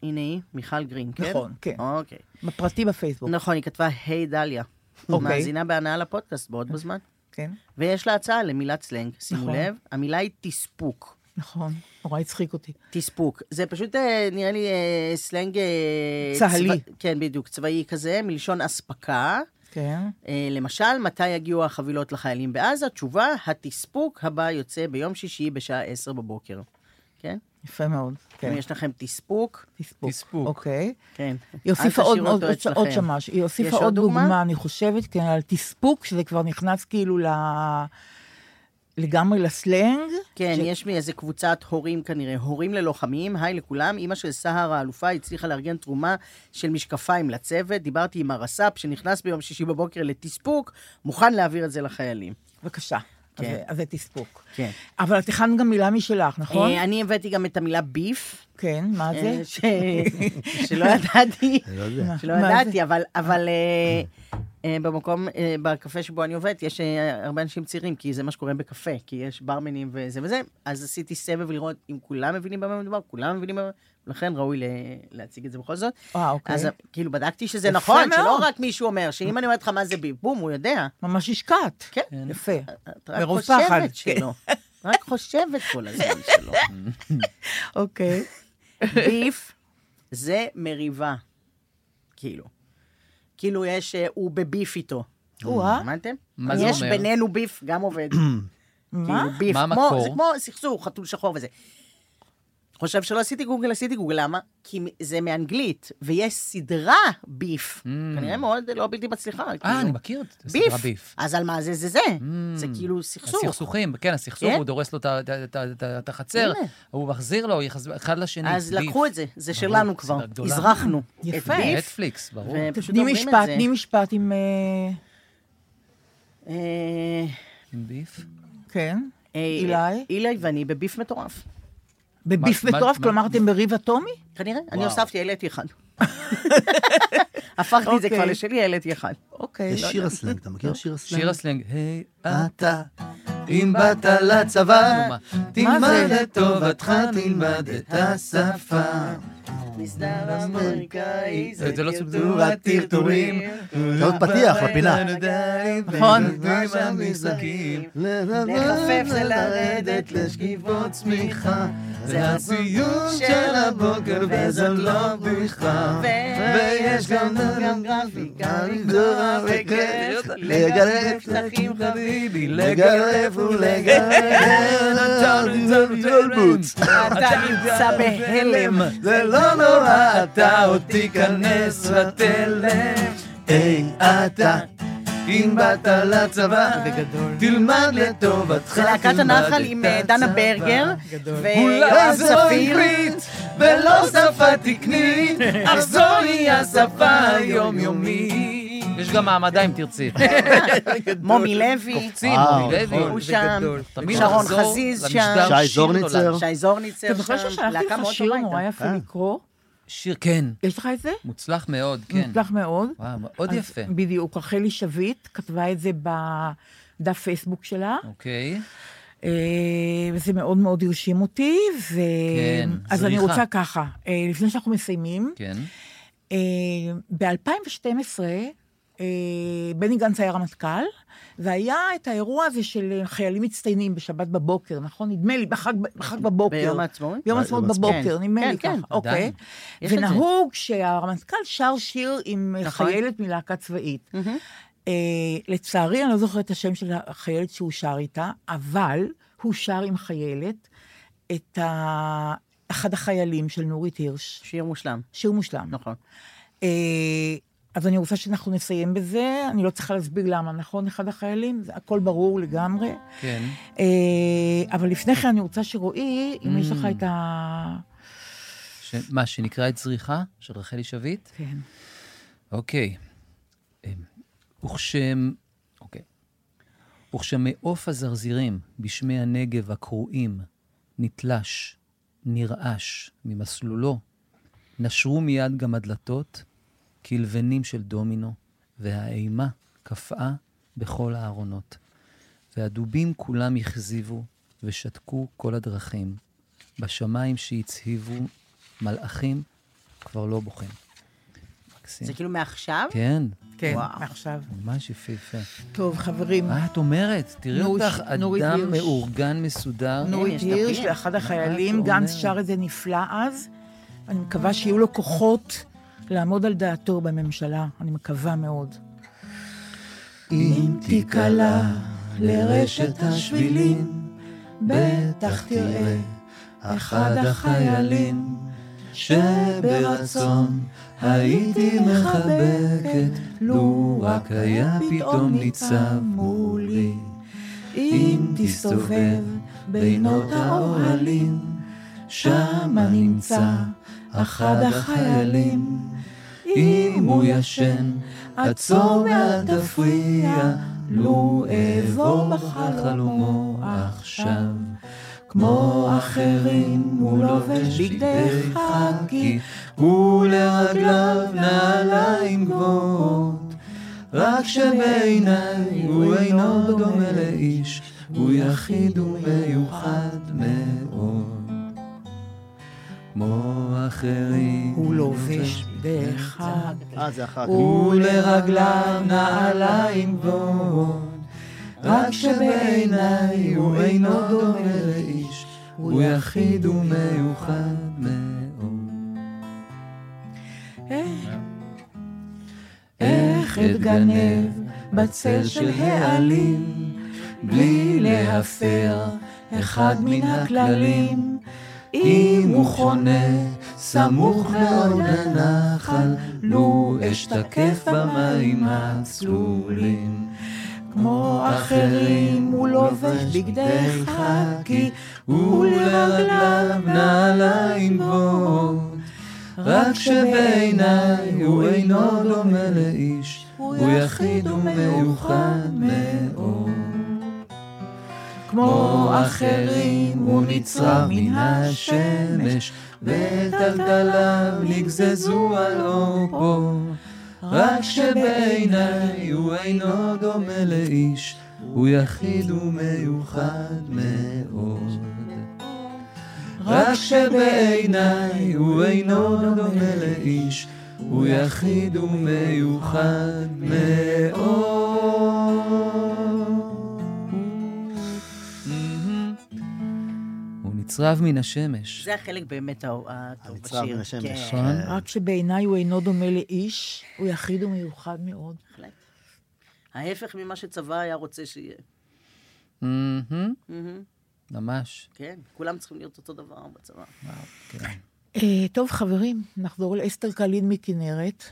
[SPEAKER 4] הנה היא, מיכל גרין, כן?
[SPEAKER 3] נכון, כן.
[SPEAKER 4] אוקיי.
[SPEAKER 3] בפרטי בפייסבוק,
[SPEAKER 4] נכון, היא כתבה, היי דליה.
[SPEAKER 3] אוקיי.
[SPEAKER 4] מאזינה בהנאה לפודקאסט בעוד בזמן.
[SPEAKER 3] כן.
[SPEAKER 4] ויש לה הצעה למילת סלנג, שימו
[SPEAKER 3] נכון.
[SPEAKER 4] לב, המילה היא תספוק.
[SPEAKER 3] נכון, נורא הצחיק אותי.
[SPEAKER 4] תספוק. זה פשוט אה, נראה לי אה, סלנג... אה,
[SPEAKER 3] צהלי.
[SPEAKER 4] צבא- כן, בדיוק, צבאי כזה, מלשון אספקה.
[SPEAKER 3] כן.
[SPEAKER 4] אה, למשל, מתי יגיעו החבילות לחיילים בעזה? תשובה, התספוק הבא יוצא ביום שישי בשעה 10 בבוקר. כן?
[SPEAKER 3] יפה מאוד.
[SPEAKER 4] אם
[SPEAKER 3] כן.
[SPEAKER 4] יש לכם תספוק,
[SPEAKER 3] תספוק.
[SPEAKER 1] תספוק.
[SPEAKER 3] אוקיי.
[SPEAKER 4] כן.
[SPEAKER 3] היא הוסיפה
[SPEAKER 4] אל
[SPEAKER 3] עוד,
[SPEAKER 4] תשאירו
[SPEAKER 3] עוד,
[SPEAKER 4] אותו
[SPEAKER 3] עוד,
[SPEAKER 4] אצלכם.
[SPEAKER 3] עוד שמש, היא
[SPEAKER 4] יש
[SPEAKER 3] הוסיפה
[SPEAKER 4] עוד
[SPEAKER 3] עוד
[SPEAKER 4] דוגמה?
[SPEAKER 3] דוגמה? אני חושבת, כן, על תספוק, שזה כבר נכנס כאילו ל... לגמרי לסלנג.
[SPEAKER 4] כן,
[SPEAKER 3] ש-
[SPEAKER 4] יש מאיזה קבוצת הורים כנראה, הורים ללוחמים, היי לכולם, אימא של סהר האלופה הצליחה לארגן תרומה של משקפיים לצוות, דיברתי עם הרס"פ שנכנס ביום שישי בבוקר לתספוק, מוכן להעביר את זה לחיילים.
[SPEAKER 3] בבקשה.
[SPEAKER 4] כן.
[SPEAKER 3] כן. אז, זה- אז זה תספוק.
[SPEAKER 4] כן.
[SPEAKER 3] אבל את הכנת גם מילה משלך, נכון?
[SPEAKER 4] אה, אני הבאתי גם את המילה ביף,
[SPEAKER 3] כן, מה
[SPEAKER 4] אה,
[SPEAKER 3] זה?
[SPEAKER 4] ש- שלא ידעתי,
[SPEAKER 5] אני לא יודע.
[SPEAKER 4] שלא
[SPEAKER 3] מה זה?
[SPEAKER 4] ידעתי, אבל- אבל אה, אה, במקום, אה, בקפה שבו אני עובדת, יש אה, הרבה אנשים צעירים, כי זה מה שקורה בקפה, כי יש ברמנים וזה וזה, אז עשיתי סבב לראות אם כולם מבינים במה מדובר, כולם מבינים במה, לכן ראוי ל- להציג את זה בכל זאת.
[SPEAKER 3] אה, אוקיי.
[SPEAKER 4] אז כאילו בדקתי שזה
[SPEAKER 3] יפה
[SPEAKER 4] נכון, שלא
[SPEAKER 3] מאוד.
[SPEAKER 4] רק מישהו אומר, שאם אני אומרת לך מה זה ביף, בום, הוא יודע.
[SPEAKER 3] ממש השקעת.
[SPEAKER 4] כן.
[SPEAKER 3] יפה.
[SPEAKER 4] את רק
[SPEAKER 3] מרוב פחד,
[SPEAKER 4] חושבת
[SPEAKER 3] כן.
[SPEAKER 4] שלא. רק חושבת כל הזמן שלא.
[SPEAKER 3] אוקיי.
[SPEAKER 4] ביף זה מריבה, כאילו. כאילו יש, אה, הוא בביף איתו.
[SPEAKER 3] או-אה.
[SPEAKER 4] הבנתם?
[SPEAKER 2] אה? מה זה
[SPEAKER 4] יש
[SPEAKER 2] אומר?
[SPEAKER 4] בינינו ביף, גם עובד.
[SPEAKER 3] מה?
[SPEAKER 4] כאילו ביף.
[SPEAKER 2] מה
[SPEAKER 4] כמו-
[SPEAKER 2] המקור?
[SPEAKER 4] זה כמו סכסוך, חתול שחור וזה. חושב שלא עשיתי גוגל, עשיתי גוגל, למה? כי מ- זה מאנגלית, ויש סדרה ביף. כנראה מאוד לא בלתי מצליחה. כאילו.
[SPEAKER 2] Mm. אה, אני מכיר את הסדרה
[SPEAKER 4] ביף.
[SPEAKER 2] ביף. Mm.
[SPEAKER 4] אז על מה זה זה זה? זה כאילו סכסוך.
[SPEAKER 2] הסכסוכים, כן, הסכסוך,
[SPEAKER 4] כן.
[SPEAKER 2] הוא דורס לו את ה- את ה- את ה- את ה- את החצר,
[SPEAKER 4] הנה.
[SPEAKER 2] הוא מחזיר לו, יחז- אחד לשני.
[SPEAKER 4] אז
[SPEAKER 2] ביף.
[SPEAKER 4] לקחו את זה, זה
[SPEAKER 2] ברור,
[SPEAKER 4] שלנו
[SPEAKER 2] סדרה
[SPEAKER 4] כבר,
[SPEAKER 2] גדולה.
[SPEAKER 4] הזרחנו. את
[SPEAKER 3] יפה.
[SPEAKER 4] ביף,
[SPEAKER 2] נטפליקס, ברור.
[SPEAKER 4] ופשוט
[SPEAKER 3] תני
[SPEAKER 4] אומרים את
[SPEAKER 3] משפט,
[SPEAKER 4] זה.
[SPEAKER 3] תני משפט עם... אה,
[SPEAKER 4] אה,
[SPEAKER 2] ביף.
[SPEAKER 3] כן.
[SPEAKER 4] אה,
[SPEAKER 3] אילי?
[SPEAKER 4] אילי ואני בביף מטורף.
[SPEAKER 3] בביף
[SPEAKER 2] מה- מה-
[SPEAKER 3] מטורף,
[SPEAKER 2] מה-
[SPEAKER 3] כלומר אתם בריב אטומי?
[SPEAKER 4] כנראה, אני הוספתי, העליתי אחד. הפכתי את זה כבר
[SPEAKER 3] אוקיי.
[SPEAKER 4] לשלי, העליתי אחד.
[SPEAKER 3] אוקיי.
[SPEAKER 4] לא
[SPEAKER 5] יש שיר הסלנג, אתה מכיר שיר הסלנג?
[SPEAKER 2] שיר הסלנג, היי,
[SPEAKER 5] אתה, אם באת לצבא,
[SPEAKER 4] מה
[SPEAKER 5] תלמד
[SPEAKER 3] זה?
[SPEAKER 5] לטובתך, תלמד את השפה.
[SPEAKER 4] מסדר אמריקאי,
[SPEAKER 2] זה זה לא טרטור
[SPEAKER 5] צור הטרטורים. זה עוד פתיח
[SPEAKER 4] לא
[SPEAKER 5] לפינה.
[SPEAKER 3] נכון.
[SPEAKER 4] לחפף זה לרדת לשכיבות
[SPEAKER 5] צמיחה,
[SPEAKER 4] זה הסיום של הבוקר, וזאת לא בדיחה. ויש גם- גם גרפיקה, לגדוע
[SPEAKER 5] כן,
[SPEAKER 4] וכיף, לגרף שטחים חביבי,
[SPEAKER 5] לגרף ולגרף, נתנו זלבוץ.
[SPEAKER 4] אתה נמצא בהלם.
[SPEAKER 5] זה לא נורא, אתה עוד תיכנס ותלם. היי, אתה, אם באת לצבא, תלמד לטובתך,
[SPEAKER 4] זה להקת הנחל עם אה, דנה ברגר, ויואב
[SPEAKER 5] אולי זה לא
[SPEAKER 4] ספיר.
[SPEAKER 5] עברית, ולא שפה תקנית, אך זוהי השפה היומיומית.
[SPEAKER 2] יש גם מעמדה אם תרצי.
[SPEAKER 4] מומי לוי,
[SPEAKER 2] קופצים,
[SPEAKER 5] וואו,
[SPEAKER 2] מולי לוי.
[SPEAKER 5] נכון.
[SPEAKER 4] הוא שם,
[SPEAKER 2] תמיד
[SPEAKER 4] שרון
[SPEAKER 2] לחזור
[SPEAKER 4] חזיז
[SPEAKER 2] למשדר
[SPEAKER 4] שם.
[SPEAKER 5] שי
[SPEAKER 2] שיר
[SPEAKER 5] זורניצר.
[SPEAKER 2] נולד.
[SPEAKER 4] שי זורניצר שם,
[SPEAKER 3] אתה זוכר ששלחתי
[SPEAKER 4] להקה
[SPEAKER 3] לך
[SPEAKER 4] מאוד
[SPEAKER 3] שיר
[SPEAKER 4] טובה
[SPEAKER 3] נורא
[SPEAKER 4] הייתה.
[SPEAKER 3] יפה
[SPEAKER 5] אה.
[SPEAKER 3] לקרוא?
[SPEAKER 2] שיר, כן.
[SPEAKER 3] יש לך את זה?
[SPEAKER 2] מוצלח מאוד, כן.
[SPEAKER 3] מוצלח מאוד.
[SPEAKER 2] וואו, מאוד
[SPEAKER 3] אז
[SPEAKER 2] יפה.
[SPEAKER 3] בדיוק, רחלי שביט כתבה את זה בדף פייסבוק שלה,
[SPEAKER 2] אוקיי.
[SPEAKER 3] אה, וזה מאוד מאוד הרשים אותי, ו...
[SPEAKER 2] כן,
[SPEAKER 3] אז אני
[SPEAKER 2] זריחה.
[SPEAKER 3] רוצה ככה, אה, לפני שאנחנו מסיימים,
[SPEAKER 2] כן.
[SPEAKER 3] אה, ב-2012, אה, בני גנץ היה רמטכ"ל, והיה את האירוע הזה של חיילים מצטיינים בשבת בבוקר, נכון? נדמה לי, בחג, בחג בבוקר.
[SPEAKER 4] ביום העצמאות?
[SPEAKER 3] ביום העצמאות
[SPEAKER 5] ביום
[SPEAKER 3] בבוקר,
[SPEAKER 4] כן.
[SPEAKER 3] נדמה
[SPEAKER 4] כן,
[SPEAKER 3] לי
[SPEAKER 4] כן,
[SPEAKER 3] ככה, אוקיי.
[SPEAKER 2] עדיין.
[SPEAKER 4] יש את זה.
[SPEAKER 3] ונהוג שהרמטכ"ל שר שיר עם
[SPEAKER 4] נכון.
[SPEAKER 3] חיילת מלהקה צבאית.
[SPEAKER 4] מהמם.
[SPEAKER 3] אה, לצערי, אני לא זוכרת את השם של החיילת שהוא שר איתה, אבל הוא שר עם חיילת את ה... אחד החיילים של נורית הירש,
[SPEAKER 4] שיר מושלם,
[SPEAKER 3] שיר מושלם.
[SPEAKER 4] נכון.
[SPEAKER 3] אה, אז אני רוצה שאנחנו נסיים בזה, אני לא צריכה להסביר למה, נכון, אחד החיילים? זה הכל ברור לגמרי.
[SPEAKER 2] כן.
[SPEAKER 3] אה, אבל לפני כן אני רוצה שרועי, אם יש לך את ה...
[SPEAKER 2] ש- מה, שנקרא את זריחה של רחלי שביט?
[SPEAKER 3] כן.
[SPEAKER 2] אוקיי. אמ, וכשהם... אוקיי. וכשמעוף הזרזירים בשמי הנגב הקרועים נתלש, נרעש ממסלולו, נשרו מיד גם הדלתות כלבנים של דומינו, והאימה קפאה בכל הארונות. והדובים כולם הכזיבו ושתקו כל הדרכים. בשמיים שהצהיבו מלאכים כבר לא בוחן. מקסים.
[SPEAKER 4] זה כאילו מעכשיו?
[SPEAKER 2] כן,
[SPEAKER 3] כן,
[SPEAKER 4] וואו.
[SPEAKER 3] מעכשיו.
[SPEAKER 2] ממש יפהפה.
[SPEAKER 3] טוב, חברים,
[SPEAKER 2] מה את אומרת? תראי
[SPEAKER 3] נורית-
[SPEAKER 2] אותך,
[SPEAKER 3] נורית
[SPEAKER 2] אדם
[SPEAKER 3] הירש.
[SPEAKER 2] מאורגן, מסודר.
[SPEAKER 3] נורית
[SPEAKER 4] יש לך
[SPEAKER 3] הירש
[SPEAKER 4] פיר.
[SPEAKER 3] ואחד
[SPEAKER 2] מה
[SPEAKER 3] החיילים,
[SPEAKER 2] את
[SPEAKER 3] גנץ
[SPEAKER 2] אומרת?
[SPEAKER 3] שר את זה נפלא אז. אני מקווה שיהיו לו כוחות לעמוד על דעתו בממשלה, אני מקווה מאוד.
[SPEAKER 2] אם
[SPEAKER 3] תיקלע
[SPEAKER 2] לרשת השבילים,
[SPEAKER 3] בטח תראה אחד החיילים
[SPEAKER 2] שברצון הייתי מחבקת, לו רק היה פתאום ניצב מולי. אם תסתובב בינות האוהלים, שמה נמצא אחד החיילים. אם הוא ישן, עצור ואל תפריע, לו אעבור בחלומו עכשיו. כמו אחרים הוא לובש בגדי חקי, ולרגליו נעליים גבוהות. רק שבעיניי הוא אינו דומה לאיש, הוא יחיד ומיוחד מאוד. כמו אחרים
[SPEAKER 3] הוא לובש בחג,
[SPEAKER 5] אה, זה אחר כך.
[SPEAKER 2] ולרגליו נעליים גבוהות, רק שבעיניי הוא אינו דומה לאיש, הוא יחיד ומיוחד מאוד. אה, איך אתגנב בצל של העלים, בלי להפר אחד מן הכללים. אם הוא חונה סמוך מאוד לנחל, לו אשתקף במים הצלולים. כמו אחרים הוא לובש בגדי חקי, ולרגליו נעליים גבוהות. רק שבעיניי הוא אינו דומה לאיש, הוא יחיד ומיוחד מאוד. כמו אחרים הוא נצרב מן השמש, וטלטליו נגזזו על אורו. רק שבעיניי הוא אינו דומה לאיש, הוא יחיד ומיוחד מאוד. רק שבעיניי הוא אינו דומה לאיש, הוא יחיד ומיוחד מאוד. הוא נצרב מן השמש.
[SPEAKER 4] זה החלק באמת הא- הטוב בשיר.
[SPEAKER 5] המצרב מן השמש.
[SPEAKER 4] כן,
[SPEAKER 2] נכון.
[SPEAKER 3] רק שבעיניי הוא אינו דומה לאיש, הוא יחיד ומיוחד מאוד.
[SPEAKER 4] בהחלט. ההפך ממה שצבא היה רוצה שיהיה.
[SPEAKER 2] מהמם,
[SPEAKER 4] מהמם.
[SPEAKER 2] ממש.
[SPEAKER 4] כן, כולם צריכים להיות אותו דבר בצבא.
[SPEAKER 2] וואו, כן.
[SPEAKER 3] אה, טוב, חברים, נחזור לאסתר קלין מכנרת,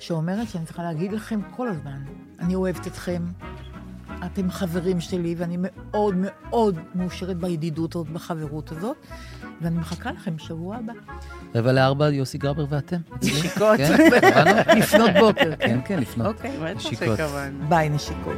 [SPEAKER 3] שאומרת שאני צריכה להגיד לכם כל הזמן, אני אוהבת אתכם, אתם חברים שלי, ואני מאוד מאוד מאושרת בידידות הזאת, בחברות הזאת, ואני מחכה לכם בשבוע הבא.
[SPEAKER 2] רבע לארבע, יוסי גרבר ואתם.
[SPEAKER 4] נשיקות.
[SPEAKER 2] כן, הבנו? לפנות בוקר. כן, כן, לפנות.
[SPEAKER 4] אוקיי, בטח
[SPEAKER 2] נשיקות.
[SPEAKER 4] שכוון.
[SPEAKER 3] ביי, נשיקות.